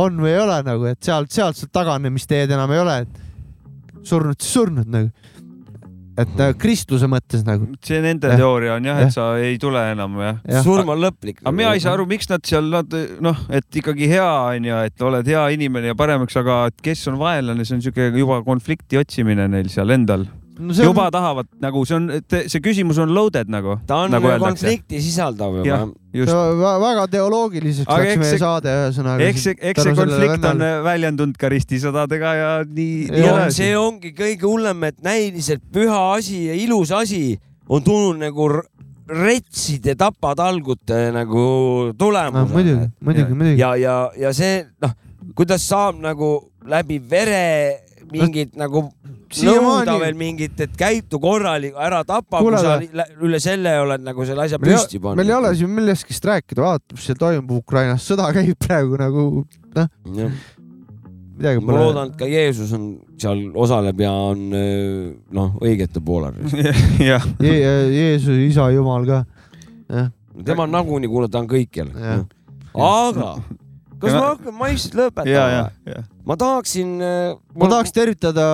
A: on või ei ole nagu , et sealt , sealt sealt taganemisteed enam ei ole , et surnud siis surnud nagu . et äh, kristluse mõttes nagu .
B: see nende
A: Jah.
B: teooria on jah ,
A: Jah.
B: et sa ei tule enam jah .
A: Jah.
C: surm on lõplik .
B: aga mina ei saa aru , miks nad seal , nad noh , et ikkagi hea on ju , et oled hea inimene ja paremaks , aga et kes on vaenlane , see on siuke juba konflikti otsimine neil seal endal .
A: no see
B: juba tahavad nagu see on , see küsimus on loaded nagu .
C: ta on
B: nagu
C: nagu
B: öeldakse.
C: konflikti sisaldav
B: Jah.
C: juba .
A: on
B: just.
A: vä- väga teoloogiliseks
B: Aga
A: läks
B: eks
A: meie
B: see-
A: saade ühesõnaga .
B: eks see , eks see konflikt on väljendunud ka ristisõdadega ja nii , nii
A: Jah.
C: ja
B: edasi
C: see . ongi kõige hullem , et näiliselt püha asi ja ilus asi on tulnud nagu r- retside tapatalgute nagu
A: no
C: tulemusena
A: Noh, muidugi , muidugi , muidugi .
C: ja , ja , ja see noh , kuidas saab nagu läbi vere mingit nagu
A: siiamaani-
C: nõuda veel mingit , et käitu korralik , ära tapa , kui
A: Kuule,
C: sa
A: aga-
C: li- lä- üle selle oled nagu selle asja püsti pannud .
A: meil ei ole siin millestki rääkida , vaata , mis seal toimub Ukrainas , sõda käib praegu nagu
C: siin .
A: midagi
C: ma loodan , et ka Jeesus on seal osaleb ja on öö, noh , õigete poolel .
B: jah ,
A: Je Jeesus , isa , jumal ka .
C: tema on nagunii , kuule , ta on kõikjal
A: Jah. .
C: aga kas
B: Ja
C: ma
B: ma-
C: hakkan vaikselt lõpetama
B: ja , ja
C: või ?,
B: ja .
C: ma tahaksin . äh,
A: ma tahaks tervitada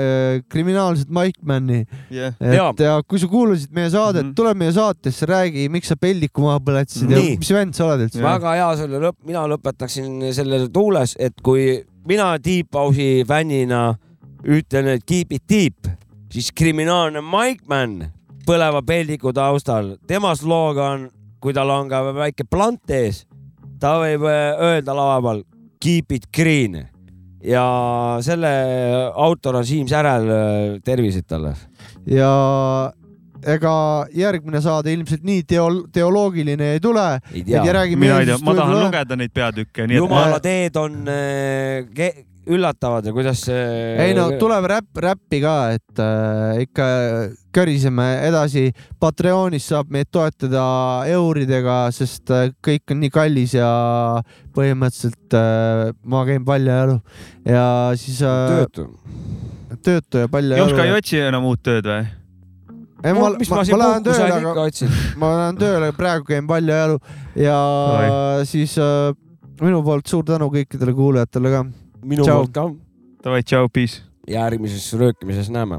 A: äh, kriminaalset Mike Manni ,
B: jah ,
A: et ja.
C: Jaa.
A: kui sa kuulasid meie saadet
B: Mhm.
A: mm , -hmm. tule meie saatesse , räägi , miks sa peldiku maha põletasid ja
C: Nii.
A: mis vend sa oled üldse .
C: väga hea selle lõpp , mina lõpetaksin selle tuules , et kui mina Deep House'i fännina ütlen , et keep it deep , siis kriminaalne Mike Mann põleva peldiku taustal , tema slogan , kui tal on ka väike plant ees , ta võib äh, öelda lava peal keep it green ja selle autor on Siim Särel , tervised talle .
A: ja ega järgmine saade ilmselt nii teol- , teoloogiline ei tule .
C: ei tea ,
B: mina ei tea , ma tahan . lugeda neid peatükke , nii et
C: jumala teed on äh, ke- üllatavad ja kuidas äh,
A: ei no tuleb räpp , räppi ka , et äh, ikka köriseme edasi . Patreonis saab meid toetada euridega , sest äh, kõik on nii kallis ja põhimõtteliselt äh, ma käin paljajalu ja siis äh,
C: töötu .
A: töötu
B: Joška
A: ja
B: ei
A: paljajalu .
B: otsi enam uut tööd või ?
A: ei ma ,
C: mis
A: ma,
C: ma
A: ma
C: siin
A: lähen
C: puhkuse
A: tööle ,
C: ajal
A: aga
C: ikka otsin .
A: ma lähen tööle , praegu käin paljajalu ja
B: Oi.
A: siis äh, minu poolt suur tänu kõikidele kuulajatele ka .
C: minu
A: Tšau.
C: poolt ka .
B: Davai , tšau , peace .
C: järgmises röökimises näeme .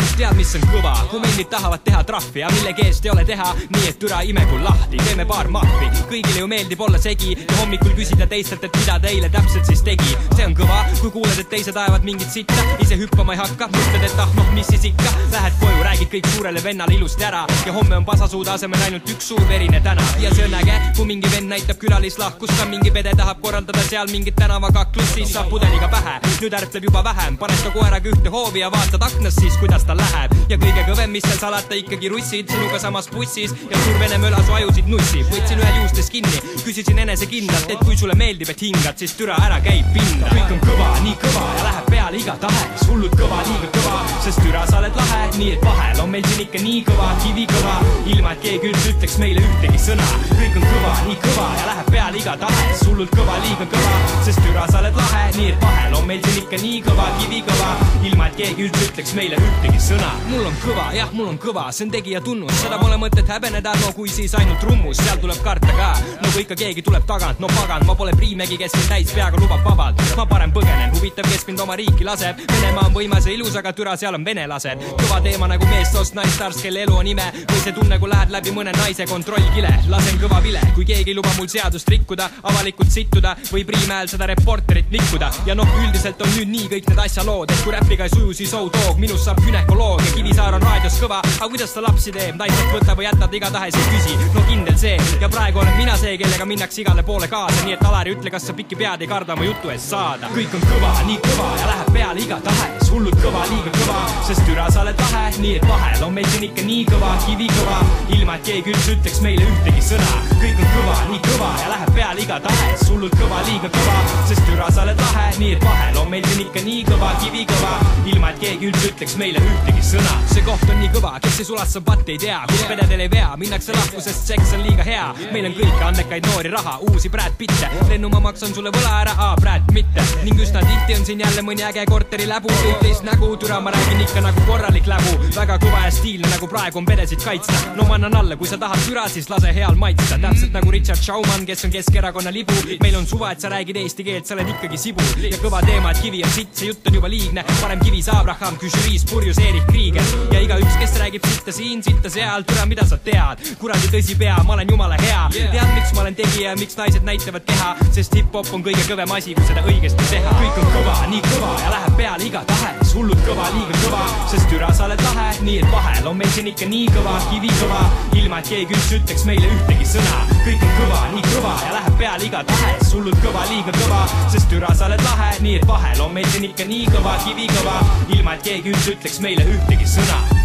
I: kes teab , mis on kõva , humennid tahavad teha trahvi ja millegi eest ei ole teha , nii et türa ime kui lahti , teeme paar mahvi . kõigile ju meeldib olla segi ja hommikul küsida teistelt , et mida ta eile täpselt siis tegi . see on kõva , kui kuuled , et teised ajavad mingit sitta , ise hüppama ei hakka , mõtled , et ah noh , mis siis ikka . Lähed koju , räägid kõik suurele vennale ilusti ära ja homme on pasasuude asemel ainult üks suur verine tänav ja see on äge , kui mingi vend näitab külalislahkust , ka mingi pede tahab korraldada seal mingit tänavakaklust , siis saab pudeliga pähe . nüüd ärpleb juba vähem , paned ka koeraga ühte hoovi ja vaatad aknast siis , kuidas tal läheb . ja kõige kõvem , mis seal salata , ikkagi russid sinuga samas bussis ja suur vene möla su ajusid nussib . võtsin ühe juustes kinni , küsisin enesekindlalt , et kui sulle meeldib , et hingad , siis türa ära käi pinda . kõik on kõva , nii kõva ja läheb peale igatahes , hullult kõva , liiga kõva , sest türa sa oled lahe , nii et vahel on meil siin ikka nii kõva , kivikõva , ilma et keegi üldse ütleks meile ühtegi sõna . kõik on kõva , nii kõva ja läheb peale igatahes , hullult kõva , liiga kõva , sest türa sa oled lahe , nii et vahel on meil siin ikka nii kõva , kivikõva , ilma et keegi üldse ütleks meile ühtegi sõna . mul on kõva , jah , mul on kõva , see on tegija tunnus , seda pole mõtet häbeneda , no kui siis ainult rummus , seal tuleb karta ka . no kui ikka keegi tuleb tagant , no pagan , ma pole priimägi , kes mind täis peaga lubab vabalt , ma parem põgenen , huvitav , kes mind oma riiki laseb . Venemaa on võimas ja ilus , aga türa , seal on venelased . kõva teema nagu meessoost naistarst , kelle elu on ime või see tunne , kui lähed läbi mõne naise kontrollkile , lasen kõva vile , kui keegi ei luba mul seadust rikkuda , avalikult situda või Priimäel seda reporterit nikkuda . ja noh , üldiselt on nüüd nii kõik need asjalood , et kui räpiga ei suju , siis oh dog , minust saab gümnakoloog ja Kivisaar on raadios kõva , aga kuidas ta lapsi teeb , naistelt võta või jäta , ta igatahes ei küsi . no kindel see ja praegu olen mina see , kellega minnakse igale poole kaasa , nii et Alari , ütle , kas sa pikki pead ei karda oma jutu eest saada . kõik on kõva , nii kõva ja läheb peale igatahes , hullult kõva , liiga kõva , sest türa sa oled lahe , nii et vahel on meil siin ikka nii kõva , kivikõva , ilma et keegi üldse ütleks meile ühtegi sõna . kõik on kõva , nii kõva ja läheb peale igatahes , hullult kõva , liiga kõva , sest türa sa oled lahe , nii et vahel on on meil siin ikka nii kõva kivikõva , ilma et keegi üldse ütleks meile ühtegi sõna . see koht on nii kõva , kes ei sulatse patt ei tea , kus pededel ei vea , minnakse lahku , sest seks on liiga hea . meil on kõiki andekaid noori raha , uusi Brad-Pitte , lennumaa maksan sulle võla ära , aa Brad mitte . ning üsna tihti on siin jälle mõni äge korteri läbu , üht-teist nägu , türa ma räägin ikka nagu korralik läbu , väga kõva ja stiilne nagu praegu on pedesid kaitsta . no ma annan alla , kui sa tahad türa , siis lase heal maitsta , täpselt nagu Richard Schaumann , kes on Keskerakonna libu . meil on suva , et sa räägid eesti keelt , sa oled ikkagi sibul ja kõva teema , et kivi on sitt , see jutt on juba liigne . parem kivis Abraham , kui žüriis purjus Erich Krieger ja igaüks , kes räägib sitta siin , sitta seal , türa , mida sa tead , kuradi tõsipea , ma olen jumala hea , tead , miks ma olen tegija , miks naised näitavad keha , sest hip-hop on kõige kõvem asi , kui seda õigesti teha . kõik on kõva , nii kõva ja läheb peale iga tahe , siis hullult kõva , liiga kõva , sest türa , sa oled lahe , nii et vahel on meil siin ikka nii kõva , kivikõva , ilma et keegi üldse ütleks meile ühtegi sõna . kõik on kõva , nii kõva ja läheb peale iga tahe , siis hullult kõva , liiga kõva , sest türa , sa oled lahe , nii et vahel on meil siin ikka nii kõva , kivikõva , ilma et keegi üldse ütleks meile ühtegi sõna